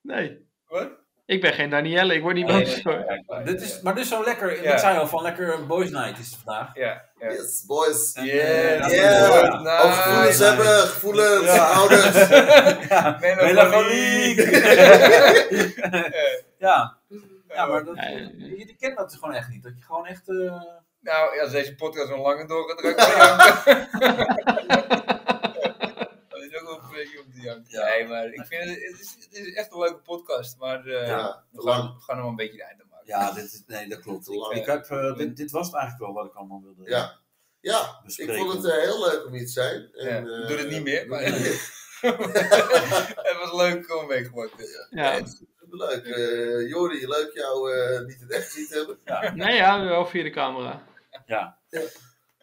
Nee, Wat? ik ben geen Danielle. Ik word niet Nee, boos. nee, hoor. nee, nee, Dit nee. is, maar dit is zo lekker. Ja. Dat zei je al van lekker boys night is het vandaag. Ja. ja. Yes, boys. Ja. Yeah, Yeah. nice. Ook gevoelens Nice. hebben, gevoelens, Ja. ouders. Melancholiek. ja. ja, maar dat, Ja, je, je kent dat gewoon echt niet. Dat je gewoon echt... eh, Nou, als deze podcast nog langer doorgaat, dan ga ik wel janken. Dat is ook wel een beetje op de jank. Ja. Nee, maar ik vind het, het, is, het is echt een leuke podcast, maar eh, Ja, we, te gaan, lang. we gaan hem een beetje het einde maken. ja, dit is, nee, dat klopt. Ik, ik heb, eh, dit, dit was het eigenlijk wel wat ik allemaal wilde Ja. Ja, ik bespreken. vond het eh, heel leuk om hier te zijn. En, Ja, eh, doe het niet meer, doe maar- het niet meer. het was leuk om mee te maken. Ja. Leuk. eh, Jori, leuk jou eh, niet in het echt zien te hebben. Nee, ja, wel via de camera. Ja.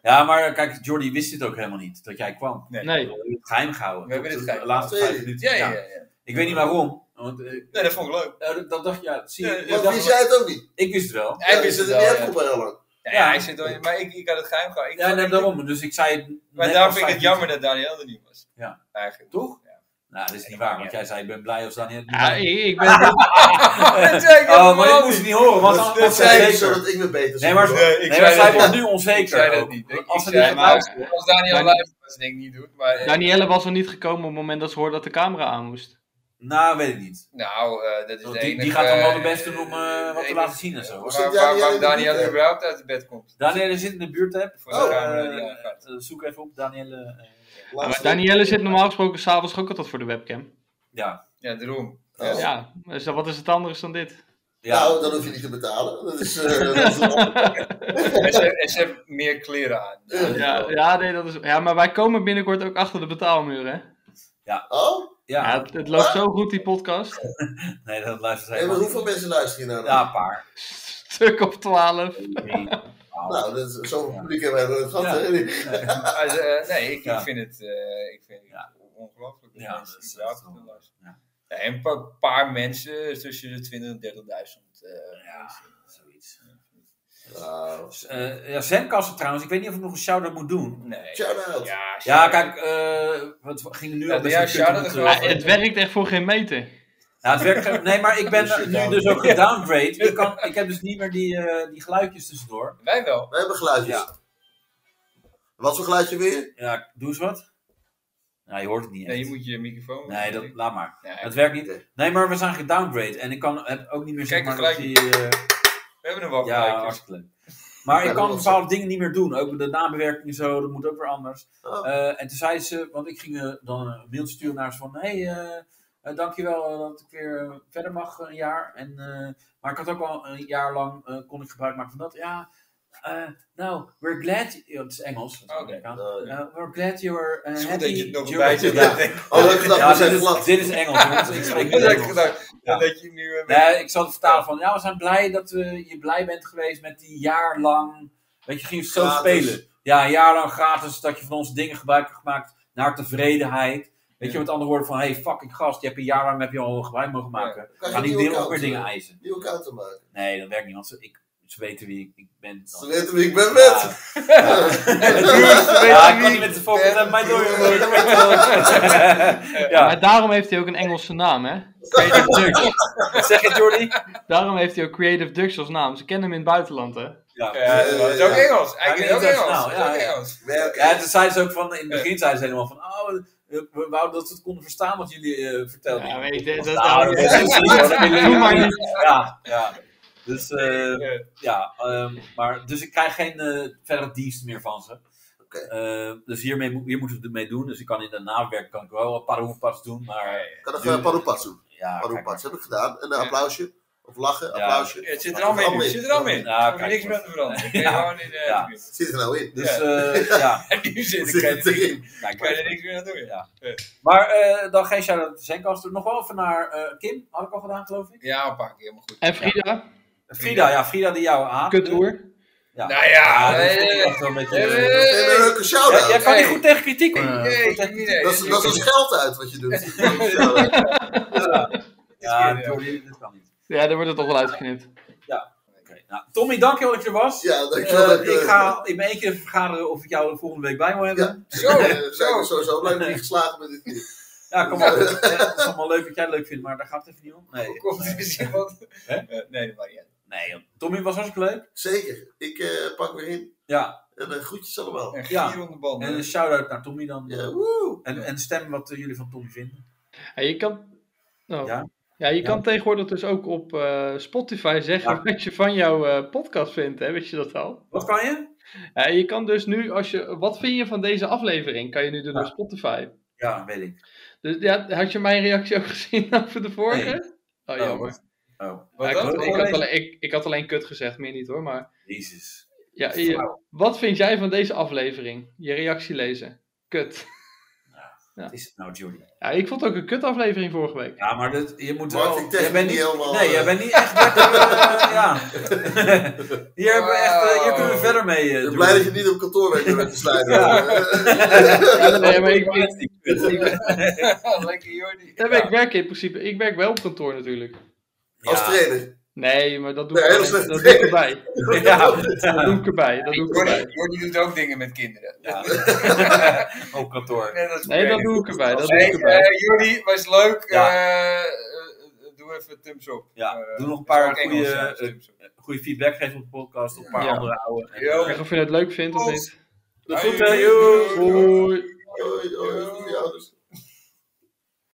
ja, maar kijk, Jordi wist dit ook helemaal niet. Dat jij kwam. Nee. We Nee. hebben het geheim gehouden. We hebben Tot dit de geheim. laatste vijf minuten. Ja, ja, ja. ja. Ik weet niet waarom. Want, eh, Nee, dat vond ik leuk. eh, dat dacht je, ja, zie je. Ja, ja, ik Want dacht- wist jij het ook niet? ik wist het wel. Hij Ja, wist je het zit wel, in de ja. airpop al heel lang. Ja, Ja. hij zit al, maar ik, ik had het geheim gehouden. Ik Ja, vond nee, het- daarom. Dus ik zei het Maar net als daarom vind ik vijf het jammer minuten. dat Daniel er niet was. Ja. Eigenlijk. Toch? Ja. Nou, dat is niet waar. Want jij zei, ik ben blij als Daniel het niet Ja, weet. ik, ik ben. dat zei Oh, ik maar helemaal ik moest het niet horen. Want Dat, anders dat was zei hij ik zeker. zodat ik me beter Nee, zou maar, voelen. Nee, ik nee, maar zei zij dat wordt niet. nu onzeker. Ik zei dat ook. niet. Ik, Als ik ze dit zei, gaat maar- luisteren- als Daniel Dan- live was, denk ik niet doet. Maar, eh, Danielle was er niet gekomen op het moment dat ze hoorde dat de camera aan moest. Nou, weet ik niet. nou, eh, dat is Want de die- die enige, gaat dan wel de eh, best doen om, eh, wat te enige- laten zien en zo. Waar, Zit waar, Daniel waarom in de Daniel buurt, hè? überhaupt uit het bed komt. Danielle zit in de buurt, heb. Voor de Oh, camera die eh, aangaat. eh, zoek even op Danielle. eh, Ja, maar Laatste- Danielle zit normaal gesproken s'avonds ook altijd voor de webcam. ja. Ja, daarom. Oh. Ja, dus wat is het anders dan dit? ja. Nou, dan hoef je niet te betalen. Dat is, eh, dat is een- En ze, en ze heeft meer kleren aan. Ja, ja, nee, dat is, ja, maar wij komen binnenkort ook achter de betaalmuur, hè? Oh? ja. Ja, het, het loopt zo goed, die podcast. Nee, dat luistert zij Nee, helemaal maar hoeveel niet. mensen luisteren hier nou? Ja, een paar. Stuk op 12. Drie. Nou, dat is, zoveel publiek hebben we er gehad, Ja. hè? Maar ze- eh, nee, ik, Ja. ik vind het, eh, ik vind het Ja. ongelooflijk. dat Ja, mensen dat is- dat überhaupt is wel- kunnen luisteren. ja. Ja, en een paar, paar mensen tussen de 20 en 30.000. eh, Ja, zoiets. Nou, Eh, ja, Zenkasten trouwens. Ik weet niet of ik nog een shout-out moet doen. nee. Shout-out. Ja, Ja, shout-out. kijk, eh wat ging er nu Ja, al best ja, wel kut om shout-out het, is eh, wel- Maar het werkt echt voor geen meter. Ja, Nou, het werkt. Nee, maar ik Dus ben je nu kan- dus ook gedowngrade. Ik, kan, ik heb dus niet meer die, eh, die geluidjes tussendoor. Wij wel. We hebben geluidjes. Ja. Wat voor geluidje weer? Ja, doe eens wat. Nou, je hoort het niet echt. Nee, je moet je microfoon. Nee, dat, laat maar. Nee, Het werkt niet. Nee, maar we zijn gedowngrade. En ik kan heb ook niet meer zeg Kijk, maar het dat gelijk. die... eh, we hebben nog wel ja, gelijk. hartstikke leuk. Maar Ja, ik dat kan was- bepaalde dingen niet meer doen. Ook de nabewerking en zo, dat moet ook weer anders. Oh. Eh, en toen zei ze, want ik ging eh, dan een mailtje sturen naar ze van... Hé, hey, eh, eh, dankjewel eh, dat ik weer eh, verder mag eh, een jaar. En, eh, maar ik had ook al een jaar lang, eh, kon ik gebruik maken van dat. Ja, eh, nou, we're glad... Ja, het is Engels. dat is Oké. Amerikaans. Oh, ja. Eh, we're glad you're eh, Het is goed happy dat je het nog during- bij zit. Ja. denk ik. Oh, leuk gedacht. Ja, we dit zijn is, glad. dit is Engels, jongens. Ik spreek Dat niet heb ik Engels. gedacht. Ja. Dat je nu... eh, Nee, ik zal het vertalen van, ja, we zijn blij dat eh, je blij bent geweest met die jaar lang, weet je, ging het zo Gratis. spelen. Ja, een jaar lang gratis, dat je van onze dingen gebruik hebt gemaakt naar tevredenheid. Weet je, Ja. met andere woorden van, hey, fucking gast, je hebt een jaar lang heb je al gebruik mogen maken. Kan Ga je niet nieuwe weer ook account, weer dingen eh, eisen. Nieuwe account te maken. Nee, dat werkt niet, want ze- ik, Ze weten wie ik- ik ben. dan. Ze weten wie ik ben met. Ja. Ze weten Ja, ik wie kan ik niet met de volgende ben. naar mij door. jongen. Ik weet wel. Ja, Maar daarom heeft hij ook een Engelse naam, hè? Creative Dutch. Zeg het, Jordi? Daarom heeft hij ook Creative Dux als naam. Ze kennen hem in het buitenland, hè? Ja. Ja, het is ook Engels. Eigenlijk is het ook internationaal, Engels. Het is ja, ook ja. Engels. Nee, oké. Ja, toen zei ze ook van, in het begin zei ze helemaal van, oh, we, we wouden dat we het konden verstaan wat jullie eh, vertelden. Ja, weet je, dat- Nou, dat- dat is niet zo, dat willen Doe jullie maar niet. niet. Ja, ja. Dus, eh, Ja. ja, ehm, maar, dus ik krijg geen eh, verdere diensten meer van ze. Oké. Eh, dus hiermee, moet- hier moeten we het mee doen. Dus ik kan in de nawerk kan ik wel een paar hoefpas doen, maar Ik kan even Paroepats doen. ja, kijk maar. Paroepats heb ik gedaan. En een applausje. Of lachen, Ja. applausje. Ja, Het zit er allemaal in. Het zit er allemaal in. Ja, Er hoeft kijk, niks maar. meer te veranderen. Ja. Ja. in eh, de Ja. buurt. Zit er nou in? Dus eh, ja, En nu zit Zit ik het erin? kijk kan je er maar. niks meer aan doen. Ja. Maar eh, dan geen shout-out te Zenkaster. Nog wel even naar eh, Kim, had ik al gedaan geloof ik. Ja, een paar keer, maar goed. En Frida, Frida, ja, Frida die jou aan. kutoer. Ja. Nou ja, dat vind eh, ik echt wel een beetje... eh, eh, Geef me een leuke Ja, shout-out. jij kan niet Hey. goed tegen kritiek. Nee, eh, nee, goed tegen- nee. dat, is, dat is ons geld uit wat je doet. Ja, Ja. Jordi, dit kan niet. Ja, daar wordt het toch wel uitgeknipt. Oké, nou, Tommy, dankjewel dat je er was. ja, dankjewel. Eh, dat ik ga in mijn één keer vergaderen of ik jou de volgende week bij wil hebben. Zo, we zijn zo. we sowieso blij dat je geslagen bent dit keer. Ja, kom op. Eh, Het is allemaal leuk wat jij leuk vindt, maar daar gaat het even niet om. Nee, Komt er eens iemand? Hè? Eh, Nee, dat maakt niet uit. nee joh. Tommy was hartstikke leuk. Zeker. Ik eh, pak weer in. Ja, En eh, groetjes allemaal. Een Ja. gier onder banden. en een shout-out naar Tommy dan. Ja, woe. En, en stem wat eh, jullie van Tommy vinden. Ja, je kan, oh. Ja? ja? je Ja. kan tegenwoordig dus ook op eh, Spotify zeggen Ja. wat je van jouw eh, podcast vindt, hè? Weet je dat al? Wat kan je? Ja, je kan dus nu, als je, wat vind je van deze aflevering? Kan je nu doen Ja. op Spotify. Ja, weet ik. Dus ja, had je mijn reactie ook gezien over de vorige? Oh, Oh, jammer. Oh, Wat Ja, ik, dan? had, Wat ik, dan? had alleen, ik, ik had alleen kut gezegd, meer niet hoor. Maar Jezus. ja, je- Flauw. wat vind jij van deze aflevering? Je reactie lezen. Kut. Wat is het nou, Jordi? Ja, ik vond het ook een kut aflevering vorige week. Ja, maar dat, je moet Maar wel... ik denk jij bent niet helemaal, Nee, eh, jij bent niet echt... lekker, eh, ja. hier, hebben we echt, eh, hier kunnen we verder mee, eh, Ik ben Jordi. blij dat je niet op kantoor werkt om te sluiten. Ja. Nee, maar ik, ik, Lekker Jordi. nee, maar ik werk in principe. Ik werk wel op kantoor natuurlijk. Als trainer. Nee, maar dat doe, Nee, ik, heel dat slecht. doe ik erbij. Ja. Dat doe ik erbij. Dat doe ik erbij. Jordi, Jordi doet ook dingen met kinderen. Ja. Op kantoor. Nee, dat is Nee, dat oké. doe ik erbij. Dat doe Hey, ik erbij. eh, Jordi, was leuk. Ja. Eh, eh, doe even thumbs up. Ja, Eh, doe nog een dat is paar ook Engels, goede, ja, is eh, thumbs up. Goede feedback geven op de podcast. Op een paar Ja. andere oude. eh, En, Yo. Zeg of je het leuk vindt of niet. De Hoi, groeten. joe. Doei. Hoi, hoi. Groeten voor je ouders.